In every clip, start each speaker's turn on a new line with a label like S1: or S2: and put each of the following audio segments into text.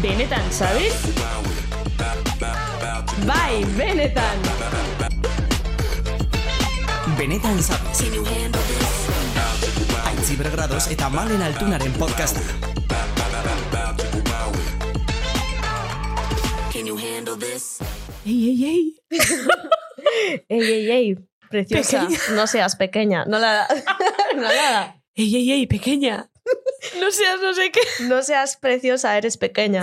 S1: Benetan, sabes? Bai, benetan!
S2: Benetan zabez. Aitzi bergradoz eta malen altunaren podcasta.
S3: Ey, ey, ey.
S1: Ey, ey, ey, preciosa, no seas pequeña. No la no la da.
S3: Ey, ey, ey, pequeña. No seas no sé qué.
S1: No seas preciosa, eres pequeña.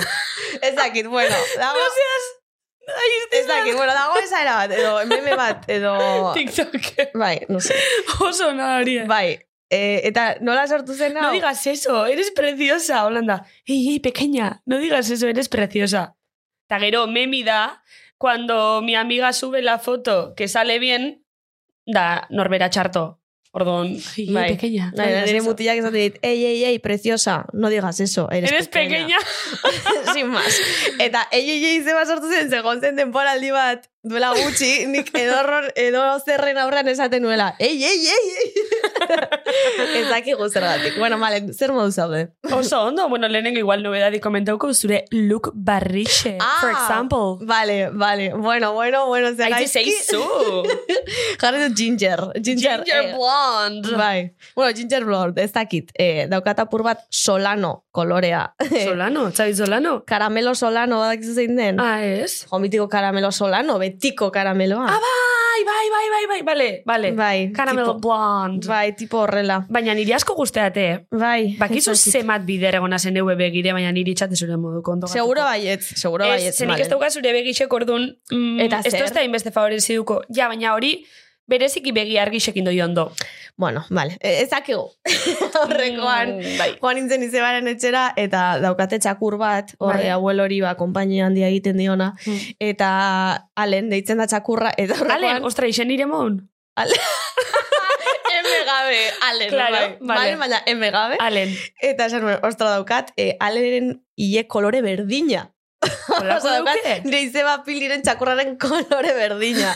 S1: Ez dakit, bueno, dago...
S3: No seas... Ahí
S1: Ez dakit, bueno, dago esaera bat, edo meme bat, edo...
S3: TikTok.
S1: Bai, no sé.
S3: Oso nadaria.
S1: Bai, eh, eta nola sartu zen hau?
S3: No digas eso, eres preciosa, Holanda. Ey, ey, pequeña, no digas eso, eres preciosa. Taguero, memi da, cuando mi amiga sube la foto que sale bien, da Norbera Charto. Ordón.
S1: ey,
S3: pequeña.
S1: Nahi, nire mutilak esaten dit, ei, ei, ei, preciosa, no digas eso, eres,
S3: Eres pequeña.
S1: Sin más. Eta ei, ei, ei, zeba sortu zen, segon zen temporaldi bat, duela gutxi, nik edorror, edo zerren aurrean esaten nuela, ei, ei, ei, ei. Ez dakigu zergatik. Bueno, malen, zer modu zaude?
S3: Oso ondo, bueno, lehenengo igual nobedadi komentauko zure look barrixe, for example.
S1: Vale, vale. Ah, Bueno, bueno, bueno, zer
S3: Aize zeizu.
S1: Jarri dut ginger. Ginger, eh,
S3: blonde.
S1: Bai. Bueno, ginger blonde, ez dakit. Eh, daukat apur bat solano kolorea.
S3: Solano, Xavi Solano.
S1: Karamelo solano, badakizu zein den?
S3: Ah, ez?
S1: Jo, mitiko karamelo solano, betiko karameloa.
S3: Ah, bai, bai, bai, bai, bai, bale, bale.
S1: Bai,
S3: Caramel
S1: tipo-
S3: blonde.
S1: Bai, tipo horrela.
S3: Baina niri asko guzteate, eh?
S1: Bai.
S3: Bakizu
S1: ez dakit.
S3: zemat bider egona zen eue begire, baina niri itxate zure moduko ondo.
S1: Seguro baietz, seguro
S3: Ez,
S1: baietz.
S3: zenik
S1: Malen.
S3: ez dauka zure begixek orduan, mm,
S1: Eta
S3: esto
S1: zer?
S3: ez da inbeste favoreziduko. Ja, baina hori, bereziki begi argixekin doi ondo.
S1: Bueno, vale. Eh, Ez dakigu. Horrekoan.
S3: Mm, bai.
S1: Joan nintzen izebaren etxera, eta daukate txakur bat, horre
S3: Bai.
S1: abuel hori ba, kompainia handia egiten diona,
S3: Mm.
S1: eta alen, deitzen da txakurra, eta
S3: Ale,
S1: horrekoan...
S3: ostra, izen nire mon?
S1: eme gabe, alen,
S3: Claro,
S1: bai.
S3: vale.
S1: Vale, baina eme gabe.
S3: Alen.
S1: Eta esan nuen, ostra daukat, eh, alenen hile kolore berdina.
S3: Olako
S1: Osa, daukat,
S3: dauke?
S1: nire izeba piliren txakurraren kolore berdina.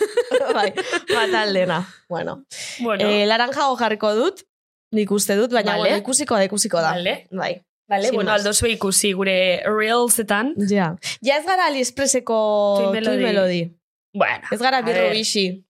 S1: bai, bat aldena. Bueno,
S3: Bueno, Ba,
S1: Eh, laranja o jarriko dut, nik uste dut, baina
S3: Vale.
S1: bueno, ikusiko da, ikusiko da.
S3: Vale.
S1: Bai.
S3: vale,
S1: sin
S3: bueno,
S1: más.
S3: aldo zue ikusi gure reelsetan.
S1: Ja. Ja ez gara Aliexpreseko
S3: Twin
S1: Twin
S3: Melody.
S1: Melody.
S3: Bueno,
S1: Ez gara
S3: A
S1: birro
S3: ver.
S1: bixi.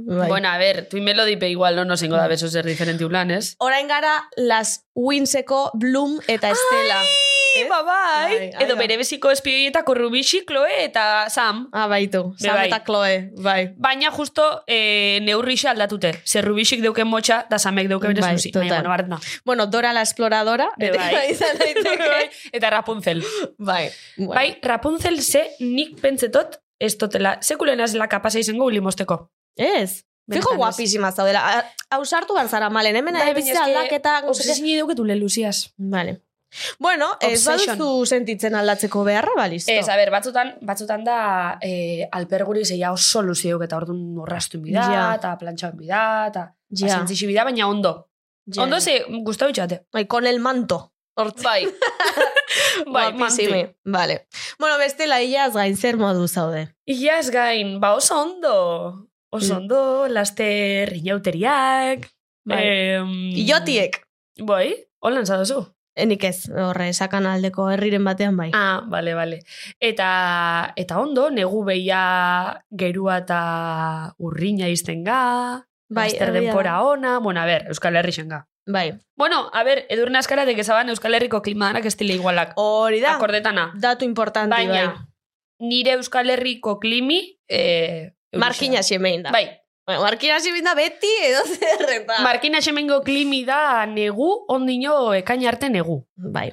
S1: Bai.
S3: bueno, a ver, tu melodi pe igual no nos ingo da beso zer diferente ulan, ez?
S1: Orain gara Las Winseko Bloom eta Estela. Ez?
S3: Ba, bai.
S1: Bai, ai
S3: Edo
S1: da.
S3: bere beziko espioietako Rubixi, Chloe eta Sam.
S1: Ah, baitu.
S3: Be,
S1: Sam
S3: bai.
S1: eta Chloe. Bai.
S3: Baina justo eh, neurrixe aldatute. Zer Rubixik deuken motxa, da Samek deuken bere
S1: Bai,
S3: zuzi. Baina,
S1: total.
S3: bueno, barna.
S1: Bueno, Dora la Exploradora.
S3: Be,
S1: beti
S3: bai.
S1: bai izan daiteke.
S3: eta Rapunzel.
S1: bai. Bueno.
S3: Bai, Rapunzel ze nik pentsetot ez totela, sekulena zela kapasa izango ulimosteko.
S1: Ez. Fijo
S3: Benetan ez.
S1: guapísima zaudela. A- Ausartu barzara, malen. Hemen
S3: Bai,
S1: bai,
S3: baina eske
S1: aldaketa. no sé qué.
S3: Obsesini deuketu leluziaz.
S1: Vale. Bueno, ez
S3: Obsession.
S1: baduzu sentitzen aldatzeko beharra, ba, listo.
S3: Ez, a ber, batzutan, batzutan da eh, alperguri zeia oso luziok eta orduan horrastu bida,
S1: Ja.
S3: eta plantxan bida, eta
S1: Ja.
S3: yeah. bida, baina ondo. Ondo ze, gustau itxate.
S1: Bai, con el manto.
S3: Bai. bai,
S1: Guapísimi.
S3: manti.
S1: Vale. Bueno, bestela hilaz gain zer modu zaude.
S3: Ia ez gain, ba oso ondo. Oso
S1: Mm.
S3: ondo, laster inauteriak.
S1: Bai.
S3: Eh, em,
S1: Iotiek.
S3: Bai, holan zadozu.
S1: Enik ez, horre, sakan aldeko herriren batean bai.
S3: Ah, bale, bale. Eta, eta ondo, negu behia gerua eta urrina izten ga,
S1: bai,
S3: laster
S1: egia da.
S3: denpora ona, bueno, a ber, Euskal Herri xenga.
S1: Bai.
S3: Bueno, a ber, edurne askara dekezaban Euskal Herriko klimadanak estile igualak.
S1: Hori da,
S3: Akordetana.
S1: datu importante
S3: Baina,
S1: bai.
S3: nire Euskal Herriko klimi... Eh, euria
S1: Markina
S3: da.
S1: xemein da.
S3: Bai,
S1: Bueno, Markina xemein da beti edo ba. zerretan.
S3: Markina xemengo klimi da negu, ondino ekain arte negu.
S1: bai.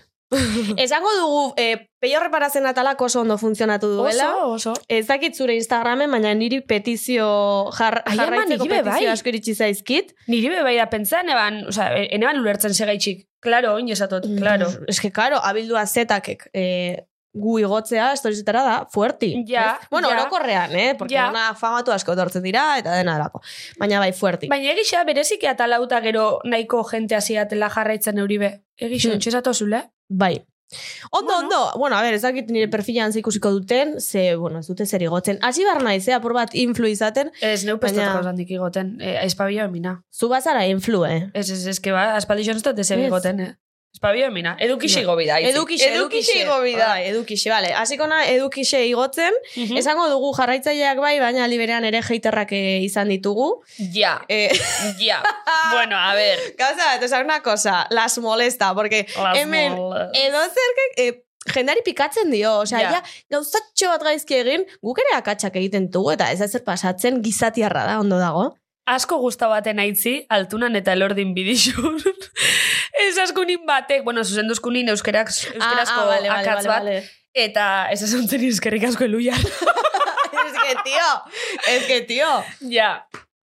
S1: Esango dugu, eh, peio reparazen atalak oso ondo funtzionatu duela.
S3: oso.
S1: Ez dakit zure Instagramen, baina niri petizio jar,
S3: Ai, ama,
S1: jarraitzeko
S3: niri be
S1: petizio
S3: bai.
S1: asko iritsi zaizkit.
S3: Niri bebai da pentsan, eban, oza, eneban ulertzen segaitxik. Claro, oin esatot, claro.
S1: Es que, claro, abildua zetakek eh, gu igotzea, estorizetara da, fuerti.
S3: Ja,
S1: ez? Bueno,
S3: ja.
S1: orokorrean, eh? Porque
S3: Ja.
S1: ona famatu asko etortzen dira, eta dena delako. Baina bai, fuerti.
S3: Baina egisa berezik eta lauta gero nahiko jente hasiatela jarraitzen euribe. Egisa,
S1: Hmm.
S3: hmm. entxesatu zule?
S1: Bai. Ondo,
S3: Bueno.
S1: ondo. Bueno, a ver, ez dakit nire perfilan ze ikusiko duten, ze, bueno, ez dute zer igotzen. Hasi behar naiz, eh, apur bat influ izaten,
S3: Ez, neu
S1: Baina-
S3: pestatuko zandik igoten. E, aizpabila emina.
S1: zu bazara influ, eh?
S3: Ez, ez, ez, que ba, aspaldixon ez dut ez
S1: Ez.
S3: egigoten, eh? Espabio emina. Edukixe igo bida. itzi.
S1: Edukixe, edukixe igo bida.
S3: Bai.
S1: Edukixe, bale. Hasiko na edukixe igotzen,
S3: Mhm.
S1: esango dugu jarraitzaileak bai, baina aldi berean ere heiterrak izan ditugu.
S3: Ja,
S1: Eh,
S3: ja. Bueno, a ver.
S1: gauza bat, esan una cosa, las molesta, porque
S3: Las
S1: hemen
S3: molas.
S1: edo zerkek eh, jendari pikatzen dio, osea,
S3: Ja.
S1: ja, gauzatxo bat gaizki egin, guk ere akatsak egiten dugu, eta ez da zer pasatzen gizatiarra da, ondo dago.
S3: asko gusta baten aitzi, altunan eta elordin bidixun. ez askunin batek, bueno, zuzenduzkunin euskerak, euskarazko
S1: Ah, ah, vale, vale,
S3: akatz
S1: vale,
S3: bat,
S1: vale.
S3: eta ez esuntzen eskerrik asko eluiar.
S1: es que, tío, es que, tío,
S3: ja.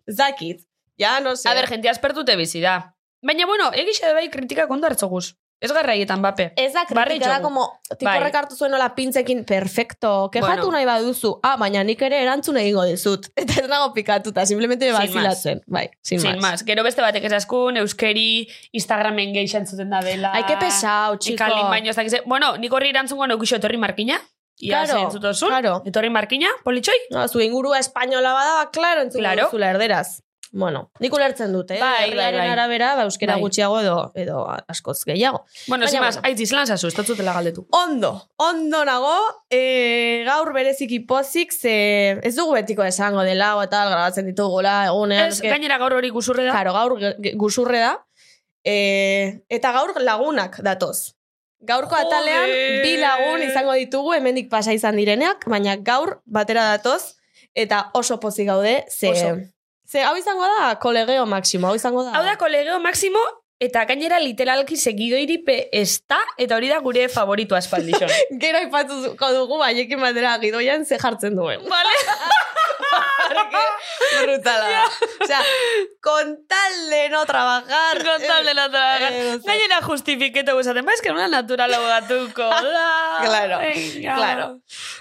S1: zakit, ja, no sé.
S3: A ber, jentia aspertute bizi da. Baina, bueno, egixe da bai kritikak ondo hartzoguz. Ez garraietan bape.
S1: Ez da
S3: Barre
S1: kritika da,
S3: itxogu.
S1: como, tipo
S3: Bai.
S1: bai. hartu zuen nola pintzekin, perfecto, kejatu
S3: Bueno.
S1: nahi baduzu, ah, baina nik ere erantzun egingo dizut. Eta ez nago pikatuta, simplemente
S3: Sin
S1: bazilatzen. Bai, sin,
S3: Sin
S1: más.
S3: más. Gero beste batek ez askun, euskeri, Instagramen gehi entzuten da dela.
S1: Ai, que pesau, chico.
S3: Ikalin baino ez dakize. Bueno, nik horri erantzungo neukixo etorri markina. Ia
S1: Claro,
S3: claro, zentzutosun.
S1: claro.
S3: Etorri markina, politxoi.
S1: No, zu ingurua espainola bada, claro, entzun
S3: Claro.
S1: claro. duzula erderaz. Bueno, nik ulertzen dute, eh?
S3: Bai, bai,
S1: Herriaren
S3: bai.
S1: arabera, ba, euskera
S3: Bai.
S1: gutxiago edo, edo askoz gehiago.
S3: Bueno,
S1: Baina,
S3: sin más,
S1: bueno.
S3: aitzi, zelan zazu, ez totzutela galdetu.
S1: Ondo, ondo nago, e, gaur bereziki pozik, ze ez dugu betiko esango dela, o tal, grabatzen ditugula, egunean.
S3: Ez,
S1: eske-
S3: gainera gaur hori guzurre da.
S1: Karo, gaur ge- ge- guzurre da. E, eta gaur lagunak datoz. Gaurko
S3: Joder!
S1: atalean bi lagun izango ditugu hemendik pasa izan direneak, baina gaur batera datoz eta oso pozik gaude, ze...
S3: Oso.
S1: Ze hau izango da kolegeo maksimo, hau izango da.
S3: Hau da, kolegeo Maximo, eta gainera literalki segidoiri pe esta, eta hori da gure favoritu aspaldixon.
S1: Gero aipatuko dugu baiekin batera gidoian ze jartzen duen.
S3: vale.
S1: Porque brutala da. Osea, con tal de no trabajar...
S3: Kontable la tragar.
S1: Eh, oso.
S3: Gainera justifiketo guzaten, ba, esker una naturala bogatuko da.
S1: Claro,
S3: Venga.
S1: claro.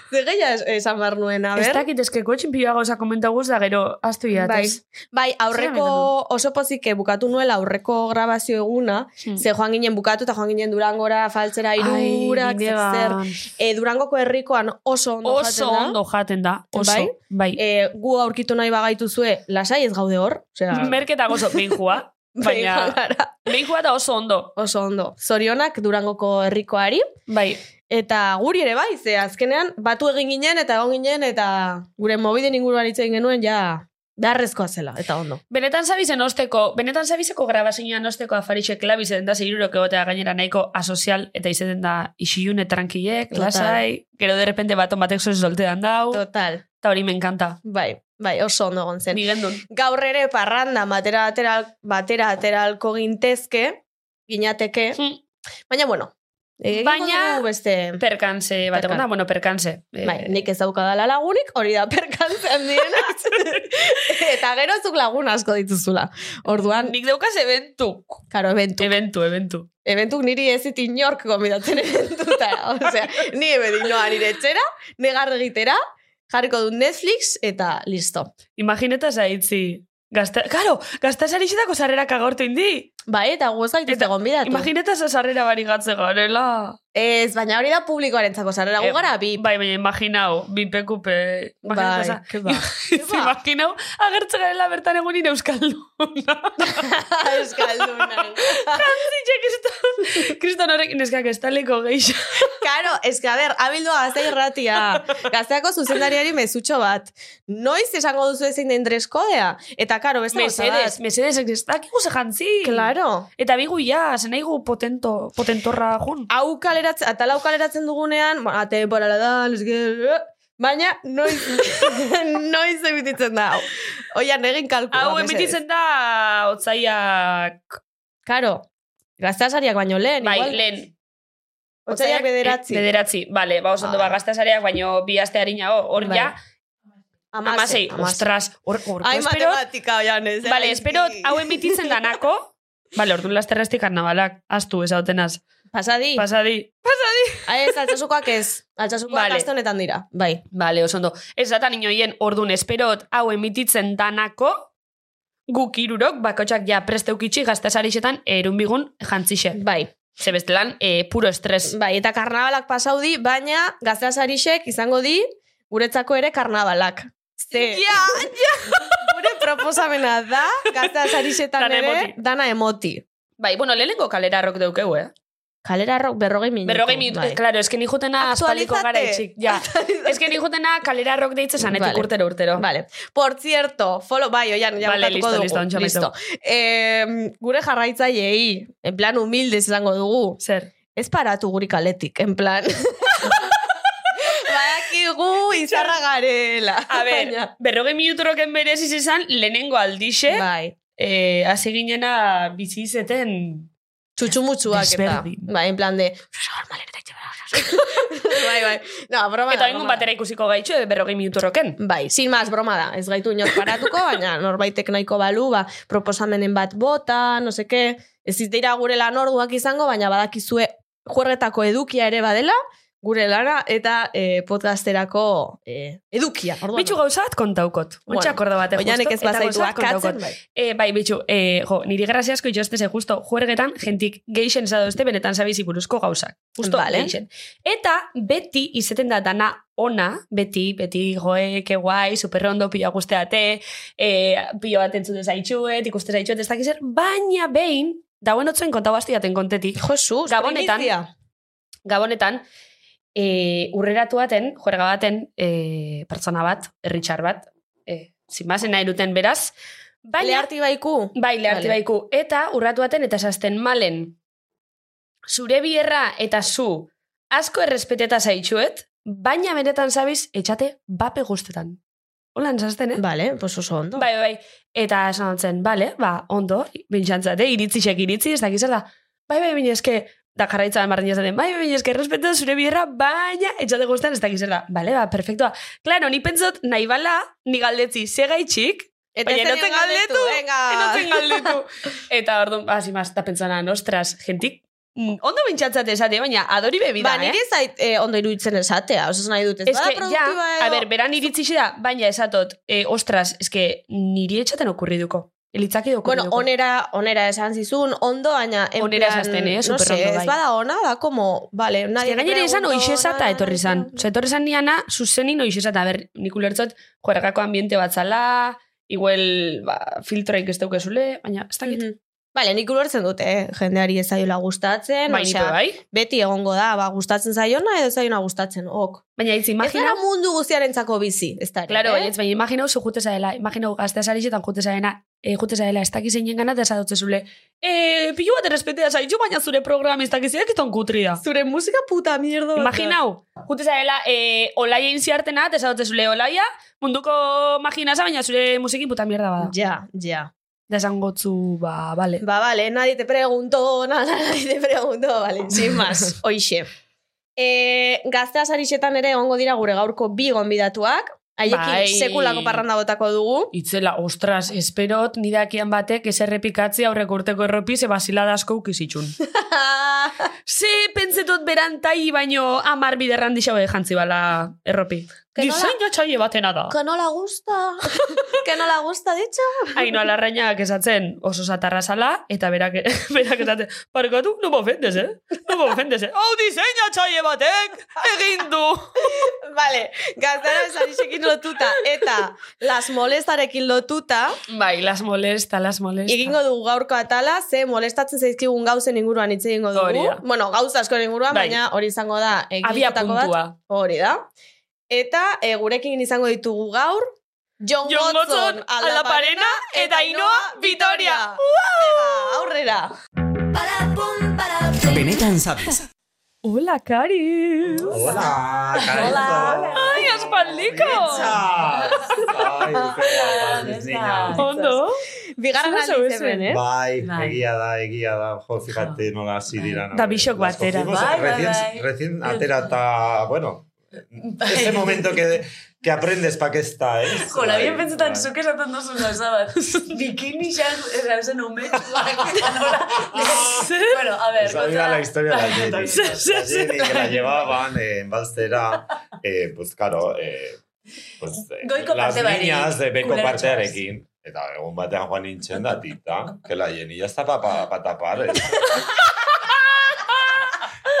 S1: Ze gehiago es- esan behar nuen, a
S3: Ez
S1: ber?
S3: dakit eskeko txinpioa gauza komentaguz da gero, astu
S1: Bai,
S3: iatez.
S1: bai aurreko oso pozik eh, bukatu nuela aurreko grabazio eguna,
S3: Hmm.
S1: ze joan ginen bukatu eta joan ginen durangora, faltzera irurak, zer, zer. E, durangoko herrikoan oso ondo
S3: Oso
S1: jaten da.
S3: ondo jaten da, oso.
S1: Bai?
S3: Bai.
S1: E, gu aurkitu nahi bagaituzue, lasai ez gaude hor. Osea,
S3: Merketa gozo, benjua.
S1: Bai, behin
S3: Baina,
S1: gara.
S3: benjua eta oso ondo.
S1: Oso ondo. Zorionak durangoko herrikoari.
S3: Bai,
S1: Eta guri ere bai, ze azkenean batu egin ginen eta egon ginen eta gure mobiden inguruan hitz egin genuen ja darrezkoa zela, eta ondo.
S3: Benetan zabizen osteko, benetan zabizeko grabazioan osteko afarixe klabi zeden da zeirurok egotea gainera nahiko asozial eta izeten da isilune tranquilek,
S1: Total.
S3: lasai, gero de repente baton batek zoiz soltean dau,
S1: Total,
S3: eta hori me encanta.
S1: bai, bai, oso ondo egon zen.
S3: Ni gendun.
S1: gaur ere parranda batera atera, batera ateralko gintezke, ginateke,
S3: Hmm.
S1: baina bueno, egingo
S3: Baina-
S1: dugu beste...
S3: Perkanse bat
S1: Perkan.
S3: egona, bueno, perkanse. Eh,
S1: Bai, nik ez daukadala lagunik, hori da perkantzen diena. Eta gero zuk lagun asko dituzula. Orduan,
S3: nik daukaz eventuk.
S1: karo, eventu.
S3: Eventu, eventu.
S1: Eventuk niri ez dit inork gomidatzen eventutara. Osea, ni ebedi noa nire etxera, negar egitera, jarriko du Netflix eta listo.
S3: Imagineta zaitzi. Gazta, karo, gaztasari xetako sarrerak agortu indi.
S1: Bai, eta gu ez gaituzte
S3: Eta,
S1: gonbidatu.
S3: Imagineta za sarrera bari gatze garela.
S1: Ez, baina hori da publikoaren zako, sarrera gu
S3: Eh,
S1: gara bi.
S3: Bai, baina imaginau, bipekupe. Imagineta za-
S1: que ba.
S3: Ez imaginau, agertze garela bertan egunin euskalduna.
S1: Euskaldunan.
S3: Zitxe, kriston, kriston horrek, neskak estaliko geisha.
S1: Karo, eske, a ber, abildua gazte irratia. Gazteako zuzendariari mezutxo bat. Noiz esango duzu ezin den dreskodea? Eta, karo, beste gauza
S3: Mesedes,
S1: bat.
S3: mesedes, ez dakigu ze jantzi.
S1: Claro.
S3: Eta bigu ja, zenaigu potento, potentorra jun.
S1: Hau kaleratzen, atala hau kaleratzen dugunean, bueno, atemporala da, lezke... Baina, noiz, noiz emititzen da. hau. Oian, egin kalkua.
S3: Hau emititzen da, otzaiak,
S1: Karo, gaztasariak baino lehen.
S3: bai,
S1: igual.
S3: lehen.
S1: Otsaiak bederatzi.
S3: eh, Bederatzi, bale, ba, oso ondo,
S1: Ah.
S3: ba, gaztasareak, baino bi aste harinago, hor
S1: Bai.
S3: ja,
S1: Hamasei,
S3: amasei,
S1: hamasei.
S3: ostras, hor, hor,
S1: Ai,
S3: espero,
S1: matematika, oian, ez.
S3: Bale,
S1: Ai,
S3: espero
S1: ki.
S3: hau emititzen danako. Bale, orduan lasterrasti karnabalak, astu esautenaz.
S1: Pasadi.
S3: Pasadi.
S1: Ah, Ez, altsasokoak ez. Altsasokoak
S3: Vale.
S1: vale. aste honetan dira. Bai.
S3: Bale, oso ondo. Ez datan inoien, orduan esperot hau emititzen danako, guk irurok, bakotxak ja presteukitxi gaztasarixetan erunbigun jantzixe.
S1: Bai.
S3: Zebestelan, e, puro estres.
S1: Bai, eta karnabalak pasaudi, baina gazteasarixek izango di guretzako ere karnabalak. Ze,
S3: ja.
S1: gure proposamena da gazteasarixetan
S3: Dana
S1: ere
S3: emoti.
S1: dana emoti.
S3: Bai, bueno, lehenengo kalera arrok daukeu, eh?
S1: Kalera ro- berrogei minutu.
S3: Berrogei minutu,
S1: bai.
S3: claro, es que ni jutena aspaldiko
S1: Aktualizate.
S3: gara itxik. Ja. Es que ni jutena kalera rock deitze zanetik
S1: Vale.
S3: urtero urtero.
S1: Vale. Por cierto, follow, bai, oian, ja
S3: Vale,
S1: bukatuko
S3: listo,
S1: dugu.
S3: listo, ontsa amaitu.
S1: Em, gure jarraitzaileei, en plan humildez izango dugu,
S3: Zer.
S1: ez paratu guri kaletik, en plan... Badakigu izarra garela.
S3: A ber,
S1: Baina-
S3: berrogei minuturoken berez izan lehenengo aldixe,
S1: Bai,
S3: eh, hasi ginena bizi izeten
S1: txutxumutxuak eta.
S3: Desberdin.
S1: Bai, en plan de... bai, bai. No, broma da,
S3: Eta bengun
S1: broma da.
S3: batera ikusiko gaitxo, eh, berrogei minuturoken.
S1: Bai, sin más, broma da. Ez gaitu inor paratuko, baina norbaitek nahiko balu, ba, proposamenen bat bota, no seke, ez ez dira gure lan orduak izango, baina badakizue juerretako edukia ere badela, gure lana eta eh, podcasterako eh, edukia. Orduan,
S3: Bitxu gauza bat kontaukot.
S1: Bueno,
S3: Ontsa akorda bate justo.
S1: oianek ez
S3: eta
S1: bazaitu
S3: gauza bat
S1: akatzen,
S3: kontaukot.
S1: bai.
S3: Eh, bai, bitxu, eh, jo, niri grazia asko josteze justo juergetan jentik geixen zadozte benetan zabizi buruzko gauzak. Justo
S1: Vale.
S3: geixen. Eta beti izeten da dana ona, beti, beti, joe, ke guai, superrondo, pilo guzteate, eh, pilo bat entzute zaitxuet, ikuste zaitxuet, ez dakizer, baina behin, dauen otzuen kontau hasti daten kontetik,
S1: Josu,
S3: Gabonetan.
S1: primizia.
S3: Gabonetan, e, urreratu baten, juerga baten, e, pertsona bat, herritxar bat, e, zinbazen nahi duten beraz, baina,
S1: Leharti baiku.
S3: bai, leharti
S1: Vale.
S3: baiku, eta urratu baten, eta esasten malen, zure bierra eta zu, asko errespeteta zaitxuet, baina benetan zabiz, etxate bape guztetan. Hola, esasten, eh?
S1: Vale, pues oso Ba, ondo.
S3: Bai, bai. Eta esan dut zen, bale, ba, ondo, bintxantzate, iritzisek iritzi, ez dakiz zer da. Bai, bai, bine eske, da jarraitzan marrin jazaten, bai, bai, bine eske, respetu zure bierra, baina, etxate guztan, ez dakiz zer da. Bale, ba, perfektua. Claro, ni pentsot, nahi bala, ni galdetzi, ze gaitxik,
S1: Eta
S3: baina
S1: ez
S3: enotzen galdetu,
S1: Ah.
S3: enotzen galdetu. Eta, orduan, ba, hasi maz, eta pentsanan, ostras, gentik, mm, ondo bintxatzate esate, baina adori bebida,
S1: Ba,
S3: eh?
S1: niri ez zait eh, ondo iruditzen esatea, osas nahi dut. Ez
S3: Ez
S1: bada
S3: que, ja,
S1: produktiba
S3: a
S1: edo-
S3: ber, beran iritzixi da, baina esatot, eh, ostras, ez que niri etxaten okurriduko. Elitzaki
S1: Bueno,
S3: okurriduko.
S1: onera, onera esan zizun, ondo, baina... en
S3: Onera
S1: plan,
S3: esasten, eh,
S1: No
S3: superondo,
S1: sé, ez
S3: bai.
S1: bada ona, da como... Vale, nadie
S3: Eske gainera izan
S1: preguntó,
S3: oixezata
S1: nada,
S3: etorri izan.
S1: nada.
S3: Osa, etorri izan niana, zuzenin oixezata. Ber, nik ulertzot, juergako ambiente bat zala, igual, ba, filtroik ez daukezule, baina ez dakit.
S1: Mhm. Vale, nik ulertzen dute, eh? jendeari ez zaiola gustatzen,
S3: Baina,
S1: osea,
S3: bai?
S1: beti egongo da, ba, gustatzen zaiona edo ez zaiona gustatzen, ok.
S3: Baina, itzi,
S1: Ez
S3: imagina...
S1: gara mundu guztiarentzako bizi, ez da. eh?
S3: Claro, baina, itz, baina, imagina zu jute zaela, imagina gaztea sarixetan jute zaena, e, jute zaela, ez dakiz einen gana, desadotze zule, e, pilu bat errespetea zaitu, baina zure programa ez dakiz ekiton kutri da.
S1: Zure musika puta mierda.
S3: Imaginau, jute zaela, e, olaia inziartena, desadotze zule, olaia, munduko maginaza, baina zure musikin puta mierda bada.
S1: Ja, ja.
S3: Da esangotzu, ba, bale.
S1: Ba, vale, nadie te preguntó, nada, nadie te preguntó, vale, sin más, oixe. E, gaztea sarixetan ere ongo dira gure gaurko bi gonbidatuak, haiekin
S3: Bai.
S1: sekulako parranda botako dugu.
S3: Itzela, ostras, esperot, nidakian batek ez errepikatzi aurrek urteko erropi ze basilada asko ukizitxun. ze pentsetot berantai baino amar biderran dixau jantzi bala erropi.
S1: Que nola-
S3: Dizain jatxai batena da.
S1: que no la gusta, que no la gusta, dicho.
S3: Aino alarrainak esatzen oso zatarra zala, eta berak, berak esatzen, parkatu, no me ofendes, eh? No me ofendes, eh? Hau dizain jatxai batek, egin du!
S1: Vale, gaztara sarixekin lotuta eta las molestarekin lotuta,
S3: Bai, las molesta, las molesta.
S1: egingo dugu gaurko atala, ze molestatzen zaizkigun gauzen inguruan hitz egingo dugu.
S3: Hori da.
S1: Bueno, gauza askoren inguruan,
S3: Bai.
S1: baina hori izango da. eh,
S3: Abia
S1: giltzatako bat.
S3: puntua.
S1: Hori da. Eta e, gurekin izango ditugu gaur, John,
S3: Jon
S1: Watson,
S3: Gotzon, Aldaparena eta Ainhoa Vitoria.
S1: Venga, aurrera.
S2: Benetan sabes.
S3: Hola, Kari!
S4: Hola, Carito.
S1: Hola.
S3: Ai, aspaldiko!
S4: Hola.
S3: Ondo?
S1: Bigarren
S3: Zuen
S1: aldiz
S3: zuen.
S1: hemen, eh?
S4: Bai,
S5: Bai.
S4: egia da, egia da. Jo, eh, fíjate, nola hasi dira.
S3: Da bisok
S4: Las
S3: batera.
S4: cogimos
S5: Bai, bai,
S4: Recién,
S5: bai.
S4: recién atera eta, bueno, ese momento que, que aprendes pa' que está, ¿eh?
S5: Jola, bien
S4: Bai,
S5: pentsetan
S4: bai.
S5: zuk esaten duzu gauza bat. Bikini xan errauzen ume. bueno, a ver.
S4: Esa era la historia de la Jenny. La Jenny que la llevaban eh, en Balstera, eh, pues claro, eh, pues, eh,
S5: Goiko
S4: las
S5: parte barik,
S4: niñas de beko
S5: kuleratxoaz.
S4: partearekin. Eta egun batean joan nintzen da tita, que la Jenny ya está pa, pa, pa tapar. eh.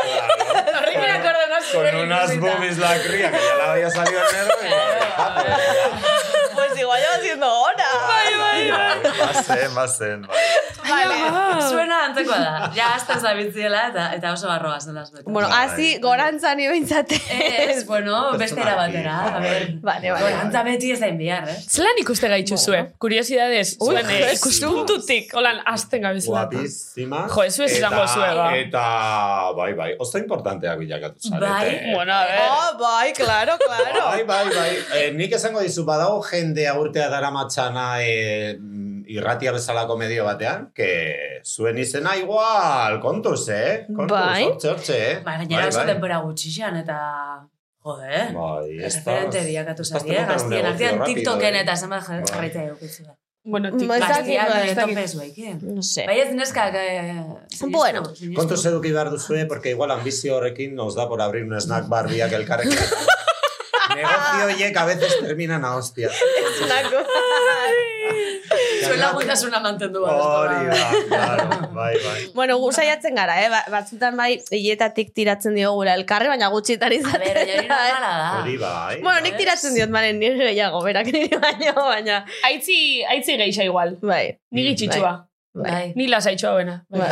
S4: Claro.
S5: Horri me acuerdo, no sé.
S4: Con unas boobies la cría, que ya la había salido en eh, negro. y ya,
S1: Pues eh? igual llevo siendo hora.
S4: Bai, bai, bai. Bazen, bazen, bai.
S5: Bai, zuena antzekoa da. Ja, azta zabitziela eta, eta oso barroa zen las betas.
S1: Bueno,
S4: Bai.
S1: hazi gorantzan nio
S5: Ez, bueno, beste era
S4: Pertsonalki,
S5: batera. A
S4: bai.
S5: ver,
S1: Vale, vale.
S5: gorantza beti ez da inbiar, eh?
S3: Zelan ikuste gaitxuzue? zue? Kuriosidades.
S1: Ui,
S3: Zuen, eh,
S1: Jesus.
S3: ikuspuntutik. Holan, azten gabe zelatan.
S4: Guapísima.
S3: Jo, ez ez
S4: Eta-
S3: izango zue, ba.
S4: Eta, bai, bai, oso importanteak bilakatu zarete.
S5: Bai,
S3: Bueno, a ver.
S1: Oh, bai, claro, claro.
S4: Bai, bai, bai. Eh, nik esango dizu, badago jende urtea dara matxana eh, irratia bezalako medio batean, que zuen izena igual, kontuz, eh? Kontuz,
S1: Bai.
S4: hortxe, hortxe, eh?
S5: Ba, gainera oso denbora gutxixan eta... Jode,
S4: Bai,
S5: referente bilakatu zarie, gaztien artean
S4: eh.
S5: TikToken eta zenbat jar- jarraita eukitzu da.
S3: Bueno,
S1: Ba, ez dakit,
S5: Gaztiak
S1: ba, ez
S5: eh,
S1: dakit.
S5: tope zuekin.
S1: No sé.
S5: Bai ez neskak... Eh, sinistu,
S1: Bueno.
S5: sinistu.
S4: Kontu eduki behar duzue, porque igual ambizio horrekin nos da por abrir un snack bar biak elkarrekin. Negozio horiek a veces terminan a hostia.
S1: Nako.
S5: Zuen laguntasuna mantendu behar.
S4: Hori da, claro, bai, bai.
S1: bueno, gu saiatzen gara, eh? Ba- Batzutan bai, hiletatik tiratzen diogula elkarri, baina gutxitan
S5: A ber,
S1: izaten
S5: oinari
S1: da, eh?
S5: normala da.
S3: Ah.
S4: Hori bai.
S1: Bueno, nik tiratzen diot, maren, nire gehiago, berak nire baino, baina...
S3: Aitzi, aitzi geixa igual.
S1: Bai,
S3: Ni gitxitsua.
S1: bai.
S5: Bai.
S3: Ni lasaitxoa bena. Mm, Bai.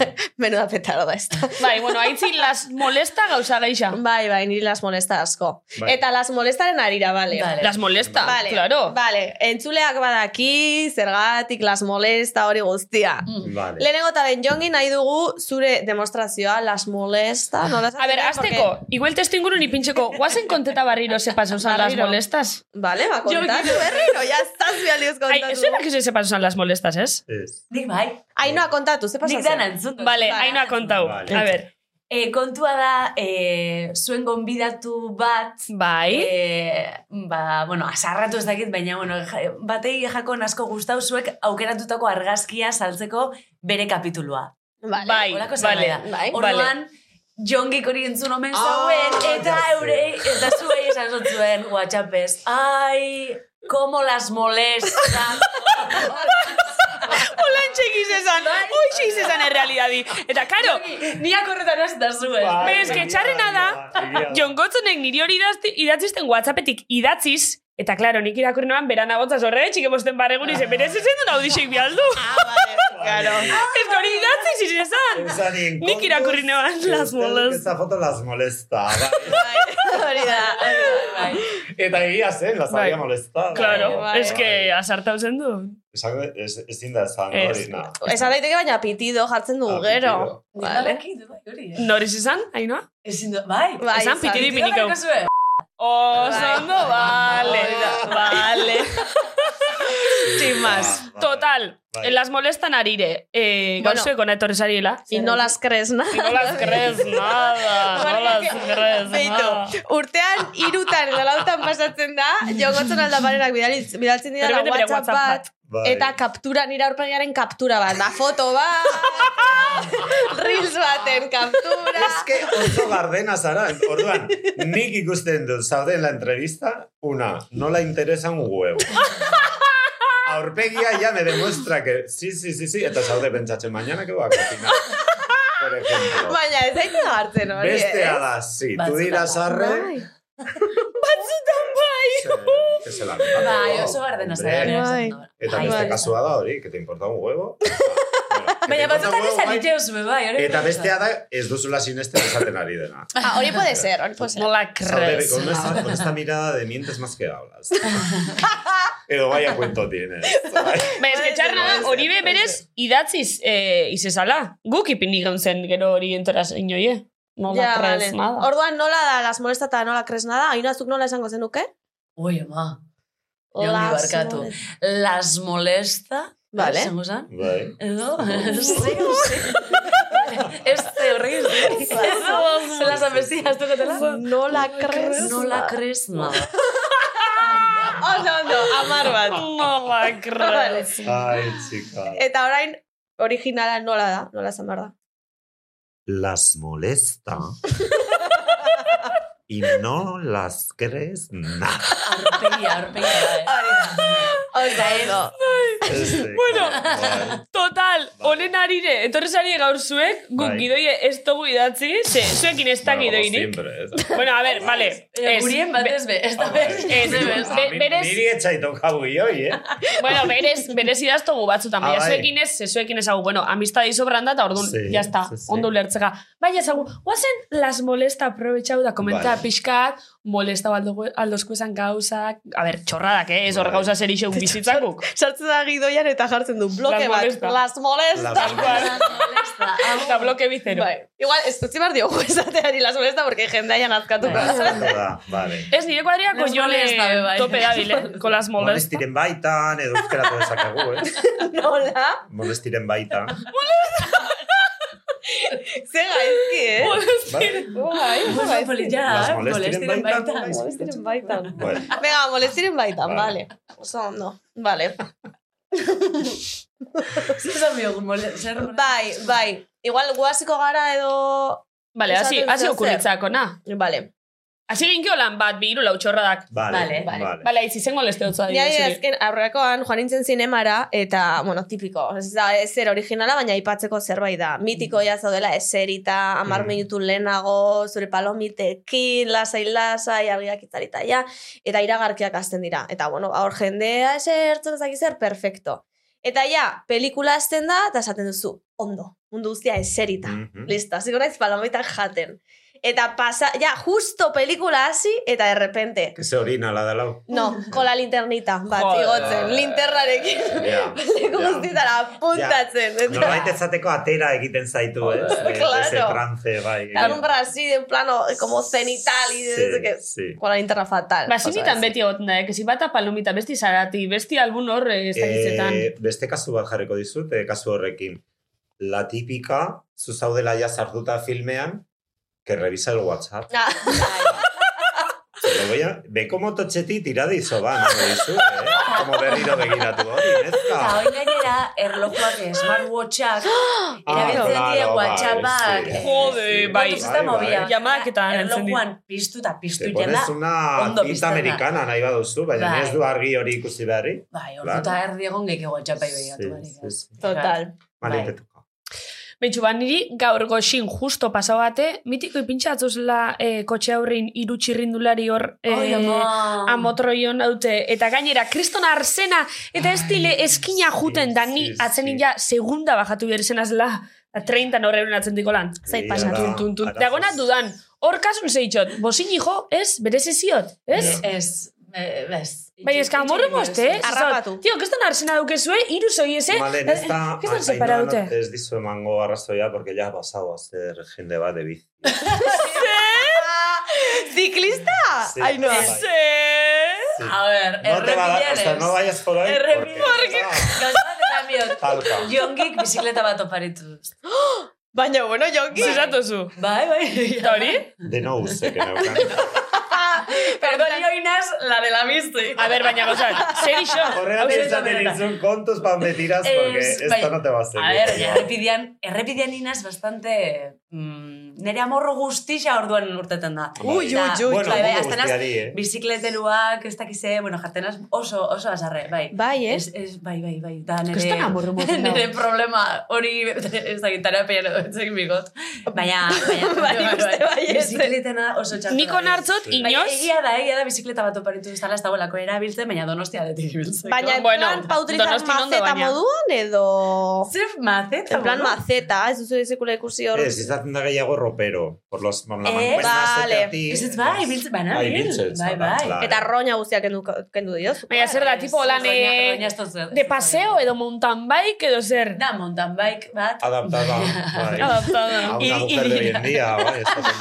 S1: bai. Menuda petarda ez da.
S3: Bai, bueno, aitzi las molesta gauza geixa.
S1: Bai, bai, niri las molesta asko.
S4: Bai.
S1: Eta las molestaren arira, bale.
S5: Vale.
S3: Las molesta,
S1: Vale,
S3: claro.
S1: Vale, entzuleak badaki, zergatik, las molesta, hori guztia.
S5: Mm.
S4: Vale.
S1: Lehenengo eta ben, jongi nahi dugu zure demostrazioa, las molesta, nola
S3: A ver, azteko, igual testu inguru ni pintxeko, guazen konteta barriro se pasan zan las
S1: Barriro.
S3: molestas.
S1: Vale, ba, kontatu
S5: Jongi.
S1: berriro, ya estás bialioz
S3: Ai,
S1: kontatu.
S3: ez da que se pasan las molestas, ez?
S4: Ez.
S5: Nik bai.
S1: Ainhoa, kontatu, ze pasa
S5: Nik dana entzun. dut.
S3: Vale,
S1: Vale.
S3: hainoa kontau.
S4: Vale.
S3: A ver,
S5: Eh, kontua da, eh, zuen gonbidatu bat,
S3: bai,
S5: eh, ba, bueno, asarratu ez dakit, baina, bueno, ja- batei jakon asko gustau zuek aukeratutako argazkia saltzeko bere kapitulua.
S1: Vale.
S3: bai,
S5: Holako zerbait
S3: vale.
S5: da.
S1: Bai.
S5: Orduan, jongik hori entzun omen
S4: Ah,
S5: zauen, eta
S4: ya sé.
S5: eurei, eta zuei esan zuen WhatsAppez, ai, como las molestan.
S3: Hola, txekiz esan,
S1: Bai.
S3: oi, txekiz esan errealidadi. Eta, karo,
S5: Ni akorretan ez da zuen.
S4: Bai.
S3: bez, que txarrena da,
S4: Egia da.
S3: Jon Gotzonek niri hori idazti- idatzisten WhatsAppetik idatziz, Eta, klaro, nik irakurri noan berana gotza zorre, txike bosten barregun izen, berez ezen duen audixek bialdu.
S1: Ah, vale, claro.
S3: Ez hori idatziz izan.
S4: Esanin,
S3: Nik
S4: kontuz,
S3: irakurri neban,
S4: que
S3: las
S4: ustedes
S3: molesta.
S4: Esta foto las molesta. bai.
S1: Bai, hori da.
S5: Bai.
S4: Eta egia zen, las
S3: Bai.
S4: había molestado.
S3: Claro,
S1: Bai.
S3: ez que asartau zen du.
S4: Esango, ez- ezin da esan,
S3: Ez.
S4: hori, na.
S1: Esan daiteke baina pitido jartzen dugu
S4: Ah,
S1: gero.
S5: Nik
S1: Vale.
S5: badakit, bai, hori, eh.
S3: Noriz izan, hainoa?
S5: Ezin du, bai.
S1: Bai,
S3: Esan
S1: izan.
S3: pitido
S5: Pitido
S3: ipinikau.
S5: jarriko zuen.
S3: Oso
S1: Bai.
S3: ondo, vale,
S1: Hori da.
S3: vale.
S1: Sin más.
S4: Ah, vale.
S3: Total,
S4: Bai.
S3: las molestan arire. Eh,
S1: Bueno.
S3: Gauzuek ona etorri zariela.
S1: Y no las crees, na?
S3: No las crees nada, no las crees nada.
S1: Beitu, urtean irutan edo lautan pasatzen da, jogotzen aldaparenak bidaliz- bidaltzen dira
S3: Berbete bere
S1: WhatsApp
S3: WhatsApp
S1: bat,
S4: Bai.
S1: eta kaptura, nire aurpegiaren kaptura bat, da foto bat, reels baten kaptura.
S4: Es que oso gardena zara, orduan, nik ikusten dut, zaude en la entrevista, una, no la interesa un huevo. Aurpegia ya me demuestra que, sí, sí, sí, sí, eta zaude pentsatzen, mañana que voy a cocinar. Por ejemplo.
S1: Baina ez zaitu hartzen Bai, hori, eh?
S4: Bestea
S1: ez?
S4: da, sí, tú
S5: Batzutan
S4: dirás
S5: da.
S4: arre,
S1: Bai.
S4: se- que se la meta,
S5: Bai,
S4: no,
S5: oso gardena
S4: hombre.
S5: zara.
S1: Bai.
S4: Eta
S1: Ai,
S4: beste
S1: bai.
S4: kasua da hori, que te importa un huevo. Bueno, que te
S5: Baina
S4: importa
S5: batzutan
S4: un
S5: ez
S4: huevo, bai.
S5: aritzeo zuen, bai. hori
S4: Eta
S5: bai.
S4: bestea da, ez duzula sinesten esaten ari dena.
S1: Ah, hori puede ser, hori puede ser.
S3: No la
S4: Sabe,
S3: crees.
S4: con, esta, con esta mirada de mientes más que hablas. Edo vaya cuento tienes.
S3: Ba, ez que txarra da, hori be berez idatziz eh, izezala. Guk ipini gaun zen gero hori entoraz inoie. No la
S1: Ja, vale.
S3: crees nada.
S1: Orduan nola da, las molesta eta nola kres nada, hainazuk nola esango zenuke?
S5: Ui, ama. Jongi barkatu.
S1: molesta.
S5: Las molesta.
S1: Vale.
S5: Zango zan?
S4: Bai.
S5: Edo? Sí, sí. Ez terrible. Edo? Las amestias tokatela?
S1: Nola kres.
S5: No la crees nada.
S1: Ondo, ondo, amar bat.
S3: No la crees.
S4: Ay, chica.
S1: Eta orain, originala nola da, nola esan behar da.
S4: Las molesta. Y no las crees nada.
S5: Arpegia, arpegia. eh.
S1: Oso, oso.
S4: Este,
S3: Bueno. Total,
S4: Bai.
S3: honen arire, etorri zari gaur zuek, guk
S4: Bai.
S3: gidoie ez dugu idatzi, ze, zuekin ez da gidoirik. Bueno, a ver, vale.
S5: Eh,
S3: ez.
S5: Gurien bat ez be, ez da bez.
S3: Ez, be- berez-
S4: Niri etxai tokabu gioi, eh?
S3: Bueno, berez, berez idaztugu batzutan, baina
S4: Ah, bai.
S3: zuekin ez, ze zuekin ezagu. Bueno, amistadi sobran da, eta orduan,
S4: Sí,
S3: ya está,
S4: sí, sí.
S3: ondo ulertzeka. Baina ezagu, guazen las molesta aprobetxau da, komenta
S4: Bai.
S3: pixkat, molesta ba baldo, aldozko esan gauzak, a ber, txorradak, eh, ez hor
S4: Bai.
S3: gauza zer iso bizitzakuk.
S1: Sartzen da gidoian eta jartzen du bloke
S3: Las
S1: bat.
S3: molesta.
S1: Las molesta.
S4: Las molesta.
S3: Eta bloke bizero.
S1: Bai. Igual, ez utzi behar diogu esateari las molesta, porque jendaian azkatuko.
S4: Da, vale.
S3: Ez nire kuadriako
S5: Las
S3: jole
S5: molesta, be, bai.
S3: tope dabil, eh, con las molesta.
S4: Molestiren baitan, edo euskeratu dezakegu, eh?
S1: Nola?
S4: Molestiren baita.
S1: Ze gaizki, eh?
S4: Vale?
S1: Bai, ze
S5: Oso
S1: gaizki.
S5: polilla,
S4: Las
S5: eh?
S4: molestiren
S5: molestiren
S4: baitan,
S5: baitan.
S4: bai.
S1: Molestiren baitan.
S4: Bueno,
S1: Venga, molestiren baitan,
S4: Vale.
S1: vale. Oso ondo. Vale.
S5: Zer esan diogun, mole- zer molestiren
S1: Bai, bai. Igual guaziko gara edo...
S3: Vale, hasi,
S1: Esaten
S3: hasi
S1: zer.
S3: okurritzako, na.
S1: Vale.
S3: Hasi ginkio lan bat, bi hiru lau txorradak.
S4: vale,
S5: Vale,
S4: vale.
S3: Bale, itzi zengo leste dutzu
S1: Ni ari
S3: adibidez.
S1: azken aurrekoan joan nintzen zinemara eta, bueno, tipiko. Ez da ezer originala, baina aipatzeko zerbait da. Mitiko ja zaudela eserita, amar
S4: Mm.
S1: minutu lehenago, zure palomitekin, lasai lasai, argiak itzalita ja, eta iragarkiak hasten dira. Eta, bueno, aur jendea esertzen ezak zer, perfecto. Eta ja, pelikula hasten da, eta esaten duzu, ondo, mundu guztia eserita.
S4: Mhm.
S1: Listo, hasiko naiz palomitak jaten. Eta pasa, ja, justo pelikula hasi, eta de repente,
S4: Que se orina la de lau.
S1: no, con la linternita, bat,
S3: Joder.
S1: igotzen, linterrarekin,
S4: Ja,
S1: leku
S4: ja.
S1: guztietara apuntatzen. Eta,
S4: Norbait ezateko atera egiten zaitu, ez? De- de
S1: Claro.
S4: Ese trance, bai.
S1: tan un brasi, de un plano, como cenital, y de,
S4: Sí,
S1: que,
S4: sí.
S1: con la linterna fatal.
S3: Ba,
S1: oso
S3: sinitan
S1: ez.
S3: beti egoten da, eh? Kesi bata palomita, besti zarati, besti albun hor ez dakitzetan.
S4: Eh, beste kasu bat jarriko dizut, eh, kasu horrekin. La típica, zu zaudela ja sartuta filmean, que revisa el WhatsApp.
S1: Ah,
S4: Lo voy a... Beko mototxeti tiradizo, ba, nago dizu, eh? Como berriro begiratu hori,
S5: Eta
S4: nezka.
S5: hori gainera, erlojuak, smartwatchak,
S4: Ah,
S5: erabiltzen
S4: claro,
S5: dira
S4: bai,
S1: ah,
S5: WhatsAppak.
S4: sí.
S5: eh,
S3: Jode, bai.
S5: kontuz ez da
S4: Bai,
S5: movida.
S4: bai.
S3: Llamak eta entzun dit.
S5: Erlojuan piztu eta piztu
S4: Te
S5: jela.
S4: pones una
S5: ondo
S4: pinta
S5: pizten da.
S4: americana nahi baduzu, baina
S5: Bai.
S4: ni ez du argi hori ikusi berri.
S5: Bai, ordu eta erdi egon gehiago WhatsAppai behiratu barik.
S4: Sí, sí, sí.
S1: Total.
S4: Vale,
S5: Bai.
S4: te toca.
S3: Bentsu, ba, niri gaur goxin justo pasau bate, mitiko ipintxa atzuzela eh, kotxe aurrin iru txirrindulari hor
S5: Oi,
S3: eh,
S5: ama.
S3: amotroion haute, eta gainera, kriston arsena, eta ez dile eskina
S4: sí,
S3: juten, da ni
S4: sí,
S3: atzenin
S4: sí.
S3: ja segunda bajatu behar izan azela, da 30 norreun atzen dikolan.
S1: Zait
S4: Egia
S1: pasatu.
S4: da,
S3: Tun, tun, tun.
S4: arazoz.
S3: Dagona dudan, hor kasun zeitxot, bozin hijo, ez, berez eziot, ez?
S4: Ja.
S5: Ez, eh, ez.
S3: Bai, eska, amorru moste, eh?
S1: Harrapatu.
S3: Tio, kestan arsena dukezue, iru zoieze,
S4: Malen, ez da,
S3: Kestan
S4: ai-
S3: separaute.
S4: Ainhoa ez dizu emango arrazoia, porque ya ha pasado a ser jende bat de bici.
S1: ¿Ciclista?
S4: Sí,
S1: Ah, Ay, no.
S4: bai.
S3: Ze...
S4: Sí.
S5: A ver,
S4: No te va a dar, o sea, no
S5: errepidean ez.
S4: vayas por ahí.
S5: Errepidean.
S4: porque-
S5: Gauza bat esan diot,
S4: Talka.
S5: Jongik bizikleta bat oparitu. dut.
S1: Baina, bueno, jonki.
S3: Zizatu zu.
S5: Bai, bai.
S3: Eta hori?
S4: De no use, que neukan.
S5: Perdón, joinaz, la de la bici.
S3: A ber, baina gauzak, zer iso?
S4: Horrela
S3: Hau zer
S4: pensatzen
S3: iso,
S4: izun kontuz pan betiraz,
S5: Ez,
S4: porque
S5: bai.
S4: esto no te va a servir.
S5: A ver, errepidean, errepidean inaz bastante... Mm, nere amorro guztixa orduan urteten da.
S1: Ui, ui,
S5: Eta,
S1: ui,
S4: Bueno,
S5: bai, bai,
S4: mundu
S5: aztenaz,
S4: guztiari, eh?
S5: bizikleteruak, ez dakize, bueno, jartenaz oso, oso azarre, bai.
S1: Bai, eh?
S5: Ez, ez, bai, bai, bai, da nere...
S3: Kriston amorru moten dago.
S5: Nere problema hori, ez dakit, terapia edo etzekin bikot. Baina, baina,
S1: Bai, uste bai, ez.
S5: bizikletena oso txartu.
S3: Niko nartzot,
S4: Bai,
S5: Baina
S3: inoz?
S5: egia da, egia da bizikleta bat oparitu duztala ez dagoelako erabiltzen, baina donostia detik ibiltzeko.
S1: Baina, en
S3: Bueno,
S1: plan, pauturizar
S3: Donostian ondo,
S1: maceta
S3: baina.
S1: moduan edo...
S5: Zer maceta,
S1: En plan,
S5: bueno.
S1: maceta, ez duzu sekula ikusi hor...
S4: Ez, izaten da gehiago ropero. Por los, por la
S5: Eh,
S4: mancuerna
S1: vale.
S4: zeteatik.
S5: Ez ez bai, biltzen bana,
S4: Bai,
S5: bil.
S4: biltzen,
S5: Bai,
S4: zara,
S5: bai.
S4: claro.
S1: Eta roña guztiak kendu, kendu diozu.
S3: Baina zer da, tipo lan, eh, de paseo edo mountain bike edo zer?
S5: Da, mountain bike bat.
S4: Adaptada. bai. A
S3: Adaptada.
S4: una mujer de hoy en día, bai, ez da-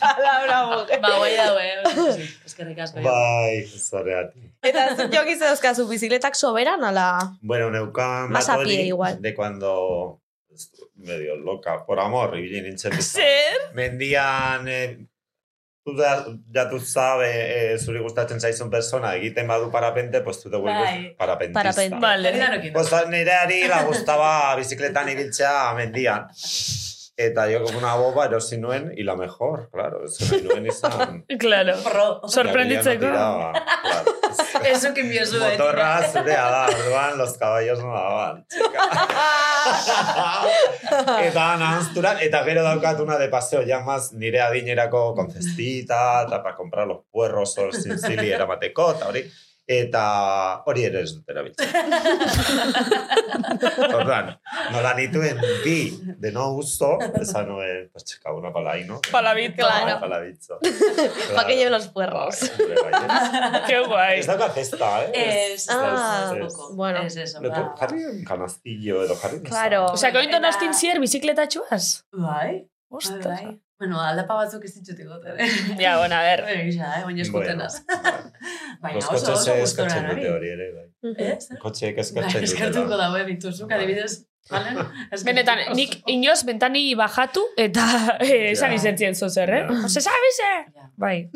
S1: Palabra mujer.
S5: Ba, guai dago, eh? Eskerrik asko.
S4: Bai, zoreatik.
S1: Eta zuk jokiz dauzkazu bizikletak soberan, ala...
S4: Bueno, neukan
S1: Más
S4: bat
S1: a pie
S4: hori
S1: igual.
S4: De cuando estu- medio loca, por amor, ibili nintzen biztan.
S3: Zer?
S4: Mendian, eh, tu da, ya tu sabe, eh, zuri gustatzen zaizun persona, egiten badu parapente, pues tu te vuelves
S5: Bai.
S4: parapentista.
S1: Parapente.
S3: Vale.
S5: Vale.
S4: Pues nireari la gustaba bizikletan ibiltzea mendian. Eta jo una boba erosi nuen, y la mejor, claro, ez nahi nuen izan.
S3: Claro.
S5: Pro.
S3: Sorprenditzeko.
S4: Gabila no tiraba, claro.
S5: Eso que envió su
S4: Motorra zurea da, orduan, los caballos no daban. txika. eta nahanzturan, eta gero daukat una de paseo, ya más nire adinerako con cestita, eta para comprar los puerros, o zintzili eramateko, eta hori. Eta hori ere ez dut erabiltzen. Ordan, nola nituen bi de no uso, esan nuen, pues txeka, una palaino.
S3: Palabit,
S1: Claro.
S4: Palabitzo.
S1: Pa' que lleve los puerros.
S4: Hombre, bai,
S3: Qué guay.
S4: Ez dauka festa, eh?
S5: Es, pues,
S1: Ah,
S5: es,
S3: pues,
S5: es,
S1: bueno.
S5: Es eso.
S4: Lepo,
S5: ba.
S4: jarri kanaztillo edo jarri. nezan.
S1: Claro.
S3: Osa, kointo nostin zier bizikletatxuaz?
S5: Bai. bai,
S3: Ostras.
S5: bai. Bueno, aldapa batzuk ez ditut egoten.
S3: Ja, bueno, a ver.
S5: Bueno, gisa, eh? baina eskutenaz. Baina
S4: Los
S5: oso, pues,
S4: kotxes
S5: oso gustora
S4: eskatzen dute
S5: nari.
S4: hori ere, bai.
S5: Ez?
S4: Kotxeek
S5: Bai,
S4: eskatzen dute.
S5: eskertuko dago, eh, bituzuk,
S4: Bai.
S5: adibidez. Vale? Eskertuko.
S3: Benetan, nik inoz bentani bajatu eta eh, esan
S4: Ja.
S3: izentzien zozer, eh?
S4: Ja.
S3: No se sabe, ze?
S5: Ja.
S3: Bai.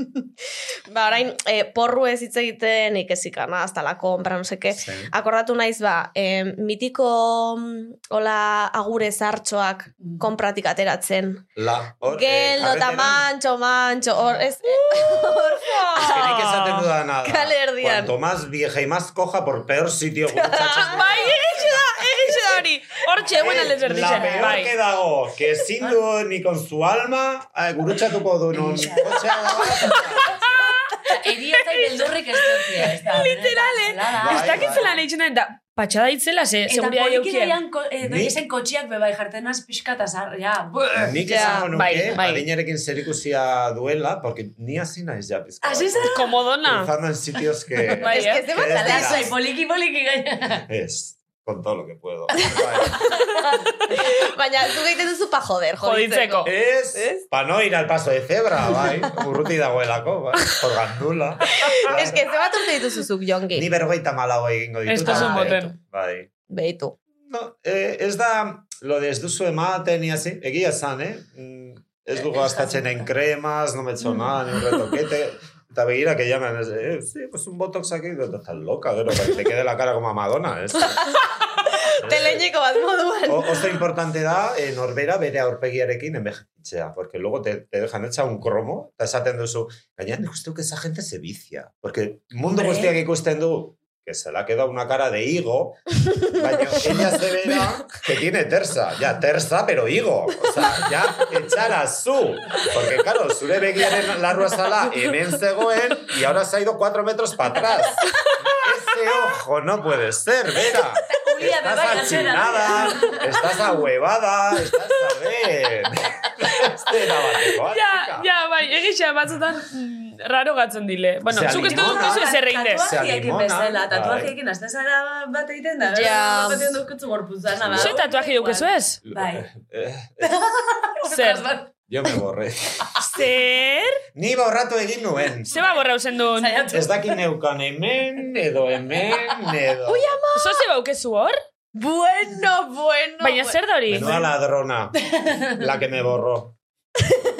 S1: Ba, orain, eh, porru ez hitz egiten, ikesikana, hasta la compra, no seke.
S4: Zen.
S1: Akordatu naiz ba, eh, mitiko mm, hola agure zartxoak konpratik ateratzen.
S4: La, hor, eh,
S1: Geldo eta mantxo, mantxo, hor, ez, Uh,
S4: Azkenik esaten
S1: Bai,
S4: dudana da.
S1: Kale erdian.
S4: Cuanto más vieja y más coja, por peor sitio gurutzatzen.
S3: Bai, egitxe da, egitxe da hori. Hortxe, eguen alde
S4: Eh, La
S3: zerditzen.
S4: peor
S3: Bai.
S4: que dago, que ezin
S1: Ah.
S4: du ni con su alma eh, gurutzatuko du non kotxea da.
S5: Eriotza beldurrik ez duzia. ez da,
S3: Literal, eh?
S5: benetan,
S4: Bai,
S3: Ez
S5: zelada.
S3: dakit zelan egin da, eta patxada itzela,
S1: Eh,
S3: ze,
S5: Eta
S3: seguria
S5: poliki
S3: jaukien.
S5: daian, eh,
S4: Nik-
S5: doiesen kotxiak bebai jarten az pixka eta zar, ja.
S4: Nik
S1: Ja,
S4: esango nuke,
S3: bai, bai.
S4: adinarekin zerikusia duela, porque ni hasi naiz ja pizka.
S5: Hasi zara?
S3: Komodona.
S4: Cruzando en sitios que...
S3: Bai,
S1: ez que
S3: eh?
S1: ez debat
S4: Geldo.
S1: alazo.
S5: Lasai, poliki, poliki gaina.
S4: Es, con todo lo que puedo. Vale.
S1: Baina, zu egiten duzu pa joder, joditzeko.
S3: Joditzeko.
S4: es,
S1: Es-
S4: pa no ir al paso de cebra, bai. Urruti dagoelako, bai. Por gandula.
S1: Ez que ze bat urte dituzu zuk, jongi.
S4: Ni berrogeita malau egingo ditut.
S3: Ez duzun
S4: bai.
S3: boten.
S4: Bai.
S1: Beitu.
S4: No, eh, ez da, lo de ez duzu ematen, ia zi, egia zan, eh? Mm, Ez dugu
S5: Eh,
S4: gastatzen
S5: esan.
S4: en cremas, no me he hecho
S5: Mm.
S4: nada, ni un retoquete. Eta begira, que llaman, es, eh, sí, pues un botox aquí, Digo, estás loca, pero que te quede la cara como a Madonna, ez?
S1: Teleineko bat moduan.
S4: O- oso importante da, eh, norbera bere aurpegiarekin envejetitzea, porque luego te, te dejan hecha un cromo, eta esaten duzu, gaina nik uste dut que esa gente se vicia, porque mundu
S5: Hombre.
S4: guztiak ikusten du, que se la queda una cara de higo, baina ella se verá que tiene terza, ya terza, pero higo, o sea, ya echara zu, porque claro, zure begiaren larrua zala hemen zegoen, y ahora se ha ido cuatro metros para atrás. Ese ojo no puede ser, Vera.
S5: Ulia
S4: Estás
S5: bebai gatzera.
S4: achinada, estás ahuevada, estás a ver. Este era batekoa,
S3: Ja,
S4: chica.
S3: ja, bai, egitxe batzutan mm, raro gatzen dile. Bueno,
S4: Ze
S3: zuk ez
S4: animona.
S3: duzu ez errein dez.
S4: Se
S5: Tatuajeekin
S4: animona,
S5: bezala,
S4: bai.
S5: tatuajeekin azte zara bat egiten da.
S1: Ja.
S5: Bat egiten dukutzu gorputza, nada.
S3: Zue tatuaje dukezu ez?
S5: Bai.
S4: Eh,
S3: Zer?
S4: Yo me borré.
S3: Zer?
S4: Ni borratu egin nuen.
S3: Zeba borrauzen duen.
S5: Zaiatu.
S4: Ez dakit neukan hemen, edo hemen, edo... Ui, ama!
S3: Zo zeba ukezu hor?
S1: Bueno, bueno.
S3: Baina zer da hori?
S4: Menua ladrona, la que me borró.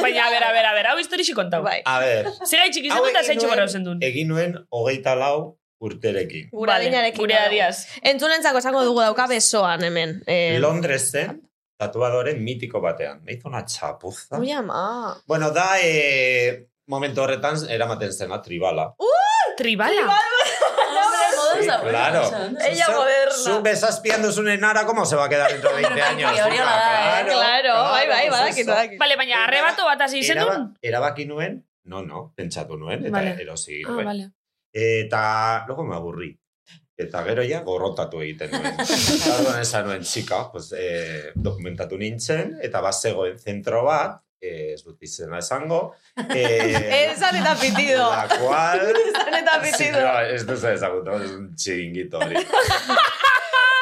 S3: Baina, a ver, a ver, a ver, hau historixi kontau.
S1: Bai.
S4: A ver,
S3: Zega itxik
S4: Hau
S3: izan eta
S4: egin
S3: zaitxu
S4: nuen-
S3: borrauzen duen.
S4: egin nuen hogeita lau urterekin.
S1: Gure adinarekin.
S3: Gure
S1: dago.
S3: adiaz.
S1: Entzunentzako esango dugu dauka besoan hemen. Eh,
S4: Londresen, tatuadore mitiko batean. Me hizo una chapuza.
S1: Ui, ama.
S4: Bueno, da, eh, momentu horretan eramaten zena tribala.
S3: Tribala.
S5: Hombre, modaz
S4: Sí,
S5: da.
S4: claro.
S1: Ella
S4: Zu-
S1: moderna.
S4: Zu besas piando su nenara, ¿cómo se va a quedar dentro de 20
S5: Hombre, bai,
S4: años?
S5: hori hola
S4: Ah,
S5: da, eh,
S1: Claro, bai, bai,
S4: pues
S1: badakit,
S4: eso.
S1: badakit.
S3: Vale, baina arrebatu bat hasi izen
S4: Eraba-
S3: duen?
S4: Erabaki nuen, no, no, pentsatu nuen, eta
S3: Vale.
S4: erosi
S3: Ah,
S4: nuen.
S3: vale.
S4: Eta, luego me aburri. Eta gero ja gorrotatu egiten nuen. Eta orduan esan nuen, txika, pues, eh, dokumentatu nintzen, eta bazegoen zentro bat, eh, ez dut izena esango, eh,
S1: Esan eta pitido.
S4: la cual...
S1: Esan eta
S4: Sí,
S1: pitido.
S4: no, esto es desaguntado, es un chiringuito hori.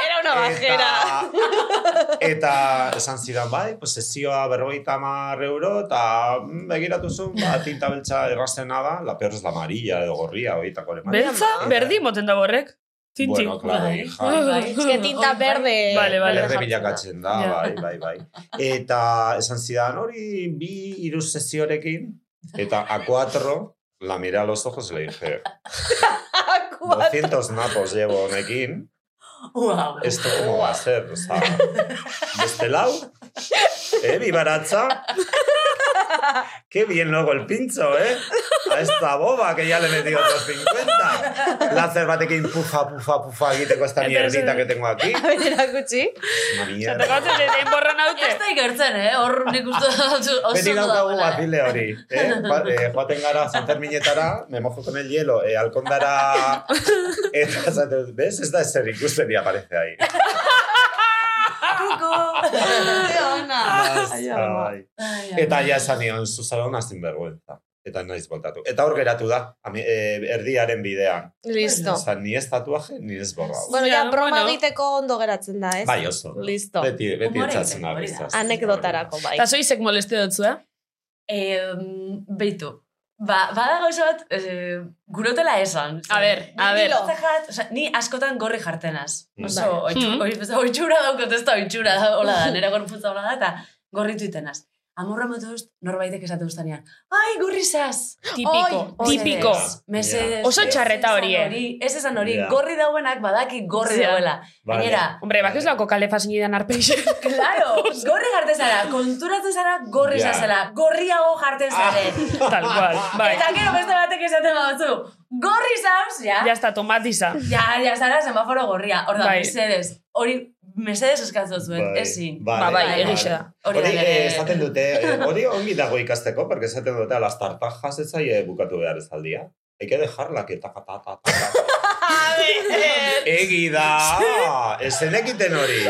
S1: Era una bajera.
S4: Eta, eta esan zidan, bai, pues sesioa berrogeita mar euro, eta mm, begiratu zuen, ba, tinta beltza errazena da, la peor es la amarilla edo gorria, horietako alemania.
S3: Beltza, berdi moten dago horrek. Tinti.
S4: Bueno, claro,
S5: Bai.
S4: hija.
S1: Es que tinta verde.
S3: Vale, vale.
S1: verde
S4: Berde
S1: Eh,
S4: bilakatzen
S1: jartzen da.
S4: da,
S3: Ja.
S4: bai, bai, bai. Eta esan zidan hori bi hiru sesiorekin, eta a cuatro, la miré a los ojos y le dije,
S1: Akua.
S4: 200 napos llevo honekin,
S5: Bai. Wow.
S4: esto cómo va a ser, o sea, de este lado, ¿eh, mi baracha? Qué bien luego el pincho, ¿eh? A esta boba que ya le he metido otros 50. La cervatequín pufa, pufa, pufa, egiteko esta
S3: Eta ez-
S4: mierdita que tengo aquí.
S1: Erakutsi.
S4: Una mierda.
S3: Zergatzen ere borra
S5: Ez
S3: naute.
S5: da ikertzen, eh? Hor nik uste dut oso
S4: Beti
S5: ondo
S4: daukagu
S5: dagoela, eh?
S4: bazile hori. Eh? Ba, eh, joaten gara, zanter minetara, me mojo con el hielo, eh, alkondara... Eta, esaten dut, ¿ves? Ez da ezer ikusten y aparece ahí.
S1: Ai, ama.
S4: Ai.
S5: eh?
S4: Eta ja esan nion, Susana sinvergüenza. Eta naiz voltatu. Eta hor geratu da, ami, eh, erdiaren bidean.
S1: Listo.
S4: Osa, ni ez tatuaje, ni ez borrau.
S1: Bueno, ja,
S3: Ja,
S1: broma
S3: bueno.
S1: egiteko ondo geratzen da, ez?
S4: Bai, oso.
S1: Listo.
S4: Beti, beti
S5: Humore
S4: etzatzen
S5: egiten, hori da.
S4: abizaz.
S1: Anekdotarako, bai.
S3: Eta soizek moleste dutzu, eh?
S5: Eh, beitu. Ba, bada gauza bat, eh, gurotela esan.
S3: A ber, a
S5: Ni
S3: ber.
S5: lotza jat, oza, ni askotan gorri jartenaz. Oso,
S1: Bai.
S5: oitxu-
S3: Mhm.
S5: oi- oza, oitxura daukot ez da oitxura, hola da, nera gorputza hola da, eta gorritu itenaz. Amorra motu dust, norbaitek esate ustanean. Ai, gorri zaz!
S3: Tipiko,
S5: Oi,
S3: tipiko.
S5: mesedez, Mesedez.
S3: Oso
S5: ez
S3: txarreta
S5: esan
S3: hori, eh?
S5: hori, Ez esan hori,
S4: Ja.
S5: gorri dauenak badaki gorri
S3: Ja.
S5: dauela.
S4: Bai.
S5: Gainera,
S3: Hombre, bak ez lauko kale fasinidan arpeixe.
S5: Claro, gorri jarte zara, konturatzen zara gorri
S4: Ja.
S5: zazela, gorriago jarten zaren.
S3: Tal cual, bai.
S5: Eta gero beste batek esaten batzu, gorri zauz, ja.
S3: Ja está tomatiza.
S5: Ja, ja, zara semaforo gorria. Hor da,
S3: Bai.
S5: mesedes. Hori, mesedes eskatzo zuen, ezin.
S3: Ba, bai,
S5: bai.
S3: egixe da.
S5: Hori
S4: Hori,
S5: da nere-
S4: eh, esaten dute, eh, hori ongi dago ikasteko, porque esaten dute a las tartajas etzaie bukatu behar ezaldia. Hay que dejarla que ta ta ta ta. ta. Egi da! Esenekiten hori.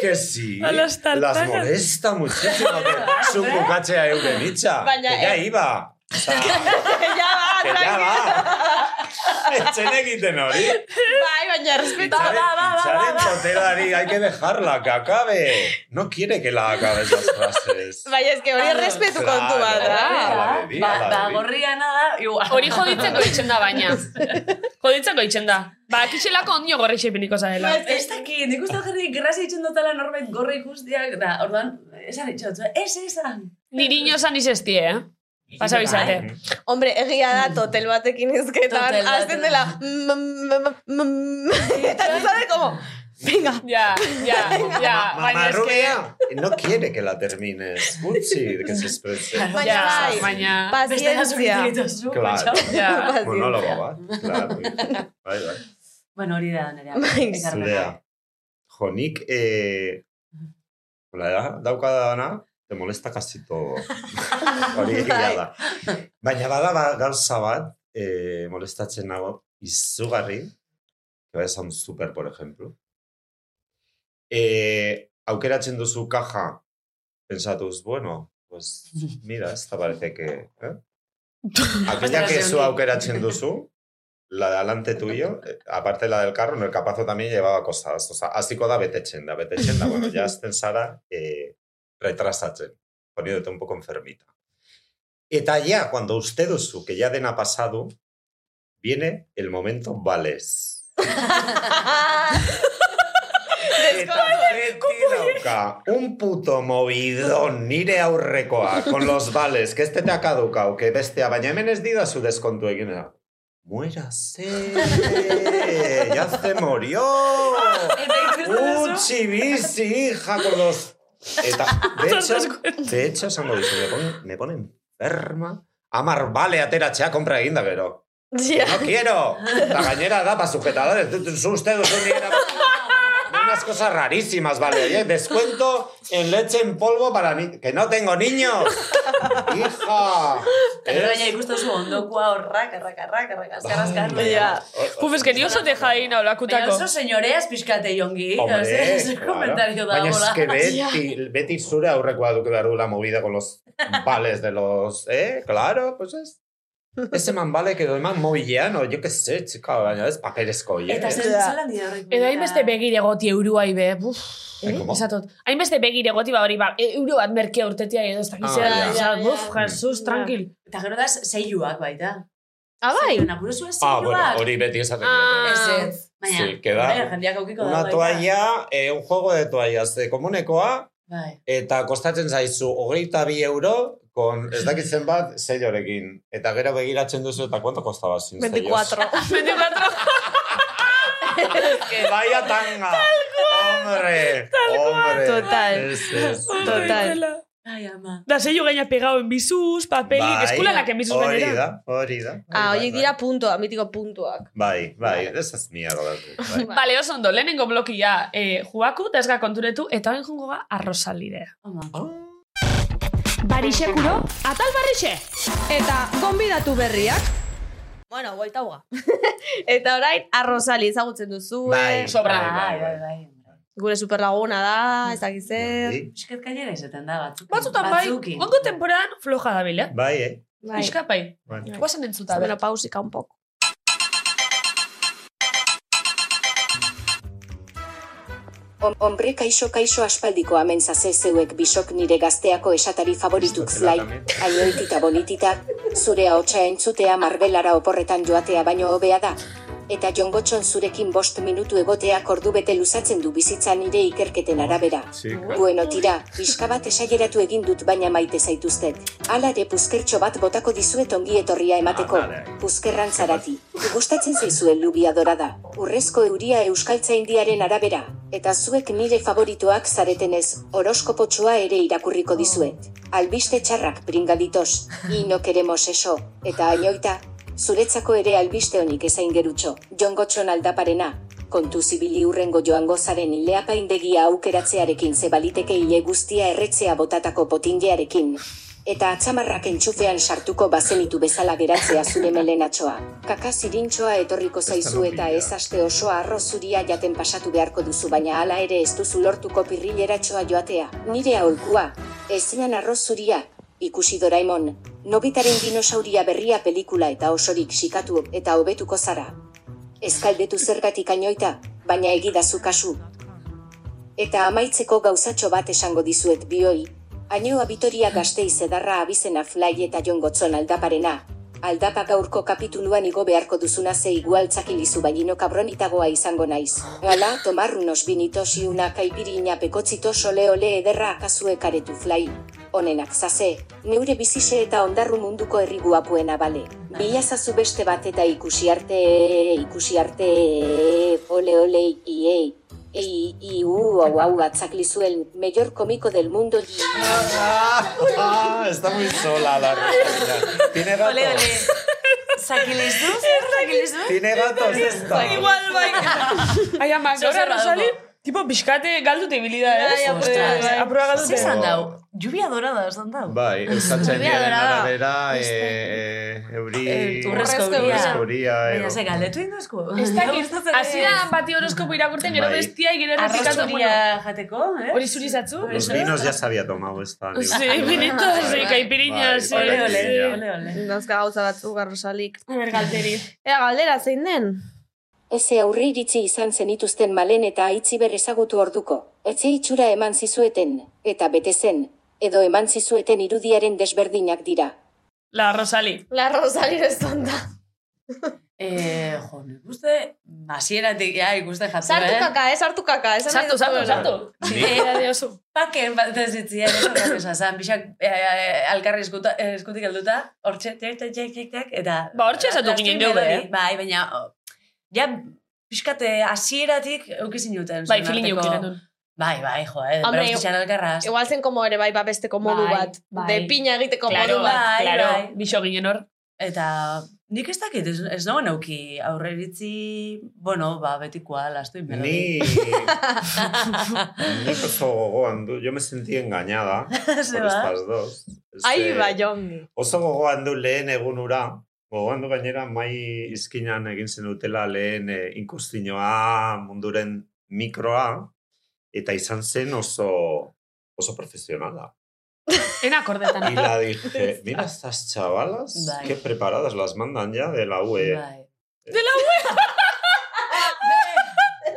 S4: Que sí.
S3: A las tartajas.
S4: Las molesta muchísimo que su bukatzea euren itxa.
S1: Baina,
S4: que ya
S1: eh.
S4: iba. O sea,
S1: Ja,
S4: que ya
S1: ba,
S4: va. Etxenekiten hori.
S1: bai, baina errespetu.
S5: Ba, ba, ba, ba,
S4: Itxaren
S5: ba.
S4: txotelari, hay que dejarla, que acabe. No quiere que la acabe esas frases.
S1: Bai, ez que hori errespetu kontu bat
S3: Bai.
S1: da.
S4: Claro. la de bi,
S5: ba,
S4: la de
S5: ba,
S4: bi.
S5: gorria nada, igual.
S3: Hori joditzeko itxen da baina. Joditzeko itxen da. Ba, kitxelako ondio gorri xepiniko zarela.
S1: Bai,
S5: Ez daki, nik uste jarri grazia itxen dutela norbait gorra ikustiak, da, orduan, esan itxot, ez esan. Bai.
S3: Niriño san izestie, eh?
S4: Bai.
S3: Pasa bizate.
S1: Hombre, egia da, totel batekin izketan,
S5: Totel bat.
S1: azten dela... mm, mm, mm, mm, Eta tu sabe como... Venga,
S3: Ja, ja, ja.
S4: Mamá Rubia, no quiere que la termines. Utzi, que se exprese.
S1: baina
S3: Ja,
S1: bai.
S3: baina...
S5: Beste da
S1: pazientzia.
S5: dituzu,
S4: Claro.
S5: kutxo.
S3: Ja.
S1: Pazientzia.
S4: Monólogo bat. Claro. Bai, bai.
S5: Bueno, hori da, nerea.
S1: Bai.
S5: ekarpena.
S4: Zurea. Jo, nik... Eh, hola, da, dauka dana, te molesta casi todo. Hori egia da. Baina bada ba, gauza bat, eh, molestatzen nago, izugarri, que vayas a un super, por ejemplo. Eh, aukeratzen duzu kaja, pensatuz, bueno, pues mira, esta parece que... Eh? Aquella que zu aukeratzen duzu, la de alante tuyo, eh, aparte de la del carro, en el capazo también llevaba cosas. O sea, hasiko da betetzen da, betetzen da. Bueno, ya azten zara eh, retrasatzen, poniéndote un poco enfermita. Eta ya, cuando usted duzu, que ya dena pasado, viene el momento vales. Eta beti dauka un puto movidón nire aurrekoa con los vales, que este te ha caducado, que bestea, baina hemen ez didazu deskontu egin da. Muérase, ya se murió.
S5: Eta ikusten duzu,
S4: Utsi bizi, hija, con los... Eta, de hecho, de hecho, esango dizu, me pone, me pone enferma. Amar, vale, ateratxea, compra eginda gero.
S1: Ja.
S4: ¡No quiero! La gañera da para sujetadores. Tú- tú- Son ustedes un dinero- Unas cosas rarísimas, vale. Oye, descuento en leche en polvo para ni... ¡Que no tengo niños! ¡Hija!
S5: Eta gero
S4: Es-
S5: gaina ikusten duzu ondokua horrak, arrak, arrak, arrak, azkar, azkar.
S4: Bai.
S5: baina-
S3: Uf, es que ni oso deja ahí
S5: Baina
S3: naulakutako.
S5: oso senyoreaz pixkate jongi.
S4: Hombre,
S5: Hombre, ¿eh? ese
S4: claro.
S5: komentario da
S4: Baina
S5: bola.
S4: es que Betty, Betty zure aurrekoa duk behar du la movida con los vales de los... Eh, claro, pues es... Ese man vale que eman moilean, o yo qué sé, chica, baina ez paperezko, oie.
S5: Eta zen
S1: Ja.
S5: zelan dira horrek.
S3: Edo hainbeste begire goti eurua ibe, buf,
S4: Eh, como?
S3: esatot. Hainbeste begire goti ba hori ba, e- euro bat merkea urtetia edo ez dakizea.
S4: Ah, ja.
S3: Ah, ja, buf,
S1: Ja.
S3: Jesus,
S1: Ja.
S3: tranquil.
S5: Eta gero da zeiuak baita.
S1: Ah, bai.
S5: Zeiuak, apuru zuen
S4: Ah, bueno,
S5: zeiuak.
S4: hori beti esaten
S3: Ah.
S4: ah,
S5: Ez ez. Baina,
S4: Sí, que da.
S5: baina jendeak aukiko da
S4: Una
S5: baita.
S4: toalla, eh, un juego de toallas de komunekoa,
S5: Bai.
S4: eta kostatzen zaizu hogeita bi euro, kon, ez dakit zenbat, zeiorekin. Eta gero begiratzen duzu, eta kuanto kostaba sin
S1: 24.
S4: Vaya tanga. Hombre. Hombre.
S1: Total.
S4: Es- es-
S1: Total.
S5: Ai, Bai, ama.
S3: Da, zei gaina pegao enbizuz, papelik,
S4: Bai,
S3: eskulalak enbizuz
S4: Hori
S3: gainera.
S4: da, hori da.
S1: Ah,
S4: Bai,
S1: horiek
S4: bai,
S1: dira puntua, mitiko puntuak.
S4: Bai, bai, esas mierdas. Bai.
S3: Bale, oso ondo, lehenengo blokia eh, juaku, desga konturetu, eta horren jungo ba, ga arrosalidea.
S5: Ama.
S6: Barixekuro, atal barrixe!
S1: Eta, konbidatu berriak. Bueno, guaita hua. Eta orain, arrozali ezagutzen duzu. eh?
S4: Bai,
S3: Sobra.
S5: Bai, bai, bai.
S1: Gure superlaguna da, ez dakit zer.
S4: Bai,
S5: Piskat gainera izaten da batzuk.
S3: Batzutan bai,
S5: Batzukin.
S3: ongo temporadan floja da bila.
S4: Bai, eh.
S1: Bai.
S3: Iska bai,
S4: Bai.
S3: guazen entzuta.
S1: Bueno,
S3: Bueno,
S1: pausika un poco.
S7: Hom- Hombre kaixo kaixo aspaldiko amen zaze zeuek bisok nire gazteako esatari favorituk
S4: Esto te la
S7: zlai,
S4: lamen.
S7: ainoitita bonitita, zure ahotsa entzutea marbelara oporretan joatea baino hobea da. Eta jongotxon zurekin bost minutu egoteak ordu bete luzatzen du bizitza nire ikerketen arabera. Bueno tira, pixka bat esaieratu egin dut baina maite zaituztet. Hala ere puzkertxo bat botako dizuet ongi etorria emateko.
S4: Ah, vale.
S7: Puzkerran zarati. Gustatzen zaizuen lubia dorada. Urrezko euria euskaltzaindiaren arabera. Eta zuek nire favoritoak zaretenez, horoskopotxoa ere irakurriko dizuet. Albiste txarrak pringaditos, y no queremos eso, eta ainoita, zuretzako ere albiste honik ezain gerutxo. Jongotxon aldaparena, kontu zibili hurrengo joango zaren ileapaindegia aukeratzearekin zebaliteke hile guztia erretzea botatako potingearekin. Eta atzamarrak entxufean sartuko bazenitu bezala geratzea zure melenatxoa. Kaka zirintxoa etorriko zaizu eta ez aste osoa arroz zuria jaten pasatu beharko duzu baina hala ere ez duzu lortuko pirrileratxoa joatea. Nire aholkua, ezinan arroz zuria, ikusi Doraemon, nobitaren dinosauria berria pelikula eta osorik sikatu eta hobetuko zara. Ezkaldetu zergatik ainoita, baina egidazu kasu. Eta amaitzeko gauzatxo bat esango dizuet bioi, Ainhoa Bitoria gazteiz edarra abizena flai eta jongotzon aldaparena. Aldapa gaurko kapituluan igo beharko duzuna ze igualtzakilizu baino kabronitagoa izango naiz. Gala, tomar unos vinitos y una caipiriña pekotzito sole ole ederra akazue karetu flai. Onenak zaze, neure bizixe eta ondarru munduko herri guapuena bale. Bilazazu beste bat eta ikusi arte, ikusi arte, ole ole, iei. Y, y uh, au, au, atzaklizu el mayor cómico del mundo.
S4: Ah, ah, está muy sola la reina. ¿Tiene gatos?
S5: Ole, ole. Zakilizu? Zer zakilizu?
S4: ¿Tiene gatos esta?
S3: igual bai. Ai, ama, gaur
S5: Zer
S3: arrosali,
S5: badugu?
S3: tipo, pixkate galdute ibilida,
S1: Bai,
S3: ez?
S1: apurra,
S3: Ostras,
S1: bai.
S3: Apurra
S5: Zer
S3: galdute.
S5: esan dau? Lluvia dorada esan dau?
S4: Bai, euskatzen
S1: Zubia
S4: diren
S1: dorada.
S4: arabera,
S3: Este.
S4: eh, eh, euri...
S5: Eh,
S1: Urrezko
S5: Urrezko
S1: euria.
S5: euria.
S4: Euria,
S5: Baina
S4: edo-
S5: ze galdetu induzko.
S3: Ez dakit, hasi da bati horoskopo irakurten, gero
S4: Bai.
S3: bestia, gero errepikatu.
S5: Arrasturia
S3: bueno.
S5: jateko, eh?
S3: Hori zuri zatzu?
S4: Los vinos ya se había tomado esta. digo.
S3: Sí, vinitos, y caipiriñas.
S4: Bai,
S5: Ole,
S3: eh,
S5: ole,
S4: Bai.
S5: ole, ole.
S1: Dauzka gauza batzuk arrosalik.
S3: A ber, galderi.
S1: Ea, galdera, zein den?
S7: Eze aurri iritzi izan zenituzten malen eta aitziber ezagutu orduko. Etxe itxura eman zizueten, eta bete zen, edo eman zizueten irudiaren desberdinak dira.
S3: La Rosali.
S1: La Rosalía ez tonta.
S5: Eh, jo, nik uste, hasieratik ja ikusten jatzen,
S1: Sartu
S5: eh?
S1: kaka, eh? Sartu kaka. esan nahi
S3: Sartu, sartu,
S1: duzuena.
S3: sartu. Era de oso.
S5: Paken bat ez zitzien, oso graciosa zan, bixak eh, alkarri eskuta, eh, eskutik helduta, hortxe, tek, tek, tek, tek, tek, eta...
S3: Ba, hortxe esatu
S5: Laster
S3: ginen geure,
S5: melodi.
S3: eh?
S5: Bai, baina, o, ja, pixkate, hasieratik eukizin duten.
S3: Bai,
S5: zuen
S3: feeling
S5: arteko-
S3: eukin genuen.
S5: Bai, bai, jo, eh,
S1: Hombre,
S5: berostitxan alkarraz.
S1: Igual zen como ere bai babesteko modu
S5: Bai,
S1: bat.
S5: bai.
S1: De piña egiteko
S3: Claro,
S1: modu bat.
S5: bai,
S3: claro.
S5: bai.
S3: Bixo ginen hor.
S5: Eta nik ez dakit, ez, ez nagoen auki aurreritzi, bueno, ba, betikoa, lastu inmelodi.
S4: Ni... Ni oso gogoan du. Yo me sentí engañada
S5: ba?
S4: por estas dos.
S1: Ai,
S4: Ze-
S1: baiongi.
S4: Oso gogoan du lehen egunura. Gogoan du gainera mai izkinan egin zen dutela lehen eh, inkustinoa, munduren mikroa. Eta izan zen oso oso profesionala.
S3: En akordetan.
S4: Y la dije, mira estas chavalas,
S5: Bai.
S4: qué preparadas las mandan ya de la E". UE.
S5: Bai.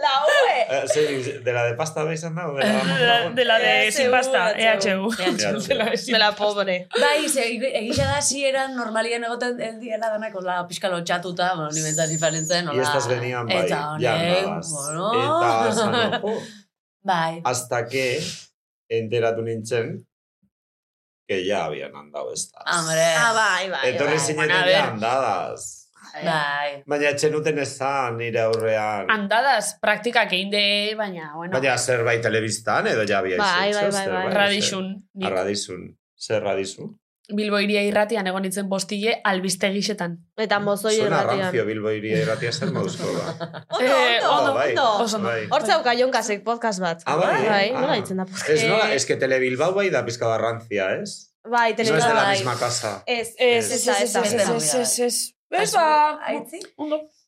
S1: La UE!
S4: Eh, sí, de la de pasta habéis andado. De la,
S3: De la- De la de
S1: EHU,
S3: sin pasta, E
S1: EHU.
S3: EHU. De la de sin
S1: Me la pobre.
S5: Bai, ze, egia da zieran normalian egoten el diela danak hola pixka lotxatuta, bueno, ni bentzat ifarentzen,
S4: Y
S5: hola.
S4: estas venían bai,
S5: Eta honek,
S4: llamadas.
S5: bueno.
S4: Eta sano. Oh,
S5: Bai.
S4: hasta que enteratu nintzen que ya habían andado estas.
S5: Hombre.
S1: Ah, bai, bai.
S4: Entonces
S5: bai.
S4: sí
S5: Bueno, a
S4: ya
S5: ver.
S4: andadas.
S5: Bai.
S4: Baina etxe nuten ezan nire aurrean.
S1: Ah,
S3: Andadas praktikak egin de, baina, bueno,
S4: Baina zerbait telebistan edo ja biaiz.
S1: Bai, bai, bai, bai.
S3: radixun. nik.
S4: Arradizun. Ah, Zer radizun?
S3: Bilbo iria irratian egon nintzen bostile albiste gixetan.
S1: Eta mozoi
S4: Zona
S1: erratian.
S4: ranzio Bilbo iria irratia zer moduzko ba.
S1: Ondo,
S3: Eh,
S1: ondo,
S4: Ah, bai,
S1: ondo, ondo.
S3: Oso ondo.
S4: bai.
S1: Hor zauka jonkasek podcast bat.
S4: Ah, bai, eh?
S1: Bai,
S4: Ah.
S1: nola ditzen da podcast.
S4: Ez nola,
S3: Eh,
S4: ez que Tele Bilbao bai da pizka barrantzia, ez?
S1: Bai, Eh,
S4: No es de la
S1: telebizta.
S4: misma casa.
S1: Ez,
S4: Ez,
S1: ez, ez, ez, ez, ez.
S3: Ez, ba,
S5: Aitzi?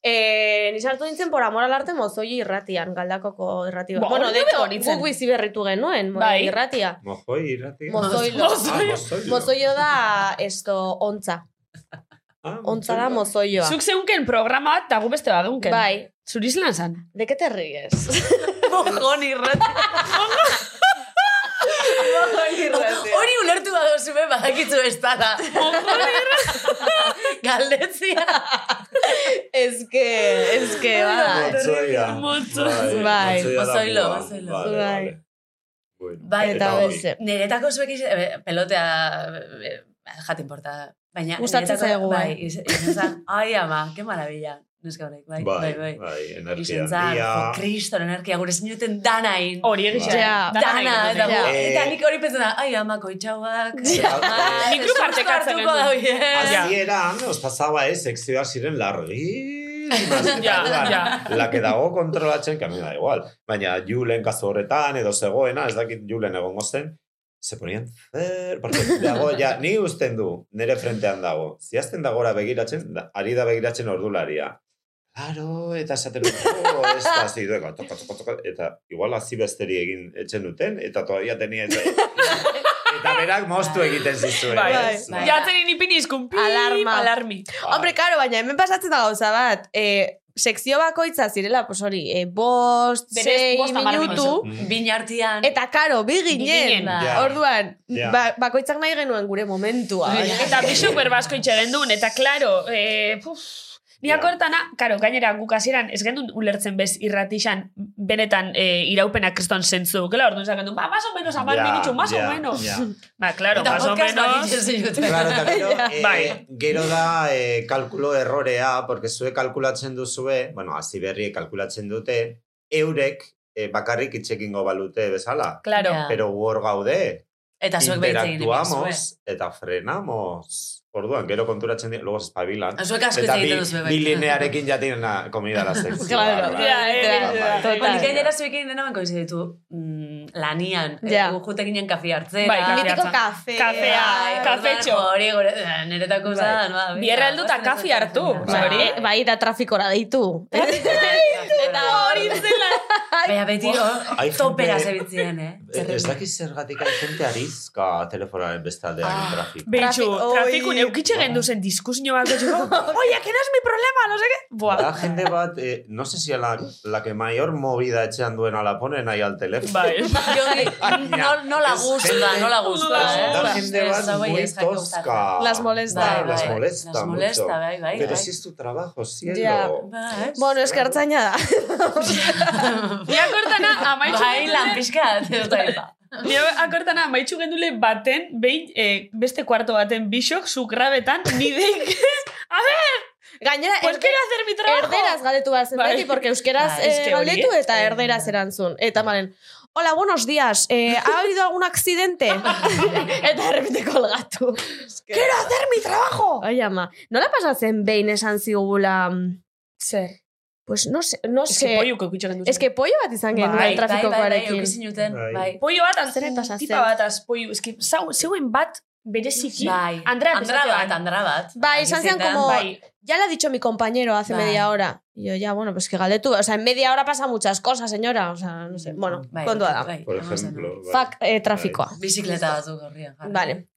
S1: Eh, ni sartu nintzen por amor al arte mozoi irratian, galdakoko irratia.
S3: Ba,
S1: bueno,
S3: hori
S1: de
S3: bebe
S1: hecho,
S3: hori zen.
S1: guk bizi berritu genuen,
S3: Bai.
S1: bai. irratia.
S4: Mojoi irratia.
S1: Mozoilo.
S4: Ah, mozoilo.
S1: Mozoio da, esto, ontza.
S4: Ah,
S1: Ontza da
S4: mozoilo.
S1: mozoioa.
S3: Zuk zeunken programa bat, eta gu beste bat geunken.
S1: Bai.
S3: Zuriz lan zan.
S1: ¿De qué te ríes?
S5: Mojón irrati. Hori ulertu badozu be badakitzu ez dala. Galdetzia.
S1: es que, es que, bai.
S4: Mozoia.
S3: Motzo-
S1: Bai,
S4: motzoia da
S5: mozoilo,
S4: mua.
S5: mozoilo.
S4: Vale,
S1: Bai.
S4: vale. Bueno,
S5: Bai,
S1: Eta
S4: hori.
S1: beste.
S5: Niretako zuek iz- eh, pelotea eh, jat importa. Baina
S1: Gustatzen
S5: niretako-
S1: zaigu, bai.
S5: bai. iz- izan zen, Ai ama, que maravilla. Neska honek, bai,
S4: Bai,
S5: bai, bai.
S4: bai, energia
S5: Izan zen, jo,
S4: handia.
S5: kriston energia, gure zinuten dana egin.
S3: Hori egizan.
S1: Ja.
S5: Dana,
S1: Ja.
S5: eta, gu-
S4: Eh.
S5: eta nik hori pentsen da, ai, amako itxauak.
S4: Ja.
S5: Ai,
S3: Nik grup
S5: susto
S3: partekatzen
S5: hartuko
S3: genuen.
S5: daue.
S3: Ja.
S4: Azieran, os pasaba ¿eh? ez, sekzioa ziren largi.
S3: Ja,
S4: ja.
S3: ja.
S4: La que dago kontrolatzen, que a mí me da igual. Baina Julen kasu horretan, edo zegoena, ez dakit Julen egongo zen, se ponien zer, porque dago, ja, ni usten du, nire frentean dago. Ziazten dagora begiratzen, da, ari da begiratzen ordularia. Claro, eta esaten dut, oh, ez da, zidueko, toka, toka, toka, eta igual hazi besteri egin etxen duten, eta todavía tenia, eta, eta berak moztu egiten zizuen.
S3: Bai,
S4: ez?
S5: bai.
S3: Jatzen inipin izkun, pip,
S1: Alarma.
S3: alarmi.
S4: Bai.
S1: Hombre, karo, baina hemen pasatzen da gauza bat. Eh, sekzio bakoitza zirela, pues hori, eh, bost,
S3: Berez,
S1: sei
S3: bost, hamar
S1: minutu.
S4: Mm.
S5: Binartian.
S1: Eta karo, bi
S3: ginen,
S1: ginen. ba,
S4: Ja.
S1: Orduan,
S4: Ja.
S1: ba- bakoitzak nahi genuen gure momentua.
S3: Eta bisuk berbasko itxegen duen, eta klaro, e, puf, Niako
S4: Ja.
S3: hortana, karo, gainera guk hasieran ez gendun ulertzen bez irratixan benetan e, iraupena kriston zentzu. Kela, orduan esan gendun, ba, más o menos, amar
S4: Ja,
S3: minutu, más
S4: ja,
S3: o menos.
S4: ja.
S3: Ba, klaro,
S5: Eta
S3: más o
S5: podcast bat
S3: menos.
S5: egiten zinuten.
S4: Claro, eta gero, eh,
S3: Bai.
S4: gero da eh, kalkulo errorea, porque zue kalkulatzen duzue, bueno, hazi berri kalkulatzen dute, eurek eh, bakarrik itxekingo balute bezala.
S3: Claro.
S5: Ja.
S4: Pero gu hor gaude,
S5: Eta zuek behitze egin egin
S4: interactuamos eta frenamos. Orduan, gero konturatzen dira, luego espabilan.
S5: Zuek asko
S4: Eta
S5: hitz
S4: bi,
S5: egiten duzu, bai.
S4: bi linearekin jatin na comida la sexy.
S1: Claro,
S3: ja, ja, ja.
S5: Ba,
S1: Total.
S5: nik gainera zuek egin dena banko izan ditu mm, lanian,
S1: Ja.
S5: yeah. jute ginen kafe hartzera.
S3: Bai, kafe
S1: Mitiko
S3: Kafeatza.
S1: kafe.
S3: Kafea.
S5: Ai, orduan,
S3: kafetxo.
S5: Hori, gore, niretako
S1: Bai.
S5: zan. Ba,
S3: Bierra heldu eta kafe hartu.
S4: Bai.
S1: Hori, bai, eta trafikora deitu.
S5: Eta hori.
S3: zela.
S5: Baina beti
S4: Ai,
S5: hor,
S4: jende-
S5: topera zebitzien, eh?
S4: Ez dakiz zergatik ari jente arizka telefonaren beste aldean ah, trafik.
S3: Beitxu,
S1: Trafik- oi.
S3: trafikun eukitxe gendu zen diskusio bat gotxeko. Oia, que no es mi problema, no sé qué.
S4: Da
S3: Buah.
S4: jende bat, eh, no sé si a la, la que mayor movida etxean duena la ponen ahí al teléfono.
S3: Bai.
S5: Joni, no, no la
S4: Es
S5: gusta,
S4: gente-
S5: no la
S4: Da
S5: gusta, eh?
S4: jende
S5: Esa
S4: bat
S5: güey
S4: muy
S5: es jaque gusta.
S4: tosca.
S1: Las molesta.
S4: Bai, las
S5: Bai,
S4: molesta
S5: las molesta,
S4: mucho.
S5: bai, bai,
S4: Pero
S5: bai.
S4: si es tu trabajo, cielo.
S1: Ya.
S5: Ba, ez?
S1: Bueno, eskertzaina da.
S3: Ni akortana amaitxu
S5: Bai, lan
S3: gendule,
S5: pixkat, ez da eta.
S3: ni akortana amaitxu gendule baten, behin, eh, beste kuarto baten bisok, zukrabetan, ni deik. A ver,
S1: Gainera,
S3: pues
S1: erde-
S3: quiero hacer mi trabajo.
S1: erderaz galdetu behar zen
S3: Bai.
S1: beti, porque euskeraz
S5: Bai,
S1: eh,
S3: eske hori,
S1: galdetu eta
S5: eh,
S1: erderaz erantzun. Eta malen, hola, buenos días, eh, ¿ha habido algún accidente?
S5: Bai,
S1: eta errepite kolgatu. Quiero hacer mi trabajo! Ai, ama, nola pasatzen behin esan zigula... mm,
S3: Zer.
S1: Pues no sé, no
S3: Ez
S1: sé.
S3: que poiuk eukitxe gendu zen.
S1: Es que pollo bat izan
S3: Bai,
S1: genuen
S3: bai,
S5: bai,
S1: trafikokoarekin.
S5: eukizi nuten,
S4: Bai.
S5: bai.
S3: Pollo bat, az,
S1: Zer pasa
S3: tipa
S1: zen?
S3: bat, az pollo. Ez que zau- zeuen bat, bereziki,
S5: Bai.
S3: Andrea
S5: Andra bat,
S3: bezatean.
S5: Andra bat.
S1: Bai, izan zian como-
S3: Bai,
S1: Ya lo ha dicho mi compañero hace
S5: Bai.
S1: media hora. Y yo, ya, bueno, pues que galdetu. O sea, en media hora pasa muchas cosas, señora. O sea, no sé. Bueno,
S5: Bai,
S1: kontua da.
S5: bai,
S4: Por
S5: vamos a
S4: ejemplo.
S5: no.
S4: bai.
S1: Fak eh, trafikoa.
S5: Bizikleta batzuk horrien. jarri.
S1: Vale.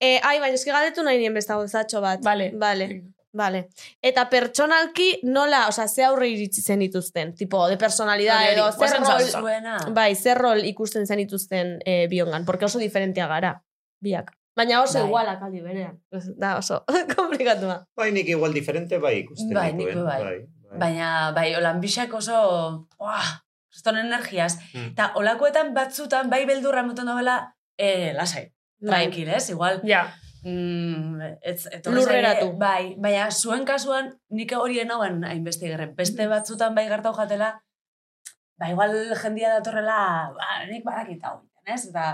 S1: Eh, ai, baina eski galdetu nahi nien besta gozatxo bat.
S3: Vale.
S1: Vale. Vale. Eta pertsonalki nola, osea, ze aurre iritsi zen dituzten? Tipo, de personalidad
S3: Hori, hori.
S1: edo, zer
S3: Guazen
S1: rol,
S3: zaude.
S5: Zuena.
S1: bai, zer rol ikusten zen dituzten eh, biongan, porque oso diferentea gara, biak. Baina oso
S5: Bai.
S1: igualak aldi berean. Da, oso, komplikatua.
S4: Bai, nik igual diferente, ¿eh? bai, ikusten
S5: Bai,
S4: dituen,
S5: nik bai.
S4: bai.
S5: Baina, bai, holan bisak oso, oa, kriston energiaz.
S4: Mm.
S5: Eta olakoetan batzutan, bai beldurra muten dobela, eh, lasai.
S1: Bai.
S5: Tranquil, ez? Igual,
S3: ja.
S5: Mm, ez, etorri
S1: Lurreratu.
S5: zaie, Bai, baina zuen kasuan nik hori enauen hainbeste gerren. Beste batzutan bai gertau jatela, ba igual jendia datorrela, ba, nik badakit hau, ez? Eta,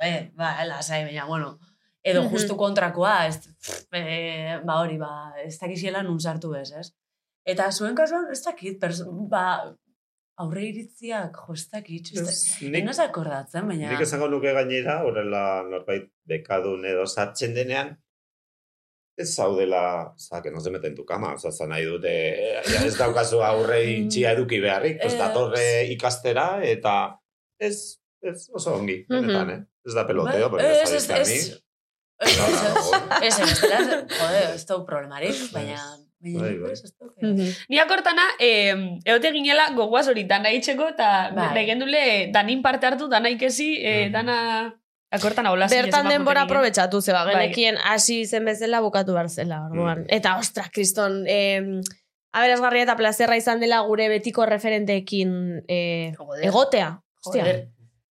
S5: e, ba, lasai, baina, bueno, edo
S1: Mhm.
S5: justu kontrakoa, ez, pff, e, ba hori, ba, ez dakiziela nun sartu bez, ez? Eta zuen kasuan, ez dakit, pers, ba, aurre iritziak, jo, ez dakit, ez dakit.
S4: Nik-
S5: Ez akordatzen, baina...
S4: Nik esango nuke gainera, horrela norbait bekadun edo sartzen denean, ez zaudela, oza, que no se meten tu kama, oza, zan nahi dute, eh, ja ez daukazu aurre
S5: Mm.
S4: itxia eduki beharrik, pues
S5: Eh,
S4: datorre ikastera, eta ez, ez oso ongi,
S1: Mhm.
S4: benetan, eh? Ez da peloteo,
S5: Bai,
S4: pero ez
S5: ez,
S4: da
S5: ez,
S4: dizka ni.
S5: ez.
S4: Ah,
S5: Ez, ez, ez. Ez, ez, ez, jode, ez dau problemarik, baina... baina
S4: Bai,
S5: nik
S4: bai.
S5: ez, ez dau-
S1: Mhm.
S3: Ni akortana, eh, eote ginela gogoaz hori dana itxeko, eta
S5: Bai.
S3: begendule danin parte hartu, dana ikesi, eh,
S4: Mm.
S3: dana akortana hola.
S1: Bertan denbora aprobetsatu zeba,
S3: Bai. Mm.
S1: genekien hasi zen bezala bukatu behar zela, orduan. Eta, ostra, kriston, eh, aberasgarria eta plazerra izan dela gure betiko referenteekin eh, egotea. Hostia.
S5: Bai,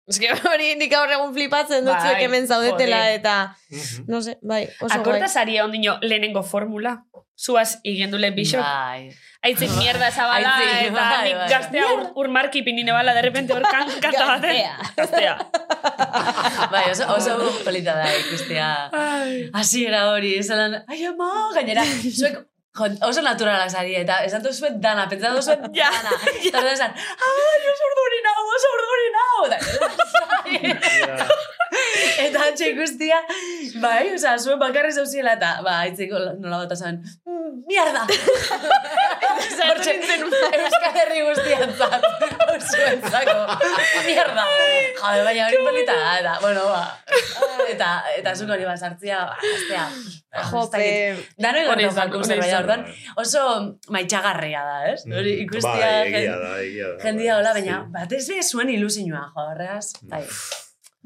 S1: Ez que hori indik aurre egun flipatzen dut
S3: Bai,
S1: zuek hemen zaudetela
S3: joder.
S1: eta,
S4: Mhm.
S1: no sé, bai, oso guai.
S3: Akorta zaria ondino lehenengo formula. Zuaz igendule bixok.
S5: Bai.
S3: Aitzik mierda zabala,
S5: Aitzik,
S3: eta
S5: bai,
S3: nik
S5: bai.
S3: gaztea ur, urmarki pinine bala, de repente hor kan, kanta baten. Gaztea.
S5: Bai, oso, oso polita da ikustea. Hasi era hori, zelan, ai ama, gainera, zuek jo, oso naturalak zari, eta esan du zuet dana, pentsatu zuet
S3: Ja,
S5: dana. Eta orduan esan, ai, oso urduri nao, oso urduri nao. Eta,
S4: Ja.
S5: Eta atxe ikustia, bai, oza, zuen bakarri zauziela eta, ba, aitzeko nola bat azan, "Mm, mierda! Hortxe, Euskal Herri guztian zat, zuen zako, mierda! Jabe, baina hori polita da, eta, bueno, ba, eta, eta zuko hori basartzia, ba, aztea.
S3: Ah,
S1: Jope,
S5: Dano
S3: Hori
S5: igortu
S3: izan,
S5: jaku
S3: hori
S5: zerbait,
S3: izan.
S5: orduan oso maitxagarria da, ez? Hori ikustia,
S4: Mm. Bai, egia da, egia da.
S5: jendia
S4: bai,
S5: hola,
S4: sí.
S5: baina batez be zuen ilusinua, jo, horregaz, bai.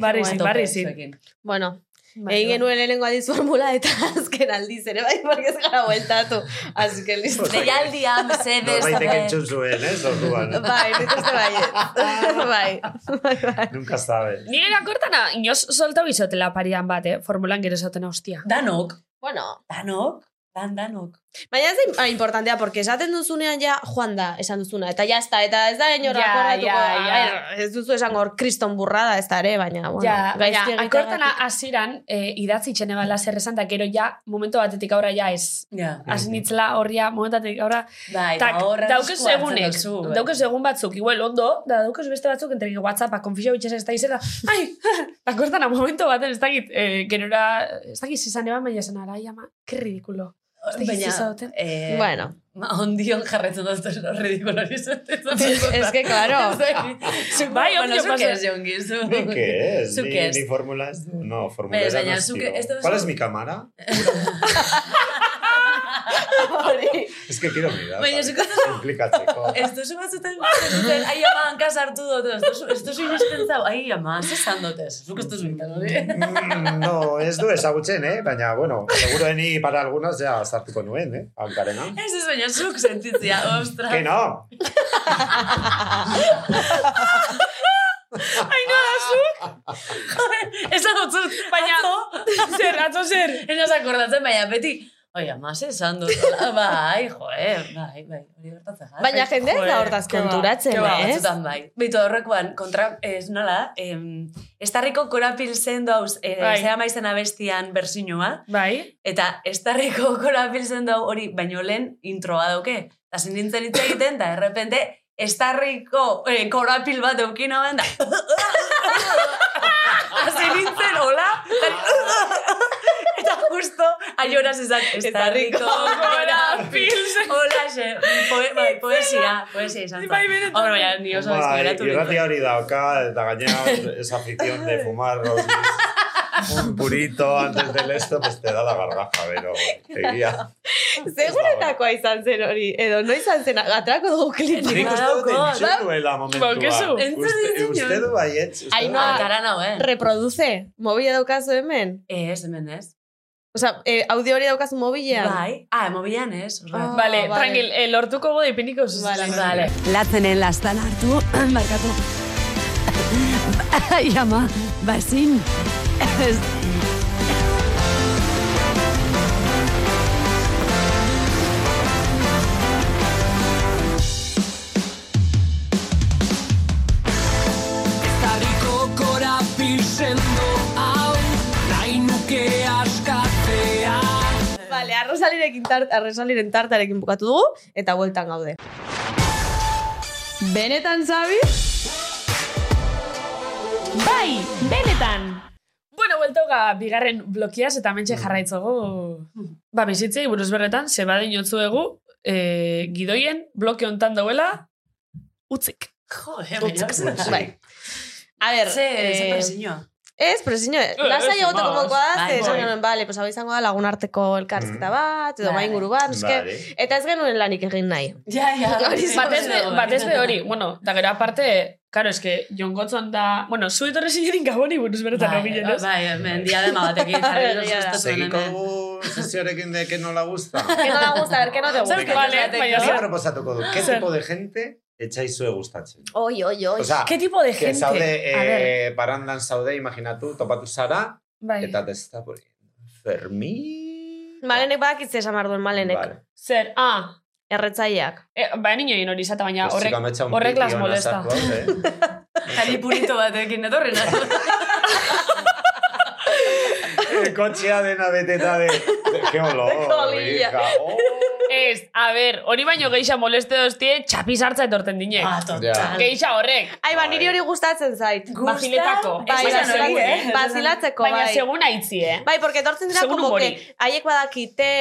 S3: Barri
S5: Guai,
S3: zin,
S5: tope
S3: barri zin.
S5: zuekin.
S1: bueno,
S5: Bai,
S1: egin
S5: bai.
S1: genuen lehenengo adiz formula eta azken aldiz ere, bai, porque ez gara bueltatu. Así que listo.
S5: Deialdia, mesedez,
S4: Norbaitek
S5: zabe.
S4: entzun zuen, ez, orduan.
S1: Bai, nik uste bai. bai.
S4: Nunca sabe.
S3: Nire akortana, inoz soltau izotela parian bat, eh? Formulan gero esaten hostia.
S5: Danok,
S1: Bueno,
S5: danok, dan danok.
S1: Baina ez da importantea, porque esaten duzunean ja joan da, esan duzuna, eta ya está, eta ez da inora
S3: Ja,
S1: akordatuko,
S3: ja, ja.
S1: a ber, ez duzu esango hor kriston burrada ez da ere, baina, bueno,
S3: ja, baina,
S1: gaizki egiteagatik.
S3: akortana aziran, eh, idatzi txene bala zer esan, da gero ja, momentu batetik aurra ja ez.
S5: Ja.
S3: Aznitzela horria, momentatik aurra,
S5: Bai,
S3: Tak,
S5: eta horren
S3: daukez
S5: esku hartzen
S3: egunek,
S5: duzu, bai.
S3: daukez egun batzuk, igual ondo, da daukez beste batzuk, entre WhatsAppa, konfisio bitxez ez da izela, ai, akortan, momento baten, ez dakit, eh, gerora, ez dakit izan eban, baina esan ara, ama, que ridikulo. Ez dakiz ez
S5: Baina,
S3: zaudeten.
S5: eh,
S1: Bueno,
S5: ma- ondion jarretzen dut oso ridikulo hori
S1: es que, claro,
S3: Bai,
S5: Bai,
S3: ondio
S5: bueno, zuke
S3: pasa.
S5: ez, jongi, zu.
S4: Ni que es,
S5: Zuk
S4: ni,
S5: ez.
S4: ni formula ez du. No, formula
S5: Bez,
S4: ez
S5: baina
S4: anostio.
S5: zuk ez duzu-
S4: ¿Cuál es mi cámara?
S1: hori.
S4: Es que quiero ¿eh? mirar.
S5: Baina
S4: vale.
S5: zuk ez
S4: Implikatzeko.
S5: Ez duzu batzutan, batzutan, ai ama, hankaz hartu dut, ez duzu, ez duzu inesten zau, ai ama, zezan dut ez, zuk ez duzu egiten hori.
S4: Mm, no, ez du ezagutzen, eh? Baina, bueno, segurueni para algunos ja sartuko nuen, eh? Hankarena.
S5: Ez ez baina zuk sentitzia, ostra.
S4: Que no!
S5: Ez da dutzut, baina...
S3: zer, atzo zer.
S5: Ez naz akordatzen, baina beti... Oi, ama, ze esan dut. hola, Bai, joe, bai, bai, hori gertatzen. ja.
S1: Baina jende ez da hortaz
S3: ke ba,
S1: konturatzen,
S3: ke ba,
S5: Ba,
S1: eh?
S5: batzutan bai. Beitu horrekoan, kontra, ez nola, em, Estarriko korapil zendo hauz, eh,
S3: Bai.
S5: zera maizen abestian bersinua,
S3: Bai,
S5: eta Estarriko korapil zendo hau hori, baino lehen introa dauke. Eta zin nintzen hitz egiten, eta errepente, Estarriko eh, korapil bat eukin hau da. Hasi nintzen, hola, eta- eta justo, aioraz ezak, Estarriko korapil
S3: pilsen.
S5: Hola, xe, poe, bai, poesia, poesia izan
S3: Bai,
S5: zen.
S3: benetan.
S5: Hombre, baina, ni oso
S4: Bai,
S5: deskuberatu.
S4: irratia hori dauka, eta gainera esa afición de fumar los- un purito antes del esto, pues te da la gargaja, pero egia.
S1: Seguretakoa izan zen hori, edo noiz izan zen, atrako dugu
S4: Nik
S1: klipa.
S4: uste dut
S5: Badauko,
S4: entzun nuela momentua.
S3: Baukezu.
S5: Entzun
S4: Uste,
S5: egin
S4: uste
S5: zinuen.
S4: du baietz. uste du
S1: Ainhoa,
S4: baietz.
S5: Gara nau, eh?
S1: Reproduce, mobila daukazu hemen.
S5: Ez, hemen ez.
S1: Osa, eh, audio hori daukazu mobilean.
S5: Bai. Ah, mobilan ez.
S1: Ah,
S5: Vale.
S3: Vale,
S1: vale.
S3: tranquil, eh, lortuko gode ipiniko zuzuz.
S1: Vale.
S5: Vale.
S6: Latzenen lastan hartu, markatu. Ai, ama, bazin. Ez.
S1: arrosalirekin tart, arrosaliren tartarekin bukatu dugu, eta bueltan gaude. Benetan, Zabi?
S3: Bai, benetan! Bueno, bueltoga, bigarren blokiaz eta mentxe jarraitzogu. Ba, bizitzei buruz berretan, ze badin otzuegu, eh, gidoien bloke hontan dauela, utzik.
S5: Joder, baina ez
S1: Bai. A ber,
S5: Ze, ze
S1: eh,
S5: presinio.
S1: Ez, presiño,
S4: Eh,
S1: lasai
S3: ez,
S1: egoteko
S3: mas.
S1: mokoa da,
S5: Bai,
S1: ze esan
S5: bai.
S1: genuen, bale, pues hau izango da lagun arteko elkarrizketa
S4: Mm.
S1: bat, edo
S5: Bai.
S1: bai inguru bat, eske,
S4: Vale.
S1: eta ez genuen lanik egin nahi.
S5: Ja, ja.
S1: Hori
S5: ze
S3: Batez be,
S5: presinio.
S3: batez be hori, bueno, da gero aparte, karo, eske, Jon Gotzon da, bueno, zu etorri zinerin gaboni buruz berretan, no
S5: Bai,
S3: ginen, ez?
S5: bai, mendia dema batekin jarri
S1: Egia da.
S5: dut zuen
S4: Segiko
S5: hemen.
S4: dugu sesioarekin de que no la gusta.
S1: Que no la gusta, a ver, que no te gusta.
S5: Zer, que
S3: Vale,
S5: te-
S3: baina-
S4: Zer
S3: Zer?
S4: proposatuko du, ¿qué
S3: Zer?
S4: tipo de gente etzaizue gustatzen?
S1: Oi, oi, oi.
S4: Osea,
S3: ¿Qué tipo de
S4: que
S3: gente?
S4: zaude,
S3: A ver,
S4: eh, parandan zaude, imaginatu, topatu zara,
S3: bai.
S4: eta te está poniendo Fermi...
S1: Malenek badakitze esan behar duen malenek.
S4: Vale.
S3: Zer, ah,
S1: Erretzaileak.
S3: eh, ba, niño egin hori izata, baina
S4: Pues
S3: horrek,
S4: chico, me echa un
S3: horrek las
S4: pipio en
S3: molesta.
S4: las arroz, eh.
S5: Kalipurito batekin etorri nahi.
S4: El kotxea dena beteta de... de- Qué olor,
S1: Kolilla.
S4: hija. Oh.
S3: Ez, a ber, hori baino geixa moleste doztie, txapiz hartza etorten dinek.
S5: Ah,
S4: Ja.
S5: total.
S3: Geixa horrek.
S1: Ai, ba, niri hori gustatzen zait.
S5: Gusta,
S3: Baziletako.
S1: Bai,
S5: esan hori,
S1: bazilatzeko,
S5: eh?
S1: bazilatzeko,
S3: Baina
S1: bai.
S3: segun aitzi, eh?
S1: Bai, porque etortzen dira
S3: Segun
S1: como
S3: humori.
S1: que haiek badakite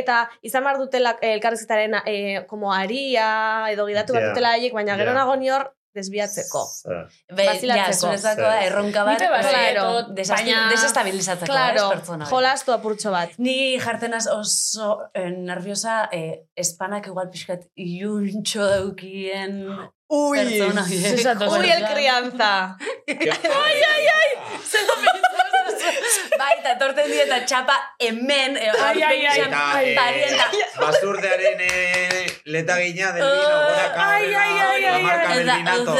S1: eta izan behar dutela eh, elkarrizketaren eh, como aria edo gidatu behar
S4: Ja.
S1: dutela haiek, baina gero
S4: Ja.
S1: nago ni hor desbiatzeko.
S4: Zer.
S5: Be, ja,
S1: Bazilatzeko.
S5: zuretzako da, erronka bat.
S3: Nite bat,
S5: Claro.
S3: claro, baina-
S5: Desestabilizatzeko, ¿eh?
S1: Claro,
S5: ez pertsona. hori.
S1: jolastu apurtxo bat.
S5: Ni jartzen az oso eh, nerviosa, eh, espanak igual pixkat iuntxo daukien
S1: Ui,
S5: pertsona.
S3: ez zatoz.
S1: Uy, el crianza.
S4: Ai, ai, ai!
S5: Bai, eta torten di eta txapa hemen, eh,
S3: Ai, ai, ai.
S5: horpen
S4: Eta, eh,
S5: parienta.
S4: basurdearen eh, letagina del vino, goraka,
S3: Ai,
S4: horrela,
S3: ai, ai,
S4: la
S3: ai,
S4: marca
S5: Eta,
S4: del vinato. bai.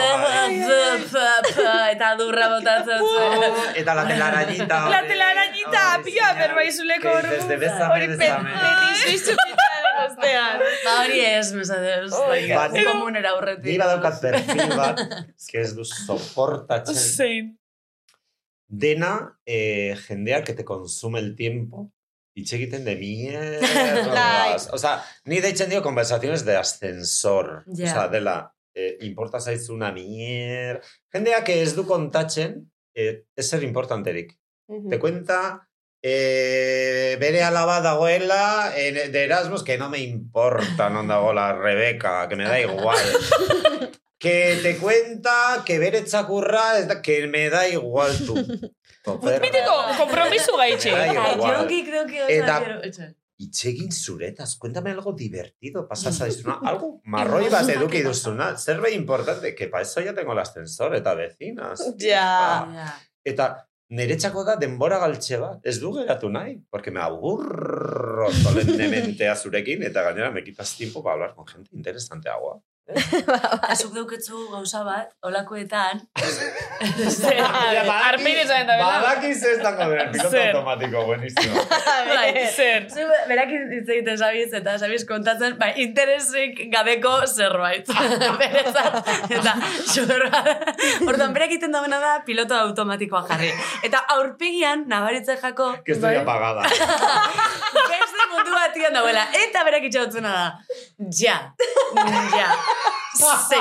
S5: eta durra botatzen zuen.
S4: Eta la telarañita.
S3: La
S4: hori,
S3: telarañita,
S4: hori,
S3: pila,
S4: sí,
S3: berbaizuleko
S4: que
S3: hor
S4: dices, de
S3: buruz.
S4: besame,
S1: Hori
S4: besame.
S1: petizuizupitaren ostean.
S5: Ba hori ez, mesadez.
S4: Bat-
S5: Bai, komunera aurretik.
S4: Ni badaukat perfil bat, que ez du soportatzen.
S3: Zein.
S4: Dena, eh, jendea que te consume el tiempo. Itxe egiten de
S1: Bai.
S4: mierdas. o sea, ni deitzen dio conversaciones de ascensor.
S5: Ja.
S4: O sea, dela, eh, importa zaizuna mier... Jendea que ez du kontatzen, eh, ez zer importanterik. te cuenta eh, bere alaba dagoela en- de Erasmus, que no me importa non dagoela Rebeca, que me da igual. que te cuenta que bere txakurra, ez da- que me da igual tu. tu perra.
S3: Mitiko, kompromisu gaitxe.
S4: Bai,
S5: Ai,
S4: igual.
S5: jongi, creo que oso
S4: Eta-
S5: quiero- Etxe.
S4: Itxegin zuretaz, cuéntame algo divertido, pasas a dizuna, algo marroi bat eduki duzuna, zerbait importante, que pa eso ya tengo el ascensor ¿eh? eta vecinas.
S1: Ja.
S4: Ah. Eta niretzako da denbora galtxe bat, ez du geratu nahi, porque me aburro solemnemente azurekin, eta gainera me quitas tiempo para hablar con gente interesante agua.
S5: Azuk dauketzu gauza bat, olakoetan,
S3: Zer, arpein esan da, bela.
S4: Badakiz ez dago den, piloto
S3: Zer.
S4: automatiko, buenísimo.
S5: Bai.
S3: Zer.
S5: Zu, berak hitz egiten sabiz eta sabiz kontatzen, bai, interesik gabeko zerbait. Berezat, eta xorra. Orduan, berak egiten dagoena da piloto automatikoa jarri. Eta aurpegian, nabaritzen jako,
S4: Que estoy apagada.
S5: beste mundu batian dagoela. Eta berak itxautzuna da, ja, ja, ze,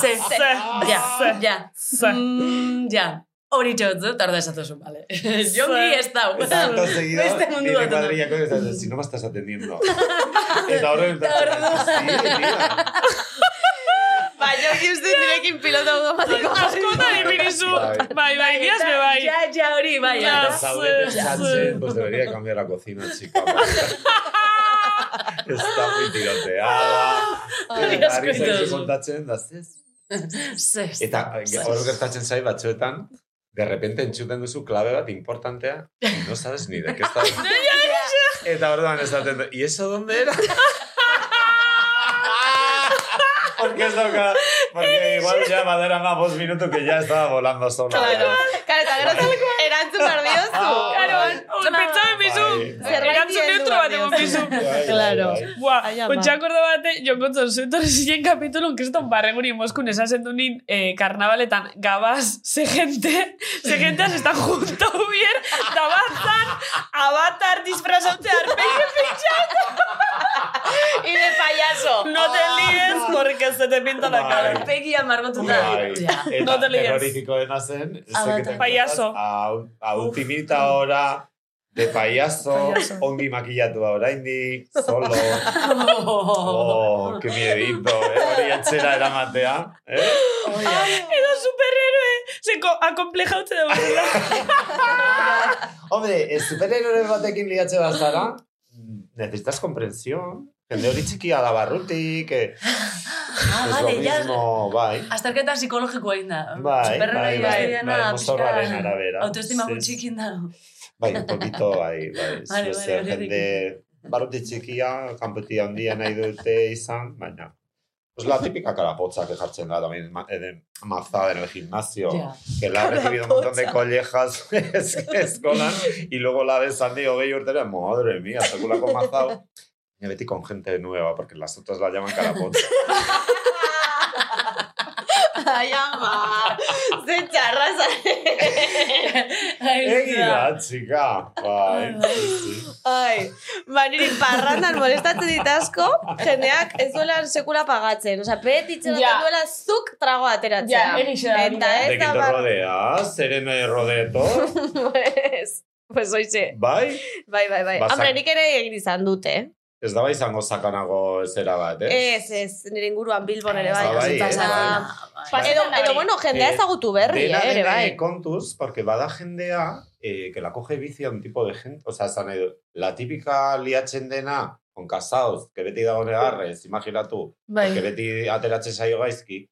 S5: ze,
S3: Ze.
S5: ja,
S3: Ze.
S5: ja,
S3: Ze.
S5: mm, ja. Hori txotzu, tarda esatuzun, bale. Jongi ez dau.
S4: Tanto seguido,
S5: Beste mundu
S4: nire
S5: batian.
S4: kuadrilla con esas, si no me estás atendiendo. Eta horren eta horren.
S1: Baina, uste nirekin piloto automatiko
S3: Askota definizu.
S4: Bai.
S3: Bai, bai, diaz be bai.
S5: Ja, ja, hori, bai.
S3: Ja.
S5: Ja.
S4: Saudete
S3: Ze,
S4: Sánchez,
S3: ze.
S4: pues debería cambiar la cocina, chica. Está muy tiroteada.
S1: Ah,
S5: Ai, asko
S4: Ari zaizu
S5: itozu.
S4: kontatzen, da zez.
S5: Ze, ze.
S4: Eta hor gertatzen zai batzuetan, de repente entzuten duzu klabe bat importantea, y no sabes ni de qué está. Eta orduan esaten du, ¿y eso dónde era? Porque ez dauka, Porque igual ya badarama bost minutu que ya estaba volando sola.
S1: Claro, Claro, eta gero zuk erantzun behar diozu.
S3: Ah. Claro, pentsaba en bizu.
S4: Bai.
S3: Erantzun neutro bat egon bizu.
S1: Claro.
S3: Buah, pues
S1: Ai, ama.
S3: ontsa akorda bate, jonkotzon, zuetorri zinen kapitulun, kriston barremuri moskun esasendu nin eh, karnabaletan gabaz, ze gente, ze gente se están junto bien, da bazan, avatar disfrazaute arpeixe pintxan,
S1: Y de payaso.
S3: no te líes, porque se te pinta la cara.
S4: Bai.
S5: Pegia margotuta.
S4: Bai,
S5: Ja.
S4: eta
S3: No te líes.
S4: terrorifikoena zen, zeketen
S3: Payaso.
S4: A, un- a un timita ahora, de payaso, ongi makillatua oraindik, solo. Oh, que miedito, eh? hori etxera eramatea. Eh?
S3: Edo superhéroe, zeko akomplejaute da burla.
S4: Hombre, el superhéroe batekin liatxe bazara, necesitas comprensión. Jende hori txikia da barrutik, eh,
S5: Ah,
S4: ez
S5: vale,
S4: lo
S5: ja.
S4: mismo, bai.
S5: Azterketa psikologikoa egin da.
S4: Bai, bai,
S5: Superheroia
S4: bai,
S5: historiana,
S4: bai,
S5: pixka-
S4: mozorraren arabera.
S5: Autoestima
S4: Sí,
S5: gutxikin dago.
S4: Bai, un poquito, bai, bai.
S5: Vale,
S4: Vale, vale,
S5: vale, horrekin.
S4: jende, barrutik txikia, kanpoti handia nahi dute izan, baina... Pues la típica carapocha que jartzen da también ma- eh, mazada en el gimnasio,
S5: Ja.
S4: que la ha recibido un montón de collejas es, escolan y luego la ves Sandy o Gay Ortega, madre mía, sekulako mazado. Y Betty con gente nueva, porque las otras la llaman carapocha.
S1: Ai, ama. Ze txarra zare.
S4: Egia, chica! Bai, sí, sí.
S1: Ai, ba, niri parrandan molestatzen ditasko, jendeak ez duela sekula pagatzen. Osa, beti itxerat
S3: Ja.
S1: duela zuk trago ateratzea.
S3: Ja, egixe da,
S1: Eta
S4: De
S1: ez
S4: que
S1: da
S4: te
S1: bar...
S4: rodeas, serena rodeto,
S1: Pues, pues oize.
S4: bai?
S1: Bai, bai, bai.
S4: Bazak-
S1: Hombre, nik ere egin izan dute. eh?
S4: Ez da bai izango sakanago zera bat, eh?
S1: Ez, ez, nire inguruan Bilbon ere bai.
S4: Ah, bai,
S1: hasi
S4: eh,
S1: pasa.
S5: bai.
S1: Pa- Edo,
S3: Pasetan da
S1: edo,
S3: hori.
S1: bueno, jendea
S4: Eh,
S1: ezagutu berri,
S4: Dena
S1: eh, ere,
S4: dena
S1: bai.
S4: kontuz, porque bada jendea eh, que la coge bici a un tipo de gente, o sea, esan nahi du, la típica liatzen dena, con casados, que beti dago negarrez, imaginatu,
S1: Bai.
S4: que beti ateratzen zaio gaizki,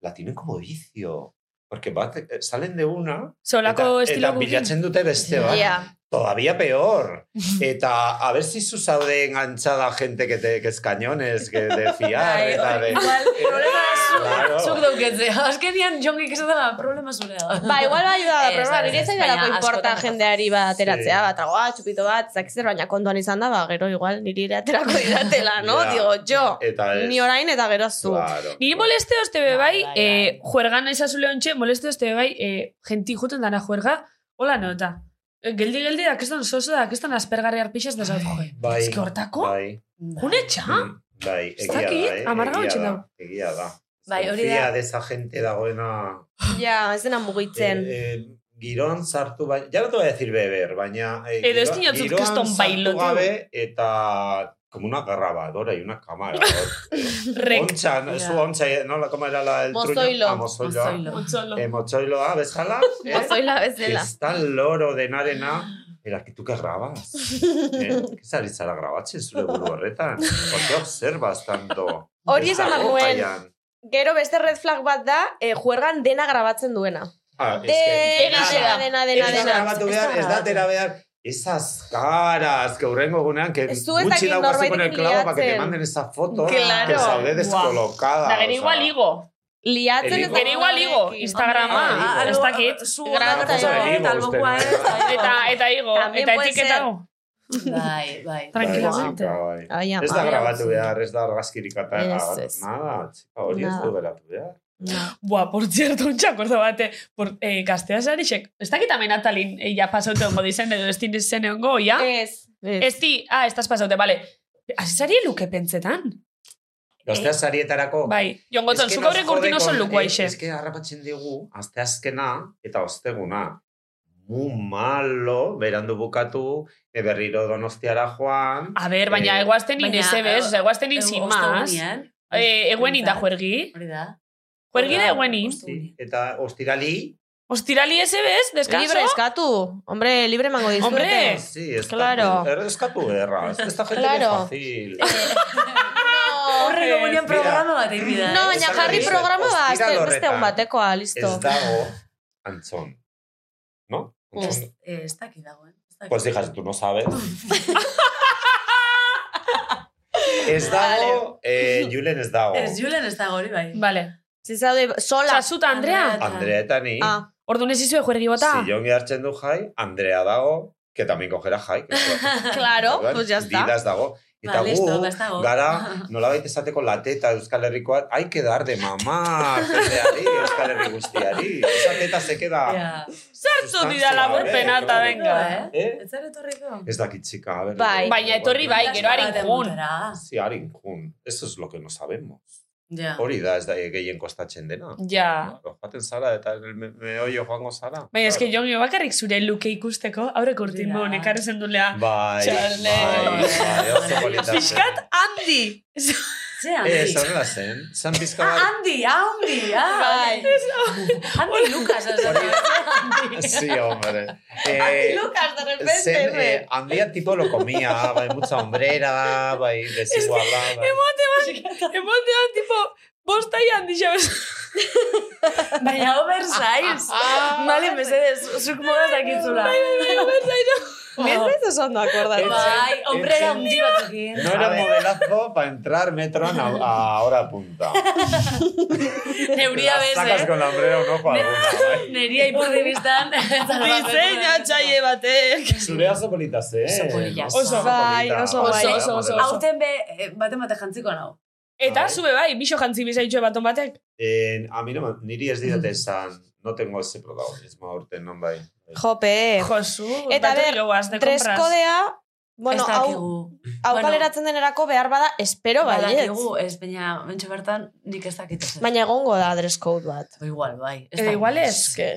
S4: la tienen como vicio. Porque bat, eh, salen de una,
S3: Solako
S4: eta,
S3: estilo
S4: eta bilatzen dute beste bat.
S1: bai. Ja.
S4: Todavía peor. Eta a ver si su sabe enganchada gente que, te, que es cañones, que de
S1: Bai,
S4: fiar, eta de...
S5: Igual, problema
S4: Claro.
S5: zu- zuk dauketzea. Azkenian jongik esan da, problema zure da.
S1: Ba, igual bai da,
S5: Ez,
S3: Eh,
S1: pero ba,
S5: ez,
S1: nire
S5: ez,
S1: zain
S5: baina
S1: dalako importa
S5: askotan
S1: jendeari ba, ateratzea,
S4: Sí.
S1: bat, tragoa, txupito bat, zakizer, baina kontuan izan da, ba, gero igual niri ere aterako didatela, no?
S4: Ja.
S1: Digo, jo,
S4: Eta ez.
S1: ni orain eta gero zu.
S4: Claro.
S3: Ni moleste hoste be bai,
S5: Bai, bai,
S3: eh, juergan ezazule ontxe, moleste hoste be bai, eh, jenti juten dana juerga, hola nota. Eh, Geldi, geldi, da, kestan soso da, kestan aspergarri arpixas da zaut, joe.
S4: Bai.
S3: Ez que hortako?
S4: Bai.
S3: June txa?
S4: Mm, Bai,
S3: Ez
S4: egia da,
S3: dakit,
S4: eh?
S3: amarga
S4: egia
S3: hutsen
S4: da,
S3: dago.
S4: Egia da.
S5: Bai, hori da.
S4: Confía de esa gente dagoena...
S1: Ja, ez dena mugitzen.
S4: Eh, eh, giron sartu bai... Ja no te voy a decir beber, baina... Eh,
S3: Edo ez
S4: giroan-
S3: dinotzut
S4: giroan
S3: kriston
S4: sartu
S3: bailotu.
S4: gabe eta... Como una grabadora y una cámara.
S3: Rek.
S4: Oncha, su oncha, eh, no la cómo era la el truño?
S1: Mozoilo.
S4: Ah, mozoiloa.
S5: Mozoilo.
S3: Ontzolo.
S4: Eh, mozoiloa, bezala? eh?
S1: Ozoila
S4: Que
S1: bezala.
S4: está el loro denarena, Era que tú que grabas. ¿Eh? ¿Qué sari zara grabatzen zure buru horretan? ¿Por qué observas tanto?
S1: Hori
S4: Ez
S1: esan
S4: dago
S1: behar nuen.
S4: kaian.
S1: Gero beste red flag bat da, eh, juergan dena grabatzen duena.
S4: Ah, es que-
S1: Dena, dena,
S4: Nada.
S1: dena,
S4: Ez
S1: dena,
S4: da
S1: dena.
S4: grabatu behar, ez da atera behar. Esas caras que hurrengo egunean, que
S1: Ez du ez
S4: gutxi
S1: dakit
S4: daukazu con el
S1: norbaitek
S4: clavo para que te
S1: liatzen.
S4: manden esa foto
S1: Claro.
S4: que zaude
S3: Buah.
S4: descolocada.
S3: Da, gero
S4: o sea.
S3: igual igo.
S1: Liatzen
S4: Eligo.
S1: eta...
S3: Gero igual igo, Instagrama,
S4: Hombre, ah,
S3: ez dakit.
S4: Una cosa
S1: Grata,
S4: de
S5: eh,
S4: igo,
S5: albokoa
S4: usted.
S5: ez, bai,
S3: Eta, eta igo,
S1: También
S3: eta
S1: puede
S3: etiketago.
S5: Bai, bai.
S4: Bai,
S3: Tranquilamente.
S4: chica, bai.
S1: Ai, ama.
S4: Ez da grabatu behar, ez da argazkirik eta
S1: Ez,
S4: agar-
S1: ez.
S4: Nada, chica, hori ez
S1: Nada.
S4: du geratu behar.
S1: ba.
S3: Buah, por cierto, un txakordo bate, por, eh, gaztea zarixek. Ez dakit amen atalin, eh, ja pasaute ongo dizen, edo ez din zen ongo, ja?
S1: Ez. Ez.
S3: Ez di, ah, estás pasaute, bale. Asi zari luke pentsetan?
S4: Gaztea
S1: Eh.
S4: sarietarako,
S3: Bai, jongotzon, zuko horrek urtin oso lukua ixe.
S4: Es que harrapatzen digu, azte azkena eta osteguna. Mu malo, berandu bukatu, e, berriro donostiara joan.
S3: A ber, baina
S4: Eh,
S3: eguazten in
S5: baina,
S3: ezebez,
S5: eh,
S3: oza, eguazten in sin más.
S5: Ostegunean.
S3: Eh, Eguenin da
S5: Benetan.
S3: juergi.
S5: Hori da.
S3: Juergi da
S5: Hori
S3: eguenin.
S4: Osti- Eta ostirali,
S3: Ostirali ezebez,
S1: Libre
S3: descanso.
S1: eskatu. Hombre, libre emango dizuete.
S3: Hombre.
S4: sí, ez er,
S1: Claro.
S4: Eskatu erra, esta gente
S1: Claro.
S4: es fácil.
S5: Horre egunean
S4: Mira.
S5: programa bat egin bida.
S1: No,
S5: eh?
S1: baina
S4: Esan
S1: jarri
S4: dizut,
S1: programa ba,
S4: ostiral
S1: azte, beste
S4: horretan.
S1: on batekoa, listo.
S4: Ez dago, antzon. No?
S5: Ez,
S4: Antzon.
S5: eh, ez dakit dagoen. ez dakit.
S4: Pues hijas, tú no sabes. ez dago, eh, Julen ez dago.
S5: Ez, Julen ez dago hori bai.
S3: Vale.
S1: Zizaude, sola.
S3: Sasuta, Andrea.
S4: Andreetani.
S1: Ah,
S3: Orduan ez izue juergi bota.
S4: Sillón hartzen du jai, Andrea dago, que también cogera jai. que eso-
S1: claro,
S4: Orduan,
S1: pues ya está.
S4: Didaz dago. Eta
S5: Ba, listo, bastago.
S4: gu, gara, nolabait esateko lateta Euskal Herrikoa, hay que dar de mamá, jendeari, Euskal Herri guztiari. Esa teta se queda...
S5: Ja.
S3: Sartu
S4: Sustantzia,
S3: didala burpena
S4: eh,
S3: eta
S4: claro.
S3: venga.
S5: Eh?
S4: Eh?
S5: Ez zara etorriko?
S4: Ez dakit txika, a ver.
S1: Bai.
S3: Baina etorri bai, gero harin gun.
S4: Sí, harin kun. Eso es lo que no sabemos.
S3: Ah.
S5: Ja.
S4: Hori da, ez da gehien kostatzen dena.
S3: Ja.
S4: Claro, Joaten zara eta el me- meollo joango zara.
S3: Ah. Baina eske
S4: Claro.
S3: jongi bakarrik zure luke ikusteko, aurreko urtin
S5: Ja.
S3: yeah. honek arri zendulea.
S4: Bai, bai,
S3: Txale.
S4: bai, oso polita. zen.
S3: Fiskat handi!
S5: Ze,
S4: Ez,
S5: Andi.
S4: horrela zen. Zan pizka
S5: Ah,
S4: bat...
S5: Andi, ah, Andi, ah.
S1: Bai.
S5: Andi Lucas, ez
S4: Sí, hombre. Eh,
S1: Lucas, de
S4: Zen, eh, handia tipo lo comía, bai, mucha hombrera, bai, desiguala, bai.
S3: Emotean, tipo, bosta i handi xabez.
S5: Baina oversize. Vale, mesedez, zuk modaz dakitzula.
S1: Me haces ondo akordatzen.
S5: Bai, hombrera handi batzukin.
S4: No era modelazo para entrar metroan a, a hora punta.
S5: Neuria
S4: Las Sacas
S5: bez, eh?
S4: con la hombrera un ojo ¿eh? a alguna, bai.
S5: Neria ipurri biztan.
S3: Diseina txaie batek.
S4: Zure oso politas, eh?
S5: Oso politas.
S4: Oso
S1: Bai,
S4: polita.
S1: oso
S3: bai.
S4: Modela,
S3: Oso, oso,
S4: modela.
S3: oso.
S5: Hauten be, eh, baten bate jantziko nau.
S3: Eta
S4: Bai.
S3: zube bai, biso jantzi bizaitxo baton batek.
S4: Eh, a mí no, me- niri ez didate esan, no tengo ese protagonismo aurten, non bai.
S1: Jope,
S3: Josu,
S1: Eh. Eta
S3: batu
S1: ber,
S3: dugu azte
S1: tres
S3: compras.
S1: kodea, bueno,
S5: Ez
S1: hau,
S5: dakigu.
S1: hau
S5: Bueno.
S1: kaleratzen denerako behar bada, espero baiet.
S5: Badakigu, ez, baina, mentxe bertan, nik ez dakit ez.
S1: Baina egongo da dress code bat.
S5: Edo igual, bai.
S3: Edo igual ez.
S1: Eske,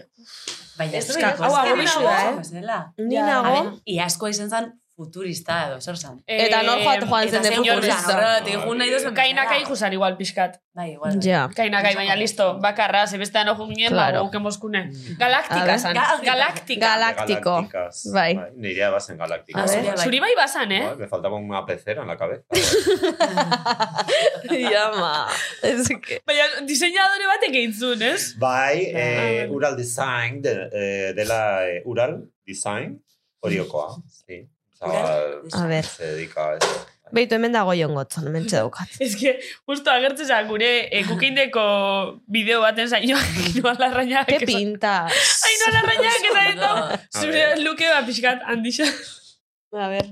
S5: Baina, ez
S3: Eska-
S5: dakit.
S3: hau
S5: Hau
S3: aburrizu
S5: da,
S3: da, eh?
S5: eh?
S1: ni
S3: Ja.
S1: nago,
S5: Iasko izen zen futurista edo, zer zen.
S1: Eta nor joat- joan
S5: Eta
S1: zen de
S5: zen gurtzan,
S1: futurista.
S5: horrela, tegun nahi duzun.
S3: Kainakai juzan igual pixkat.
S5: Bai, igual. bai.
S1: ja.
S3: Kainakai, baina listo, bakarra, zebestean ojo ginen,
S1: Claro.
S3: claro. gauke mozkune.
S1: A
S3: ba, Galaktika
S1: ver.
S3: zan.
S5: Ga-
S3: Galaktika.
S1: Galáctico.
S4: Galácticas.
S1: Bai.
S4: Nirea vas en Galáctica.
S5: Ah,
S1: A ver.
S5: zurea bai.
S3: Zuri bai bazan, eh?
S4: me faltaba una pecera en la cabeza.
S1: Jama. Eske.
S3: Baina diseinadore batek eintzun, ez?
S1: Ah,
S4: bai, eh, Ural Design, de, eh, dela eh, Ural Design, oriokoa. Sí. Zabal,
S1: A ver.
S4: Se dedica a eso.
S1: Beitu hemen dago jongotzon, mentxe daukat.
S3: Ez que, justo agertzen zan gure ekukineko bideo baten zainoak, inoa larrainak.
S1: Ke pinta.
S3: Ai, no larrainak, eta eta
S4: A
S3: zure
S4: ver.
S3: luke bat pixkat handixa.
S1: A ver.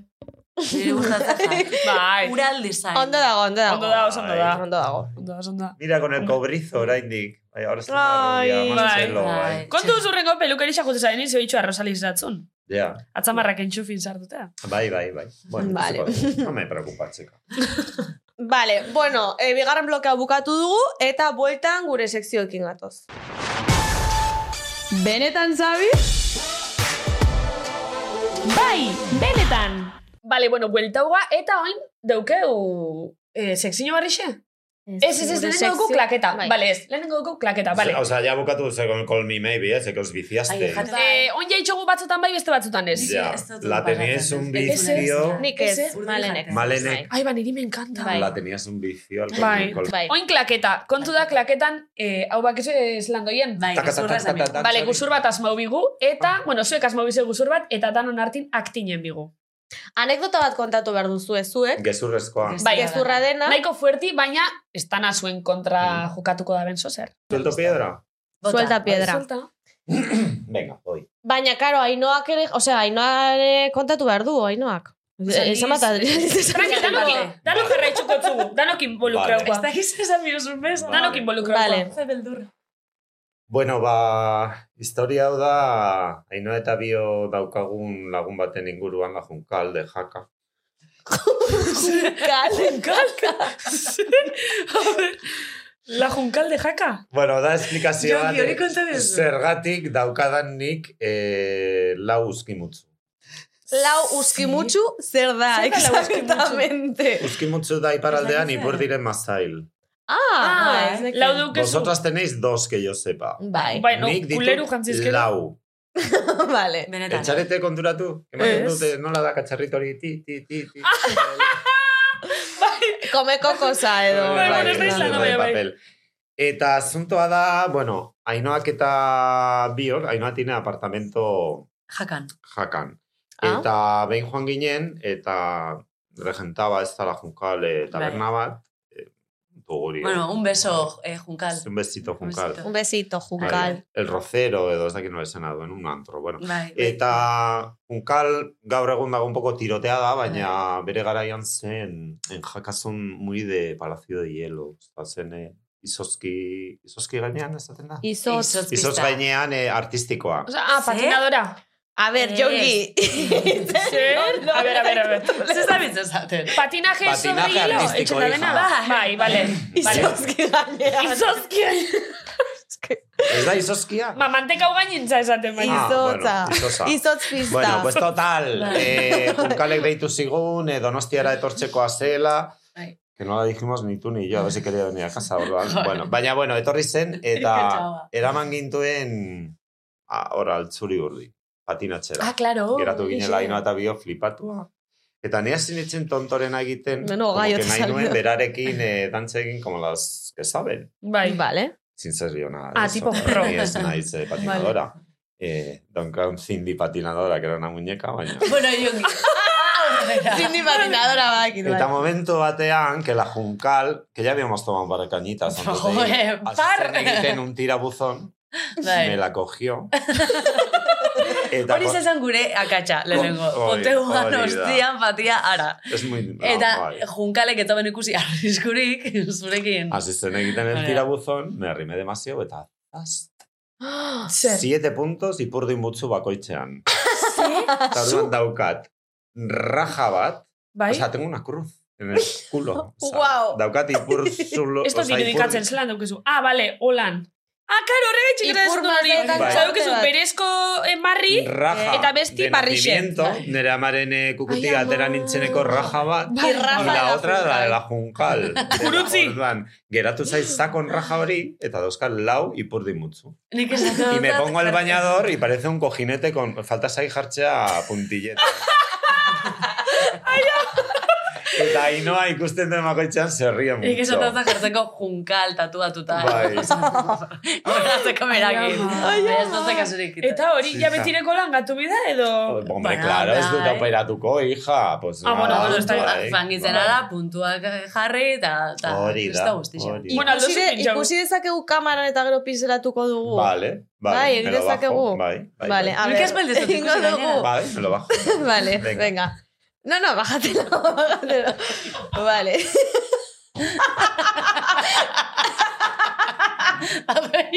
S5: Niri gustatzen zen.
S3: Bai,
S5: Ural design.
S1: Ondo dago, ondo
S3: ondo
S1: dago.
S3: da, oso ondo da.
S1: Ondo dago.
S3: Ondo da, oso ondo da.
S4: Mira, con el cobrizo, oraindik. Bai, ahora está
S1: Ay.
S4: más
S3: Bai.
S4: chelo, bai.
S5: Bai.
S3: Kontu zurrengo pelukerisa jute zaren izo bitxua Rosaliz datzun.
S4: Ja,
S3: Atzamarrak entxufin sartutea.
S4: bai, bai, bai. Bueno,
S1: Vale.
S4: eso, no me preocupa, chica.
S1: Vale, bueno, eh, bigarren blokea bukatu dugu eta bueltan gure sekzioekin gatoz.
S6: Benetan zabi?
S3: Bai, benetan! Bale, bueno, bueltaua eta oin daukeu eh, sekzio barrixe. Ez, ez, ez,
S1: gure
S3: lehenengo dugu
S1: sekzio-
S3: klaketa.
S1: Bai.
S3: Bale, ez, lehenengo dugu klaketa, bale.
S4: O sea, ya boca tú con el Call Me Maybe, ese que os
S5: Ai,
S4: viciaste.
S5: jate-
S3: Eh, oin jaitxogu batzutan bai beste batzutan ez.
S4: Ya,
S5: Ez dut
S4: la teníais
S5: pasatzen.
S4: un
S5: Ez, ez,
S4: vicio.
S5: ez.
S1: Nik ez,
S5: Urdin
S1: malenek.
S5: jartzen.
S4: Malenek.
S3: Ai, ba, niri me encanta.
S1: Bai.
S4: La tenías un vicio al
S3: Bai.
S4: Call Me
S1: Bai.
S3: Oin klaketa, kontu da klaketan, eh, hau bakizu ez landoien.
S5: Bai,
S4: Taka, taka,
S5: gezurra
S4: taka,
S5: esan
S4: taka. Dantzari.
S3: Bale, guzur bat asmau bigu, eta, bueno, zuek asmau bizu guzur bat, eta danon hartin aktinen bigu.
S1: Anekdota bat kontatu behar duzu zuek.
S4: Gezurrezkoa.
S5: Bai.
S1: Bai, gezurra dena.
S3: Nahiko fuerti, baina estana zuen kontra jokatuko da benzo zer. Bai,
S4: ¿Suelto piedra?
S5: Bota.
S1: Suelta piedra.
S3: Suelta.
S4: Venga, voy.
S1: Baina, karo, ainoak ere, osea, ainoak ere kontatu behar du, ainoak. Eh,
S5: Osea,
S1: Esan bat,
S3: Tranqui, danokin, danok jarraitzuko zugu, danok
S5: Ez
S3: involukraukoa.
S5: dakiz esan birozun bez.
S4: Vale.
S3: Danok involukraukoa.
S1: Vale.
S5: Ze beldur.
S4: Bueno, ba, historia hau da, haino eta bio daukagun lagun baten inguruan la junkal de jaka.
S3: La Juncal de Jaka.
S4: Bueno, da esplikazio
S5: Jonki, hori konta
S4: bat,
S5: duzu.
S4: zergatik daukadan nik eh, lau uzkimutzu.
S1: Lau uskimutxu, zer da,
S3: Zer da lau uskimutxu?
S1: exactamente.
S4: Uzkimutzu da iparaldean ipurdiren mazail.
S3: bai,
S1: Ah,
S5: Ah,
S1: ez dakit.
S3: Lau dukezu.
S4: Vosotras tenéis dos que yo sepa.
S1: Bai,
S3: Bueno,
S4: Nik ditut
S3: kuleru jantzizkero.
S4: Lau.
S1: vale.
S5: Benetan.
S4: Etxarete konturatu? Ematen
S1: Ez.
S4: dute nola da katxarrito hori ti, ti, ti, ti.
S3: Ah.
S1: Komeko kosa edo.
S3: Bai,
S1: bai,
S3: bueno, ez da
S1: bai.
S3: izan, izlanda, bai, bai.
S4: papel. Eta asuntoa da, bueno, ainoak eta bior, ainoa tiene apartamento
S5: Jakan.
S4: jakan.
S3: bai.
S1: Ah.
S4: Eta behin joan ginen, eta regentaba ez dara junkal eh, taberna bat, eh, duguri.
S5: Bueno, un beso, eh, Juncal.
S4: un besito, Junkal.
S5: besito.
S1: Un besito, Junkal.
S4: Bai, El rocero edo ez dakit nola esena duen, un antro, bueno.
S5: Bai, bai.
S4: Eta Junkal gaur egun dago un poco tirotea da, baina bere garaian zen en jakasun muy de Palacio de Hielo. Eta zen eh, izozki, izozki gainean ez da?
S1: Izoz.
S5: Izozpista.
S4: Izoz gainean eh, artistikoa.
S3: Osa, ah,
S5: Ze?
S3: patinadora.
S1: A ver,
S5: Ez.
S1: Jongi.
S3: Zer? A ber, a ber, a ber.
S5: Ez ez da bitzazaten.
S3: Patinaje,
S4: Patinaje
S3: sobre hilo,
S4: artístico,
S3: etxeta dena.
S5: hija.
S3: Bai, bale. Vale.
S1: Izozki gainean.
S3: Izozkia.
S4: Ez da izozkia?
S3: Ba, manteka ugainintza esaten baina.
S4: Ah, bueno,
S1: Izotza.
S4: izotza.
S1: Izotz pista.
S4: Bueno, pues total,
S5: Bai.
S4: eh, Junkalek deitu zigun, eh, donostiara etortzekoa zela,
S5: Bai.
S4: que no la dijimos ni tú ni yo, a ver si quería venir a casa, orduan. Bueno, baina, bueno, etorri zen, eta
S5: Ikatxaba.
S4: eraman gintuen, ah, ora, altzuri urdi,
S3: Ah,
S4: patinatxera.
S3: oh,
S5: claro.
S4: Geratu ginela ino eta bio flipatua. Eta nea sinitzen tontorena egiten,
S1: Beno,
S4: como
S1: gai
S4: que
S1: ote
S4: nahi
S1: salido.
S4: nuen berarekin eh, dantza egin, como las que saben.
S3: Bai.
S1: Vale.
S4: Sin serio nada. de
S3: Ah,
S4: eso.
S3: tipo pro.
S4: Ni ez naiz eh, patinadora. Eh, Duncan Cindy patinadora, que era una muñeca, baina...
S5: Bueno, Jungi. Aurrera.
S1: Zindi patinadora bakit.
S4: Eta
S1: bai.
S4: momentu batean, que la Juncal, que ya habíamos tomado un par de cañitas antes de
S3: eh,
S4: ir,
S5: Joder, par.
S4: hasi zen egiten un tirabuzón,
S5: Bai.
S4: me la cogió. E Eta,
S5: Hori zezan gure akatsa, lehenengo.
S4: Hoi, hori
S5: Konteuan
S4: da.
S5: ostian patia ara.
S4: es muy...
S3: E
S4: no,
S5: Eta
S4: bai.
S5: junkalek eta ben ikusi arriskurik zurekin.
S4: Hasi zen egiten el
S5: Bai.
S4: tirabuzón, me arrimé demasiado, eta... az,
S3: Zer?
S4: Siete puntos ipurduin butzu bakoitzean. Eta orduan daukat, raja bat,
S3: Bai?
S4: o sea, tengo una cruz en el culo. O sea,
S1: Guau.
S4: Daukat ipurzulo...
S3: Esto
S4: o sea,
S3: dirudikatzen
S4: ipur-
S3: zelan daukezu. Ah, bale, holan. Ah, karo, horregatik
S1: Ipur
S3: ez dut hori.
S1: batetan
S4: Bai.
S3: Osa, daukezu
S1: bat.
S3: berezko emarri,
S4: raja
S3: eh, Eta besti
S4: de
S3: parrixe.
S4: nacimiento, Nire amaren eh, kukutik
S1: Ai, ama.
S4: atera nintzeneko raja bat.
S1: Bai, raja
S4: y la
S1: da
S4: otra
S1: juncal.
S4: la de la junkal.
S3: Gurutzi.
S4: Orduan, geratu zaiz sakon raja hori, eta dauzkan lau ipurdi mutzu.
S5: Nik esan dut.
S4: Y me pongo el bañador y parece un cojinete con... Falta zai jartzea puntilleta. Eta Ainoa ikusten den makoitzean se ríe mucho.
S5: Nik esan dut jartzeko junkal tatuatuta.
S4: Bai.
S5: Jartzeko
S3: Ai,
S5: berakin. Baina ez
S3: ama.
S5: dut kasurik.
S3: Eta hori,
S4: Sí, ja.
S3: ja betireko lan gatu bida edo...
S4: Hombre,
S5: Ba,
S4: claro, ez dut
S5: bai.
S4: operatuko, hija. Pues
S3: eh. Ah, bueno,
S4: nada,
S3: bueno, está
S4: bai,
S5: Eta fangitzen
S4: bai.
S5: ara, puntuak jarri eta... eta
S4: Hori da,
S5: ez guztixa.
S4: hori da.
S3: Bueno, aldo
S1: Ikusi, de,
S3: zupin jau.
S1: ikusi dezakegu kamaran eta gero pinzelatuko dugu.
S4: Vale, vale.
S1: Bai,
S4: me lo
S1: egin
S4: bajo,
S3: este
S1: dezakegu.
S4: Bai, bai,
S1: Vale,
S4: bai.
S1: a
S5: Nik ez
S1: ver.
S5: baldezatu
S1: Ingo
S5: ikusi
S1: dugu.
S5: gainera.
S4: Vale, me lo bajo.
S1: Vale, venga. No, no, bájatelo, bájatelo. Vale.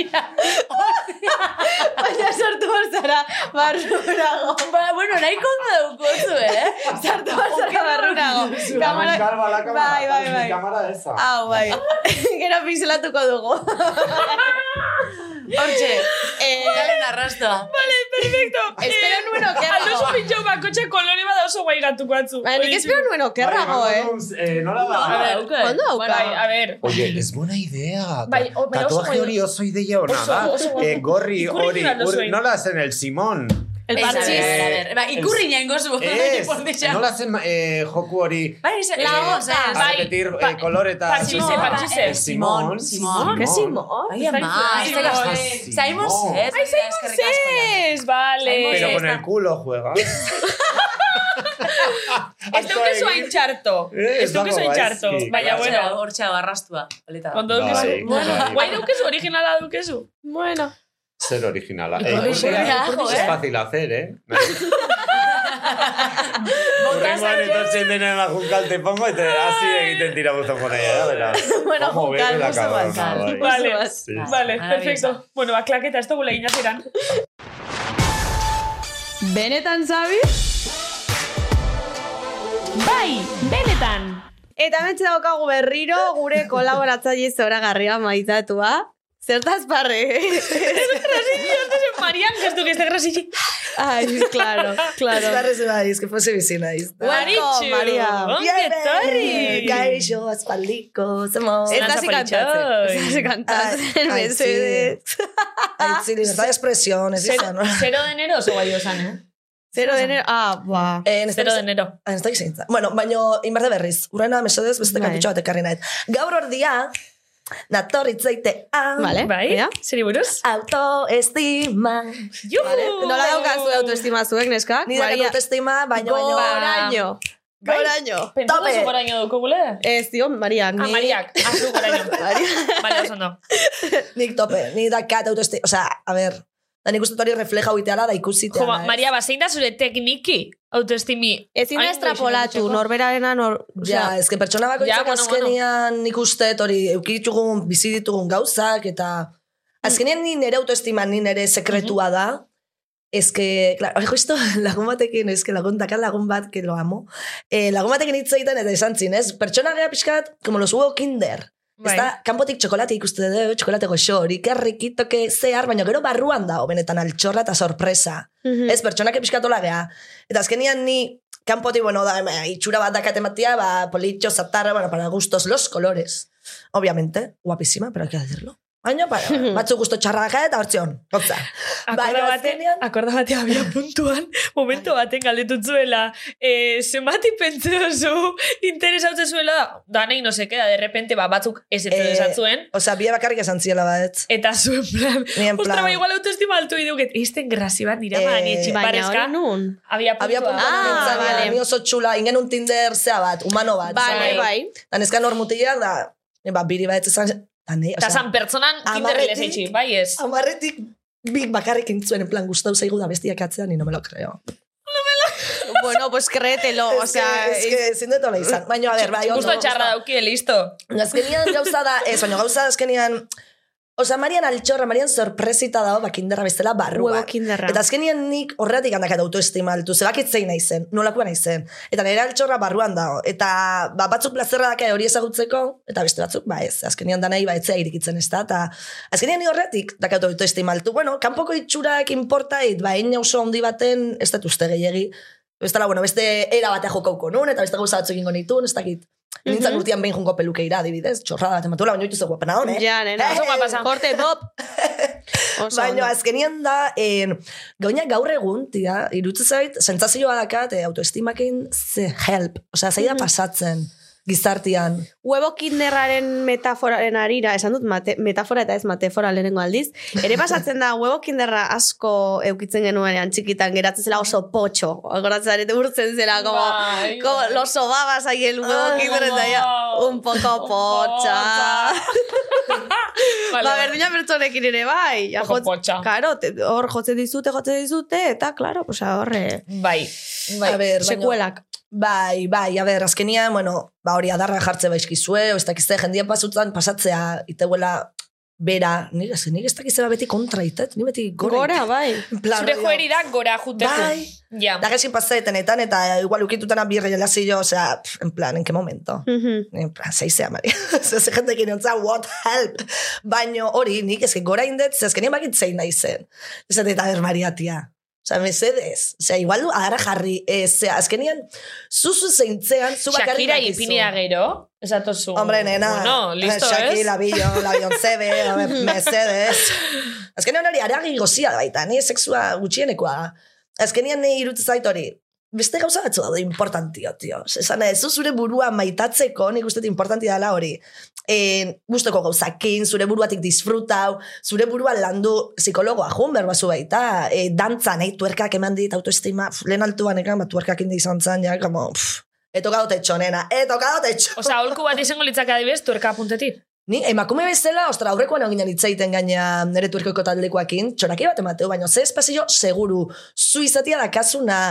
S5: Ba,
S1: Baina sartu behar zara barrurago.
S5: Ba, bueno, nahi konta daukozu, eh?
S1: Sartu behar zara barrurago. Kamara... Bai, bai, bai.
S4: Kamara esa.
S1: Hau, bai. Gero pinzelatuko dugu.
S5: Hortxe,
S1: Eh,
S5: jalen arrastoa.
S3: Perfecto.
S1: Espero
S3: Eh,
S1: nuen okerrago.
S3: Aldo zupin jau bakotxe ba kolore bada oso guai gatuko atzu.
S1: Baina nik espero nuen okerrago, eh?
S4: eh? Nola
S5: A
S4: da?
S5: ver,
S1: Ondo
S3: Bueno, bai, a
S1: dauka.
S3: ver.
S4: Oye, es buena idea.
S3: Bai, o- baina oso
S4: Tatuaje
S3: guai-
S4: hori oso ideia ona
S3: Oso-
S4: da.
S3: oso guai.
S4: Eh, gorri
S3: Ikurri
S4: hori,
S3: nola
S4: ur-
S3: zuen.
S4: nola zen el Simón?
S1: El
S5: Ez, a
S1: parchís.
S5: ber, a ber. Ba, ikurri nahi gozu.
S4: Ez, nola zen eh, joku hori
S5: Bai, ez,
S4: La
S5: eh,
S4: gota.
S5: ez,
S3: Bai,
S4: repetir
S3: pa-
S4: eh, koloreta.
S3: parchise, parchise.
S4: El Simón.
S5: Simón.
S1: ¿Qué Simón?
S5: Ai, ama,
S3: Simón.
S5: ez da
S4: "Ah,
S5: gazi. Simon
S4: Simón.
S5: Says. Ai, Simon
S3: Ez,
S4: Pero
S5: Simon
S3: vale.
S5: Says.
S4: con el culo juega.
S3: Ez daukezu hain txarto.
S4: Eh,
S3: Ez daukezu hain
S4: dago
S3: txarto.
S4: gaizki.
S3: Baina, bueno.
S5: Hor txau, arrastua. Paleta.
S3: Ondo
S4: Bai,
S3: daukezu.
S4: bai.
S3: Guai daukezu, originala daukezu.
S1: Bueno.
S4: Ser originala. Eh,
S5: Hori
S4: ikurria-
S5: xerria, jo,
S4: Es
S5: eh?
S4: fácil hacer, ¿eh? Urrengoan etortzen dena la junkal te pongo eta hasi egiten tira buzon con ella, ya verás.
S1: Bueno,
S4: Cómo bebe
S1: Junkal,
S4: la
S1: gusto
S4: cabrona,
S1: bazar.
S4: bai.
S1: Gusto
S3: Vale.
S1: bazar.
S4: Sí.
S3: Vale,
S5: maravilla.
S3: perfecto. Bueno, ba, klaketa, ez dugu legin ateran.
S6: Benetan zabi?
S3: Bai, benetan.
S1: Eta mentxe daukagu berriro gure kolaboratzaile zoragarria maitatua. Zertaz parre?
S3: Marian, gertu que ez da grasiki.
S1: Ai, claro, claro.
S8: Zarrez naiz, que pose bizi naiz.
S1: Welcome, Maria.
S3: Ongi etorri.
S8: Gaixo, aspaldiko, zemo.
S1: Ez da
S3: Lanza
S1: zikantatzen.
S3: politxoi.
S1: Ez da zikantatzen,
S8: Ai, ai, sí.
S1: mesedez.
S8: Aitzi, libertad de expresión, ez
S3: Cero,
S8: izan. no?
S3: cero de enero oso bai osan, eh?
S1: Zero denero, ah, ba.
S8: Eh, ez
S3: Zero de
S8: dakit-
S3: enero.
S8: Ah, ez dakit zeintza. Bueno, baino, inberte berriz. Urrena, mesedez, beste
S1: Bai.
S8: kakitxo bat ekarri nahi. Gaur ordia, natorritzaitea.
S1: Vale.
S3: Bai,
S1: Eh? ea. Ah,
S3: zeri buruz?
S8: Autoestima.
S3: Juhu!
S1: Eh?
S8: Uh,
S1: Nola daukazu autoestima zuek, neskak?
S8: Ni da autoestima, baina, baina.
S1: Goraino. Goraino.
S3: Pentsatu
S8: Tope.
S3: zugoraino dukugule?
S1: Bai. Ez, dio, Mariak.
S3: Ah,
S1: ni-
S3: Mariak, ah, zugoraino. Bale, oso no.
S8: Nik tope, nik dakat autoesti... Osa, a ber, da nik uste dut hori refleja huiteala da ikusitea.
S3: Jo, ba, Maria, bazein da zure tekniki autoestimi.
S1: Ezin da
S3: Hain
S1: estrapolatu,
S3: goizeko.
S1: norberarena, nor...
S8: Ja,
S1: Osea,
S8: ezke pertsona
S3: Ja,
S8: bakoitzak
S3: bueno, bueno.
S8: azkenian nik uste dut hori eukitugun, bizi ditugun gauzak, eta azkenean ni nere autoestima, ni nere sekretua da, Eske, claro, justo lagun batekin, eske lagun dakar lagun bat, que lo amo, eh, lagun batekin hitz egiten eta esan zin, ez? Pertsona gea pixkat, como los huevos kinder.
S3: Bai.
S8: Ez da, kanpotik txokolate ikuste dugu, txokolate goxo, hori, que riquito, que zehar, baina gero barruan da, benetan altxorra eta sorpresa.
S1: mhm.
S8: Ez, pertsonak epizkatola geha. Eta azkenian ni, kanpoti, bueno, da, em, itxura bat dakate matia, ba, politxo, zatarra, bueno, para gustos los colores. Obviamente, guapísima, pero hay que decirlo. Baina, para, batzu gusto txarra geha eta hortzion, gotza.
S3: Akorda batean,
S8: azkenean-
S3: akorda batean abia puntuan, momento baten galdetut zuela, eh, zenbati pentsu zu, interes hau zuela, danei no seke, da, de repente, ba, batzuk ez ez
S8: Eh,
S3: eh, zuen,
S8: Osea, bie bakarrik esan ziela bat.
S3: eta zuen plan,
S8: Ni en
S3: ostra,
S8: plan-
S3: ba, igual autoestima altu iduket, izten grazi bat dira,
S8: Eh,
S3: ba,
S1: Baina
S3: ni
S1: hori
S3: etxiparezka,
S1: nun.
S3: abia puntua.
S8: Había puntuan
S1: Ah,
S8: ah,
S1: vale.
S8: ni oso txula, ingen un Tinder zea bat, humano bat.
S1: Bale,
S3: Bai.
S1: bai.
S8: Da neska nor mutilak da, eh, ba, biri bat esan, eh, da ne,
S3: Eta zan pertsonan kinderrelez
S8: hamarretik-
S3: etxi, bai ez.
S8: amarretik bik bakarrik intzuen, en plan, gustau zaigu da bestiak atzean, ni no me lo creo.
S1: bueno, pues créetelo, o sea... eh,
S8: es que, ezin dut hola izan. Baina, a ber, bai,
S3: Gusto txarra dauki, listo.
S8: Azkenian gauza da, ez, baina gauza azkenian, Osa, Marian altxorra, Marian sorpresita dago, ba, kinderra bestela barruan.
S1: Huevo kinderra.
S8: Eta azkenian nik horretik handakat autoestima altu, zebakit zein nahi zen, nolakoa nahi zen. Eta nire altxorra barruan dago. Eta ba, batzuk plazerra daka hori ezagutzeko, eta beste batzuk, ba ez, azkenian danai ba etzea irikitzen ez da. Eta azkenian ni horretik dakat autoestima altu. Bueno, kanpoko itxurak inportait, ba, egin oso handi baten, ez dut uste gehiagi. Bestela, bueno, beste era batea jokauko nun, eta beste gauza batzuk egingo nitun, ez dakit.
S1: Mhm.
S8: Nintzen urtean behin jungo pelukeira, adibidez, txorrada bat ematuela, baina jutuz guapena hon, eh?
S1: Ja, nena.
S3: Oso guapa zan.
S1: Korte, pop. Oso ondo.
S8: Baina azkenian da, en, gaina gaur egun, tia, irutze zait, sentzazioa dakat, eh, autoestimakin, ze help, osea, zaida pasatzen, gizartian.
S1: huevo kinderraren metaforaren arira, esan dut mate, metafora eta ez metafora lehenengo aldiz, ere pasatzen da huevo kinderra asko eukitzen genuenean txikitan, geratzen zela oso potxo, goratzen zarete urtzen zela, como,
S3: Bai,
S1: como
S3: bai.
S1: los obabas ahí el huevo kinder, eta ya,
S3: wow.
S1: un poco potxa.
S3: Vale,
S1: Ba, berdina pertsonekin ere bai. Ja,
S3: Ojo
S1: jotz-
S3: potxa.
S1: Karo, te- hor jotzen dizute, jotzen dizute, eta, klaro, osea, horre,
S3: Bai, bai.
S8: A ber, baina-
S1: sekuelak.
S8: Bai, bai, a ber, azkenian, bueno, ba hori adarra jartze baizkizue, ez dakizte, jendia pasutzan pasatzea, iteuela, bera, nik, ez- nik ez dakizte beti kontra itet, nik beti gora.
S1: Gora, bai.
S3: Zure joeri da gora juteko.
S8: Bai.
S3: Ja.
S8: Da gezin pasaetenetan, e eta igual ukitutana birre jelazio, osea, pf, en plan, en que momento.
S1: Mhm.
S8: En plan, zeizea, Maria. Zez jentekin ontza, what help? Baino hori, nik eske gora indet, zezkenien bakit zein nahi zen. Zate, eta ber, Maria, tia. Osa, mesedez. Osea, igual du, agarra jarri. Ez, azkenian, zuzu zeintzean, zu bakarri
S3: Shakira ipini da gero, esatozu.
S8: Hombre, nena.
S3: Bueno, listo,
S8: Eh, Shakira,
S3: ez?
S8: Billo, la Beyoncé, be, a ber, mesedez. Azkenean hori, aragi gozia da baita, ni sexua gutxienekoa da. Azkenean ni irutze zait hori. Beste gauza batzu daude importantio, tio. Esan ez, zu zure burua maitatzeko, nik uste dut importantia dela hori. E, guztoko gauzakin, zure buruatik disfrutau, zure burua landu psikologoa jun berbazu baita, e, dantza nahi tuerkak eman dit autoestima, pf, lehen altuan ekan, bat tuerkak indi izan zan, ja, kamo, pff, e, he tocado techo, nena, he tocado techo.
S3: Osa, holku bat izango litzak adibidez, tuerka puntetik.
S8: Ni emakume bezala, ostra, aurrekoan egin itzaiten gaina nire turkoko taldekoakin, txoraki bat emateu, baina ze espazio seguru, zu izatia dakazuna,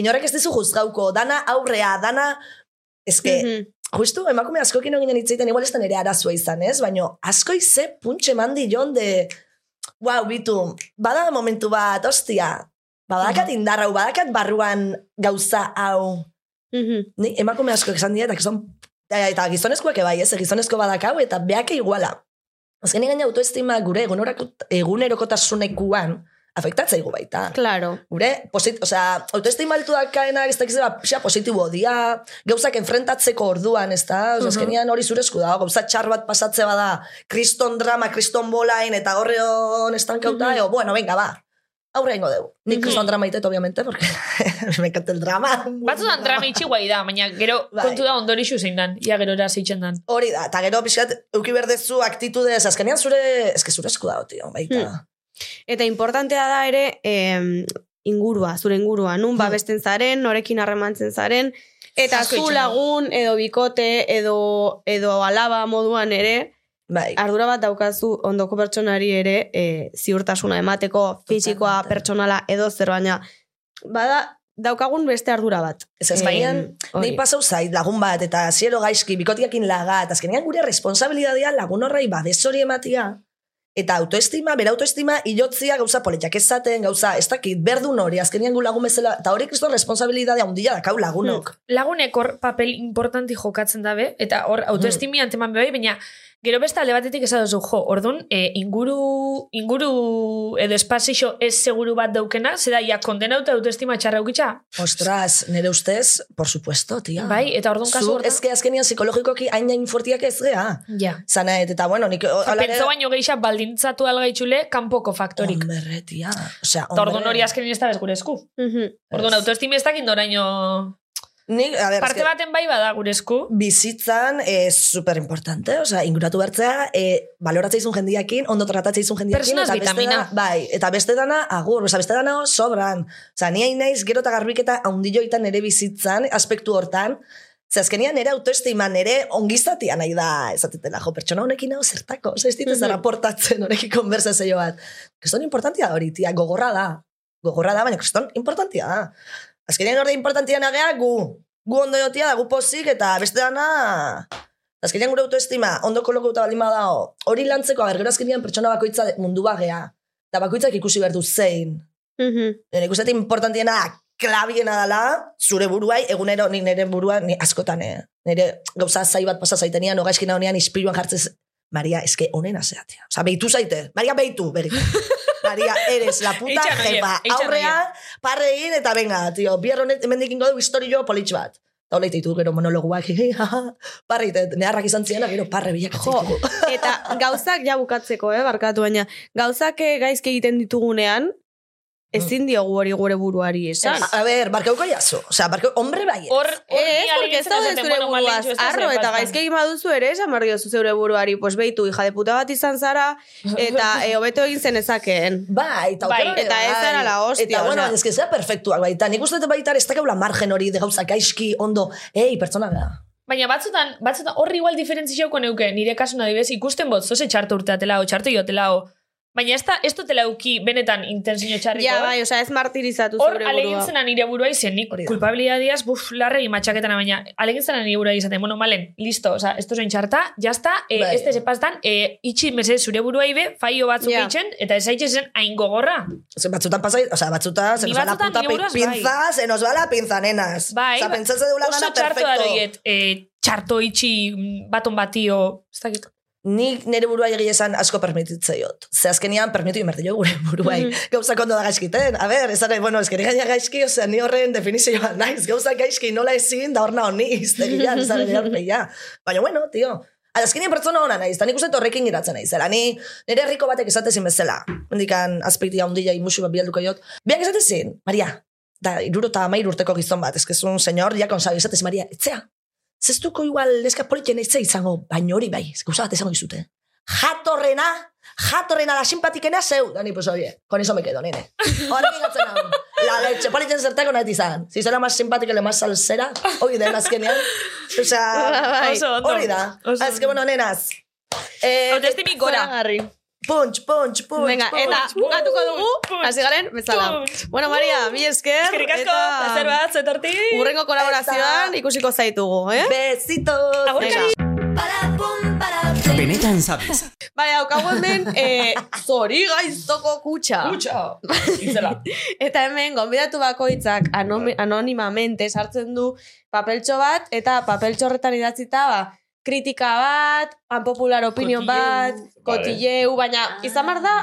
S8: inorrek ez dizu juzgauko, dana aurrea, dana... Eske,
S1: Mhm.
S8: justu emakume askokin egin itzaiten, igual ez da nire arazua izan, ez? Baina asko ize puntxe mandi jon de... Wow, bitu, bada momentu bat, ostia, badakat indarrau, badakat barruan gauza hau,
S1: Mhm.
S8: Ni emakume asko esan dira, eta gizon, eta gizonezkoak ebai, ez, gizonezko badakau, eta beake iguala. Azkenean gaina autoestima gure egunerako, egunerokotasunekuan afektatzaigu baita.
S1: Claro.
S8: Gure, posit, osea, autoestima altu dakaena, ez dakiz ba, pixka positibo dia, gauzak enfrentatzeko orduan, ez da? Osea, azkenean hori zure esku dago, gauza txar bat pasatze bada, kriston drama, kriston bolain, eta horreon estankauta, eo, bueno, venga, ba, aurre ingo dugu. Nik kriston drama itet, obviamente, porque me encanta el drama.
S3: Batzutan drama itxi guai da, baina gero
S8: Bai.
S3: kontu da ondorixu zein dan, ia gero zeitzen dan.
S8: Hori da, eta gero pixkat, euki berdezu aktitudez, azkenean zure, eske zure esku dago, tio, baita.
S1: Hmm. Eta importantea da
S8: Hmm.
S1: ere em, ingurua, zure ingurua. Nun babesten zaren, norekin harremantzen zaren, Eta
S5: Asko
S1: zu
S5: itxaron.
S1: lagun, edo bikote, edo, edo alaba moduan ere,
S8: Bai.
S3: Ah,
S1: ardura bat daukazu ondoko pertsonari ere e, ziurtasuna emateko, fisikoa,
S8: Totalmente.
S1: pertsonala, edo zer baina. Bada, daukagun beste ardura bat.
S8: Ez ez,
S1: Em,
S8: baina
S3: eh,
S1: hori.
S8: nahi pasau zait lagun bat, eta zielo gaizki, bikotiakin laga, eta azkenean gure responsabilidadea lagun horrei babes hori ematia, eta autoestima, bera autoestima, ilotzia gauza politiak ezaten, gauza, ez dakit, berdun hori, azkenean gu lagun bezala, eta hori kriston responsabilidadea handia dakau lagunok.
S3: lagunek hor papel importanti jokatzen dabe, eta hor
S8: Mm.
S3: autoestimi anteman bebai, baina gero beste alde batetik ez duzu, jo, orduan e, inguru, inguru edo espazio ez seguru bat daukena, zeda, ja, kondenauta autoestima txarra ukitza,
S8: Ostras, nire ustez, por supuesto, tia.
S3: Hmm. bai, eta orduan kasu
S8: Zu,
S3: hortan,
S8: ez que azkenean psikologikoki hain hain fortiak ez gea.
S3: ja.
S8: Zanaet, eta bueno, nik...
S3: Osa, Pentsa baino geisha baldintzatu algaitzule kanpoko faktorik.
S8: Hombre, tia. Osea,
S3: Eta orduan
S8: hombre.
S3: hori azkenin ez da bez gure esku.
S1: Mhm.
S3: Orduan autoestimi ez dakin doraino...
S8: Nik, a ber,
S3: Parte
S8: eske-
S3: baten bai bada gure esku.
S8: bizitzan e, super importante, osea, inguratu bertzea, e, baloratzea izun jendiakin, ondo tratatze izun jendiakin,
S3: Personas vitamina.
S8: dana, bai, eta beste dana agur, osea, beste dana sobran. Osea, ni hain naiz gero eta garbiketa haundilloitan ere bizitzan, aspektu hortan, Ze azkenian ere autoestima nere ongizatia nahi da, ezatetela, jo, pertsona honekin hau zertako, osea, ez dit ez zara portatzen honekin konversazio bat. Kriston importantia da hori, tia, gogorra da. Gogorra da, baina kriston importantia da. Azkenean orde importantia nagea gu. Gu ondo jotia da, gu pozik eta beste dana... Azkenean gure autoestima, ondo kolokauta baldin badao, hori lantzeko, aber gero azkenean pertsona bakoitza mundu bagea. Eta bakoitzak ikusi berdu zein.
S1: Mhm.
S8: Nire ikustetik importantiena klabiena dela, zure buruai, egunero nik nire burua ni askotan, eh? Nire gauza zai bat pasa zaitenian, ogaizkina honean ispiluan jartzez, Maria, eske onena zeatea. Osa, beitu zaite. Maria, beitu, berri. Maria, eres la puta
S3: Eitxan nahi,
S8: jefa.
S3: eitxan
S8: Aurrea, parre egin, eta venga, tio, bihar honet, hemendik ingo du historio politx bat. Eta hola ditu gero monologuak, parre, egiten, neharrak izan ziena, gero parre bilak
S1: Jo, eta gauzak ja bukatzeko, eh, barkatu baina. Gauzak eh, gaizki egiten ditugunean,
S3: Mm.
S1: ezin diogu hori gure buruari esan.
S8: A, a ber, barkauko jaso. Osea, barkau, hombre bai.
S3: Hor, hor
S1: Ez,
S3: ni
S1: porque ez
S3: arintzen
S1: daude
S3: esaten,
S1: zure
S3: bueno,
S1: buruaz.
S3: malentxu ez da
S1: Arro,
S3: zure
S1: eta
S3: pastan.
S1: gaizke egin baduzu ere, esan barrio zure buruari, pues beitu, hija de puta bat izan zara, eta eh, hobeto egin zenezakeen.
S8: Bai, eta
S3: Bai,
S8: aukera ere
S1: eta ez
S8: bai.
S1: zara la hostia,
S8: Eta, bueno,
S1: osea.
S8: ez que zera perfektuak baita. Nik uste dut baita ere ez dakaula margen hori de gauza gaizki, ondo, ei, pertsona da.
S3: Baina batzutan, batzutan horri igual diferentzioko neuke, nire kasuna dibes, ikusten bot, zoze txarto urteatela, o txarto iotela, o... Baina ez da, ez dutela euki benetan intentzio txarriko.
S1: Ja, bai, osea, ez martirizatu
S3: Hor,
S1: zure burua.
S3: alegin zena nire burua izen, nik
S8: Hori da.
S3: kulpabilidadiaz, buf, larre matxaketana, baina alegin zena nire burua izaten, bueno, malen, listo, oza, esto zoin txarta, jazta, e,
S8: Bai.
S3: ez da sepaztan, e, itxi meze zure burua ibe, faio batzuk
S1: Ja.
S3: eitzen, eta ez aitxe zen hain gogorra.
S8: Ose, batzutan pasai, o sea, batzutan, se
S3: Ni
S8: nos va la
S3: batzutan
S8: puta
S3: ni
S8: pe-
S3: buruaz,
S8: pinza, se nos va la pinza, nenas.
S3: Bai,
S8: o sea, pentsatzen deula
S3: oso
S8: dana
S3: txarto
S8: perfecto.
S3: daroiet, e, txarto itxi mm, baton batio, ez dakit,
S8: Nik nire burua egia esan asko permititzaiot. Ze azkenian permitu imerte jo gure buruai. Gauza kondo da gaizkiten. A ber, ez ara, bueno, ezkeri gaina gaizki, osea, ni horren definizioa naiz. Gauza gaizki nola ezin da horna honi iztegian, ez ara, nire aurpegia. Baina, bueno, tio. Ala, azkenean pertsona ona naiz, eta nik uste dut horrekin geratzen naiz. Zela, ni nire herriko batek esatezin bezala. Mendikan, azpeitia ondila imusu bat bialduko jot. Biak esatezin, Maria, da, iruro eta amairu urteko gizon bat, ezkezun senyor, jakon sabi, esatez, Maria, etzea, zestuko igual neska politxen eitzea izango, baino hori bai, ez gauza bat esango izute. Jatorrena, jatorrena da simpatikena zeu, da ni pues oie, con eso me quedo, nene. Horrekin gatzen hau, la leche, politxen zertako nahi izan, si zera más simpática, le más salsera, hori den azkenean, osea,
S1: Bai,
S3: Ba, oso ondo.
S8: hori da,
S3: Oso
S8: azke bueno, nenaz, eh,
S3: Autoestimik gora.
S1: Zoragarri.
S8: punch, punch, punch,
S1: Venga,
S8: punch.
S1: eta bukatuko dugu,
S3: punch,
S1: hasi garen, bezala.
S3: punch.
S1: Bueno, Maria, mi esker.
S3: Eskerrik asko,
S1: eta
S3: placer bai. bat, zetorti.
S1: Urrengo kolaborazioan ikusiko zaitugu, eh?
S8: Besitos.
S1: Venga.
S2: Benetan sabes.
S1: Bai, daukagu hemen eh, zori gaiztoko kutxa.
S5: Kutxa. Itzela.
S1: Eta hemen, gonbidatu bakoitzak anom- anonimamente sartzen du papeltxo bat, eta papeltxo horretan idatzita, ba, kritika bat, unpopular opinion bat, kotilleu, baina izan behar da,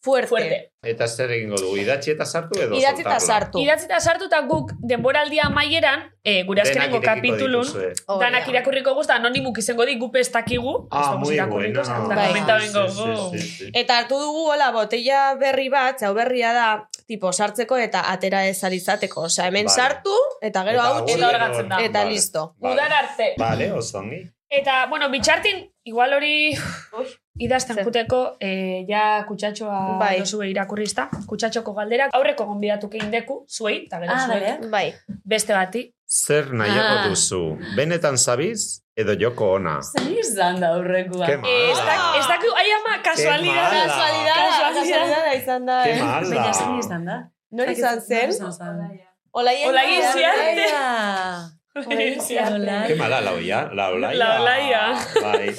S1: fuerte.
S5: Fuerte.
S4: Eta zer egingo dugu, idatzi eta sartu edo
S1: Idatzi eta
S4: soltarla?
S1: sartu.
S3: Idatzi eta sartu eta guk denboraldia amaieran, e, gure
S4: Denak
S3: azkenengo
S4: irekiko
S3: kapitulun,
S4: dituzue.
S1: Hori da.
S3: danak irakurriko guzta, anonimuk izango di, gupe ez dakigu.
S4: Ah, muy bueno.
S1: Bai.
S3: Komenta bengo.
S4: Sí, sí, sí, sí.
S1: Eta hartu dugu, hola, botella berri bat, hau berria da, tipo, sartzeko eta atera ez alizateko. Osea, hemen
S4: Vale.
S1: sartu, eta gero hau,
S4: agur,
S1: eta,
S3: hor gatzen da.
S1: eta listo.
S3: Udar arte.
S4: Vale, oso ongi.
S3: Eta, bueno, bitxartin, igual hori idazten
S1: Zer?
S3: juteko, eh, ja
S1: Bai.
S3: kutsatxoa bai. dozue irakurrizta, kutsatxoko galderak, aurreko gonbidatuke indeku, zuei, eta gero
S5: Ah,
S3: zuei,
S5: bale.
S1: Bai.
S3: beste bati.
S4: Zer nahiago
S5: Ah.
S4: duzu? Benetan zabiz edo joko ona?
S5: Zer izan da aurrekoa?
S4: Ke
S3: Eh, ez
S4: mala.
S3: dak- ez dakigu, ai ama, kasualidad.
S4: mala.
S1: Kasualidada, kasualidada izan da,
S4: Ke
S1: eh?
S5: Baina, zein
S4: mala.
S5: izan da?
S1: Nor izan zen?
S5: Nor izan zen?
S1: Olaien
S3: Olaien
S1: Olaien
S3: ziarte.
S5: Olaien ziarte.
S4: Ke mala la oia, la olaia.
S3: La olaia.
S4: Bai.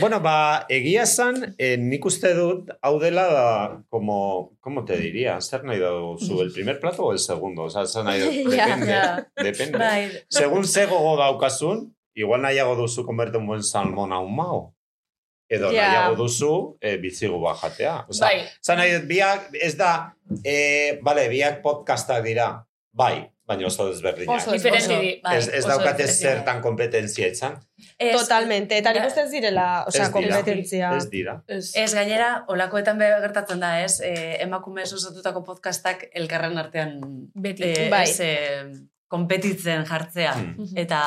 S4: bueno, ba, egia esan, eh, nik uste dut, hau dela da, como, como te diría, zer nahi duzu, el primer plato o el segundo? O sea, zer nahi duzu,
S1: Ja,
S4: depende,
S5: ja.
S4: depende.
S5: Bai,
S4: Segun ze gogo daukazun, igual nahiago duzu konberte un buen salmon ahumao. Edo
S1: Ja.
S4: nahiago duzu eh, bizigu bajatea. Osa,
S3: Bai.
S4: Zan nahi dut, biak, ez da, eh, bale, biak podcastak dira. Bai, baina oso desberdinak.
S1: Oso,
S3: Diferente
S5: oso,
S3: di.
S5: bai,
S4: ez, ez
S3: oso
S4: daukate
S3: desberdinak.
S4: zertan kompetentzia etxan.
S5: Ez-
S1: Totalmente, eta nik uste ez direla,
S4: Ez
S1: osea,
S4: dira.
S1: kompetentzia.
S4: Ez dira.
S3: eh,
S5: Ez gainera, olakoetan be gertatzen da, ez? Eh, emakume osotutako podcastak elkarren artean
S3: Beti.
S5: eh,
S1: Bai.
S5: ez, eh, konpetitzen jartzea.
S4: Hmm.
S5: Eta,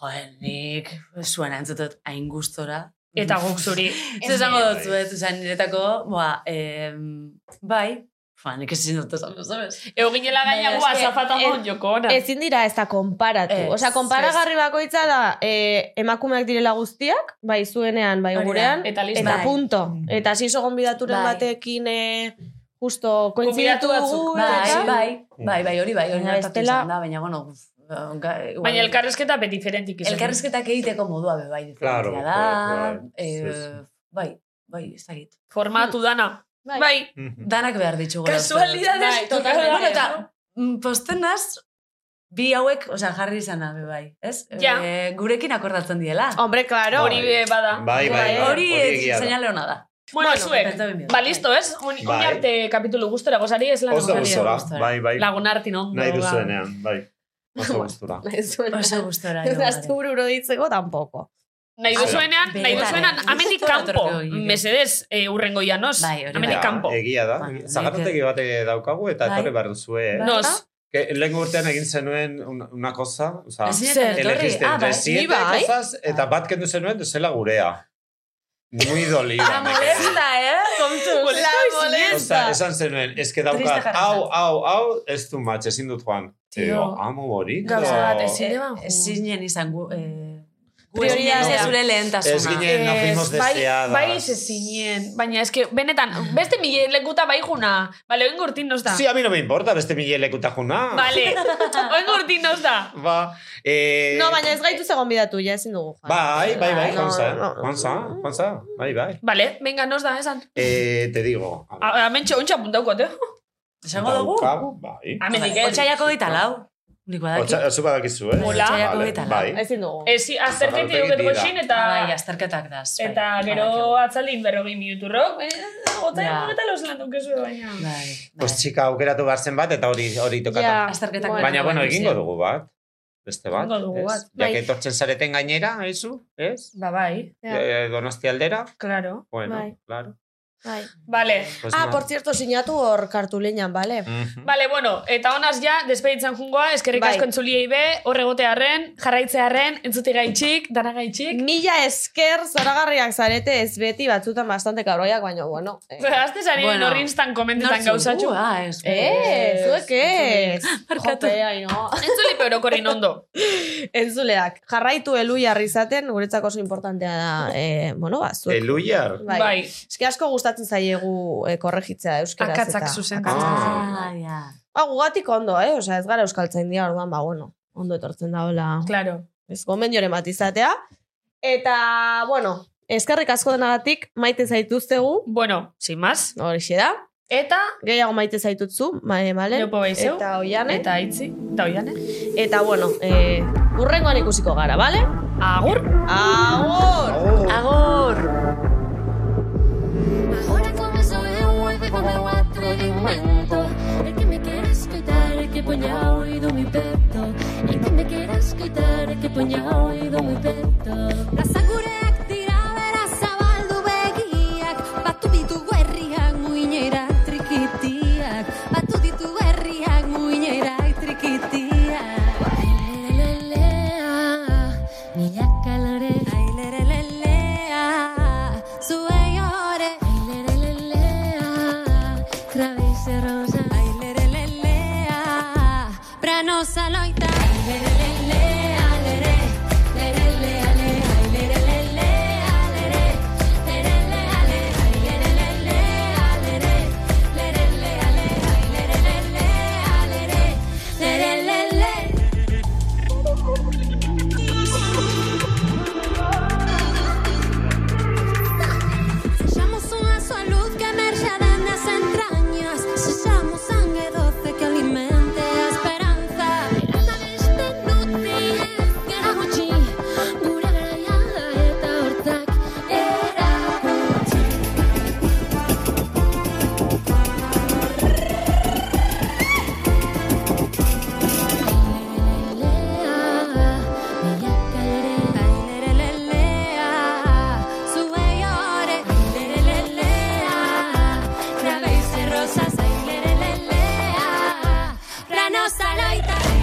S5: joder, nik zuena entzutut hain gustora.
S3: Eta guk zuri.
S5: Zer esango dut, ez, oza, niretako, boa, em, bai, Fua, nik ezin dut esan, sabes?
S3: Euginela gaina
S5: Baina,
S3: gua,
S1: eske,
S3: zafata
S1: ez-
S3: mon joko ona.
S1: Ezin dira ez da konparatu.
S5: Ez,
S1: Osea, konparagarri bakoitza da eh, emakumeak direla guztiak, bai zuenean, bai
S5: Hori da,
S1: gurean,
S3: eta listo.
S1: eta
S5: Bai.
S1: punto. Eta zizo gonbidaturen
S5: Bai.
S1: batekin eh, justo kointzidatu
S3: Gonbidatu batzuk,
S1: dugu.
S5: Bai,
S1: eta-
S5: bai, bai, bai, hori bai, hori
S1: Baina
S5: gertatu
S1: bestela-
S5: izan da, baina, bueno, uf, ga- igual-
S3: Baina elkarrezketa beti diferentik izan.
S5: Elkarrizketak egiteko modua be bai diferentia
S4: Claro,
S5: da.
S4: claro, claro.
S5: eh,
S4: Sí, sí.
S5: bai, bai, ez dakit.
S3: Formatu dana.
S1: Bai.
S3: Bai.
S4: Hmm.
S5: Danak behar ditugu.
S3: Kasualidades.
S1: Bai,
S3: totalmente.
S5: Mm. Bueno, eta mm, posten naz, bi hauek, osea, jarri izan be bai, ez?
S3: Ja.
S5: Eh, gurekin akordatzen diela.
S1: Hombre, claro.
S3: Hori be bada.
S4: Bai, bai, bai.
S5: Hori
S4: egia da.
S5: seinale hona da.
S3: Bueno,
S5: Bueno,
S3: zuek.
S5: pentsa bien.
S3: Ba, listo, ez? Un,
S4: Bai.
S3: bai. arte kapitulu gustora gozari ez lan
S4: Oso
S3: gozari.
S4: gustora,
S5: gustora.
S4: bai, bai.
S3: Lagun hartin ondo.
S4: Nahi
S3: ba.
S4: duzuenean, bai. Oso gustora.
S1: Zuena.
S5: Oso gustora.
S1: Ez da, azte bururo ditzeko, tampoco.
S3: Nahi duzuenean,
S5: Bai.
S3: nahi duzuenean,
S5: Benetan,
S3: amendik
S5: gustora
S3: kanpo.
S5: etorriko ginen.
S3: Mesedez, eh, urrengo janos.
S5: Bai, hori da.
S3: amendik
S4: Ja,
S3: kanpo.
S4: Egia da.
S5: Bai,
S4: Zagarrotegi bate daukagu eta
S5: Bai.
S4: etorri behar duzue. eh?
S3: Nos.
S4: Que lehenko urtean egin zenuen una, una cosa, o sea,
S5: Zer,
S4: elegiste
S5: Ah,
S4: entre
S5: bai.
S4: siete
S1: Ni bai.
S4: cosas eta bat kendu zenuen zela gurea. Muy dolida.
S5: La
S4: me quedé.
S5: molesta, eh? Kontuz.
S1: La
S4: O sea, esan zenuen, es que dauka,
S5: Triste jarrera.
S4: hau, hau, hau, ez du match, ezin dut joan.
S3: Tio.
S4: Digo, amo bonito.
S3: Gauza bat,
S4: ez
S3: ezin eban ju.
S5: Zinen izan gu... Eh, gu ez
S1: Prioridadea.
S5: ginen zure lehentasuna.
S4: ginen, nos fuimos
S3: Ez, bai,
S4: deseadas.
S3: bai ze zinen. Baina, eske, benetan, beste mile lekuta bai juna. Bale, oin gurtin nos da.
S4: Sí, a mí no me importa, beste mille lekuta juna.
S3: Bale, oin gurtin nos da.
S4: Ba, eh...
S1: No, baina ez gaitu zegoen bidatu, ja ezin dugu. Juan.
S4: Bai, bai, bai,
S1: No,
S4: Juanza, eh?
S1: no, no.
S4: Juanza, Juanza, bai, bai.
S3: Bale, venga, nos da, esan.
S4: Eh, te digo. a ver,
S3: A- Amentxo, ontsa puntaukot, eh?
S5: Esango dugu?
S4: daukagu, Bai.
S3: Amendik, eh?
S5: Otsaiako gita lau. Nik badaki.
S4: Otsa, zu badakizu, eh?
S3: Hola.
S5: Otsaiako
S4: Vale,
S5: hogeita lau.
S4: Bai.
S1: Ezin dugu.
S3: Ez, azterketi
S4: Zabalpegi
S3: dugu
S4: dira.
S3: xin,
S5: Eta, bai,
S3: eta...
S5: azterketak daz. bai.
S3: Eta gero atzaldin berrogei minuturrok. Eh, gotai,
S5: Ja.
S3: eta los lan dukezu baina.
S5: Bai, bai.
S4: Pues txika aukeratu behar zen bat, eta hori hori tokatu.
S1: Ja,
S5: Azterketak
S1: bueno.
S4: Baina, bueno,
S5: Bueno,
S4: egingo
S5: sí.
S4: dugu bat. Beste bat.
S3: Egingo dugu
S4: ez?
S3: bat,
S4: Ja,
S1: bai.
S4: que etortzen zareten gainera, haizu, ez?
S3: Ba, bai,
S1: Ja.
S4: Eh, donosti aldera,
S3: claro.
S4: bueno,
S1: Bai.
S4: claro.
S1: Bai.
S3: Vale,
S4: Pues
S1: Ah,
S4: nada.
S1: por Bai. cierto, sinatu hor kartulinan, bale?
S4: Mhm.
S3: vale, bueno, eta honaz ja, despeditzen jungoa, eskerrik
S1: Bai.
S3: asko entzuliei be, horregotearen, jarraitzearen, entzuti gaitxik, dana gaitxik.
S1: Mila esker zoragarriak zarete ez beti batzutan bastante kabroiak, baina bueno. Eh,
S3: Azte zari
S5: Bueno.
S3: bueno, horri instan komentetan
S5: Nortzuk.
S3: gauzatxu.
S5: Uh, ah, ez.
S1: eh zuek ez.
S5: Barkatu.
S1: Jope, ai, no.
S3: Entzuli peorokorin ondo.
S1: Entzuleak, jarraitu elu jarri izaten, guretzako oso importantea da, eh, bueno, ba, zuek.
S4: Eluiar.
S3: Bai.
S1: Bai. Eske asko gustatzen zaiegu eh, korregitzea euskeraz.
S3: Akatzak
S1: eta-
S3: zuzentzen.
S5: Ah, ja.
S1: Ba, gugatik ondo, eh? Osea, ez gara euskaltzain dira, orduan, ba, bueno, ondo etortzen daola.
S3: Claro.
S1: Ez gomendioren bat izatea. Eta, bueno, eskerrik asko denagatik maite zaituztegu,
S3: Bueno, sin más.
S1: horixe da.
S3: Eta,
S1: Gehiago maite zaitutzu, mae malen,
S3: Leopo baizeu.
S1: eta oiane. Eta,
S3: Eta itzi, eta oiane.
S1: bueno, eh, urrengoan ikusiko gara, bale?
S3: Agur!
S1: Agur!
S5: Agur!
S9: Ahora comenzó de vuelta con el guato de invento. El que me quieras quitar, el que ponía oído mi peto. El que me quieras quitar, el que ponía oído mi peto. Plaza gureak dira bera zabaldu begiak. Batu ditu herriak muinera trikitiak. Batu ditu herriak muinera trikitiak. Lelelelea, milaka lan ya no saloita. Ai, lere, lele, alere, lere, le, ale, ai, lere, lele, alere, lere, le, ale, ai, lere, lele, alere, lere, le, ale, ai, lere, lele, alere, lere, lele. Sexamos unha súa luz que emerxa das entrañas Sexamos sangue doce que alimente a esperanza Mirata beste nutriez geragutxi Gure garaia eta hortak erakutsi Lea, milaka ere Aire lelea Zuei hore, aire lelea, grabeiz errosaz, aire lelea, ranoz aloita.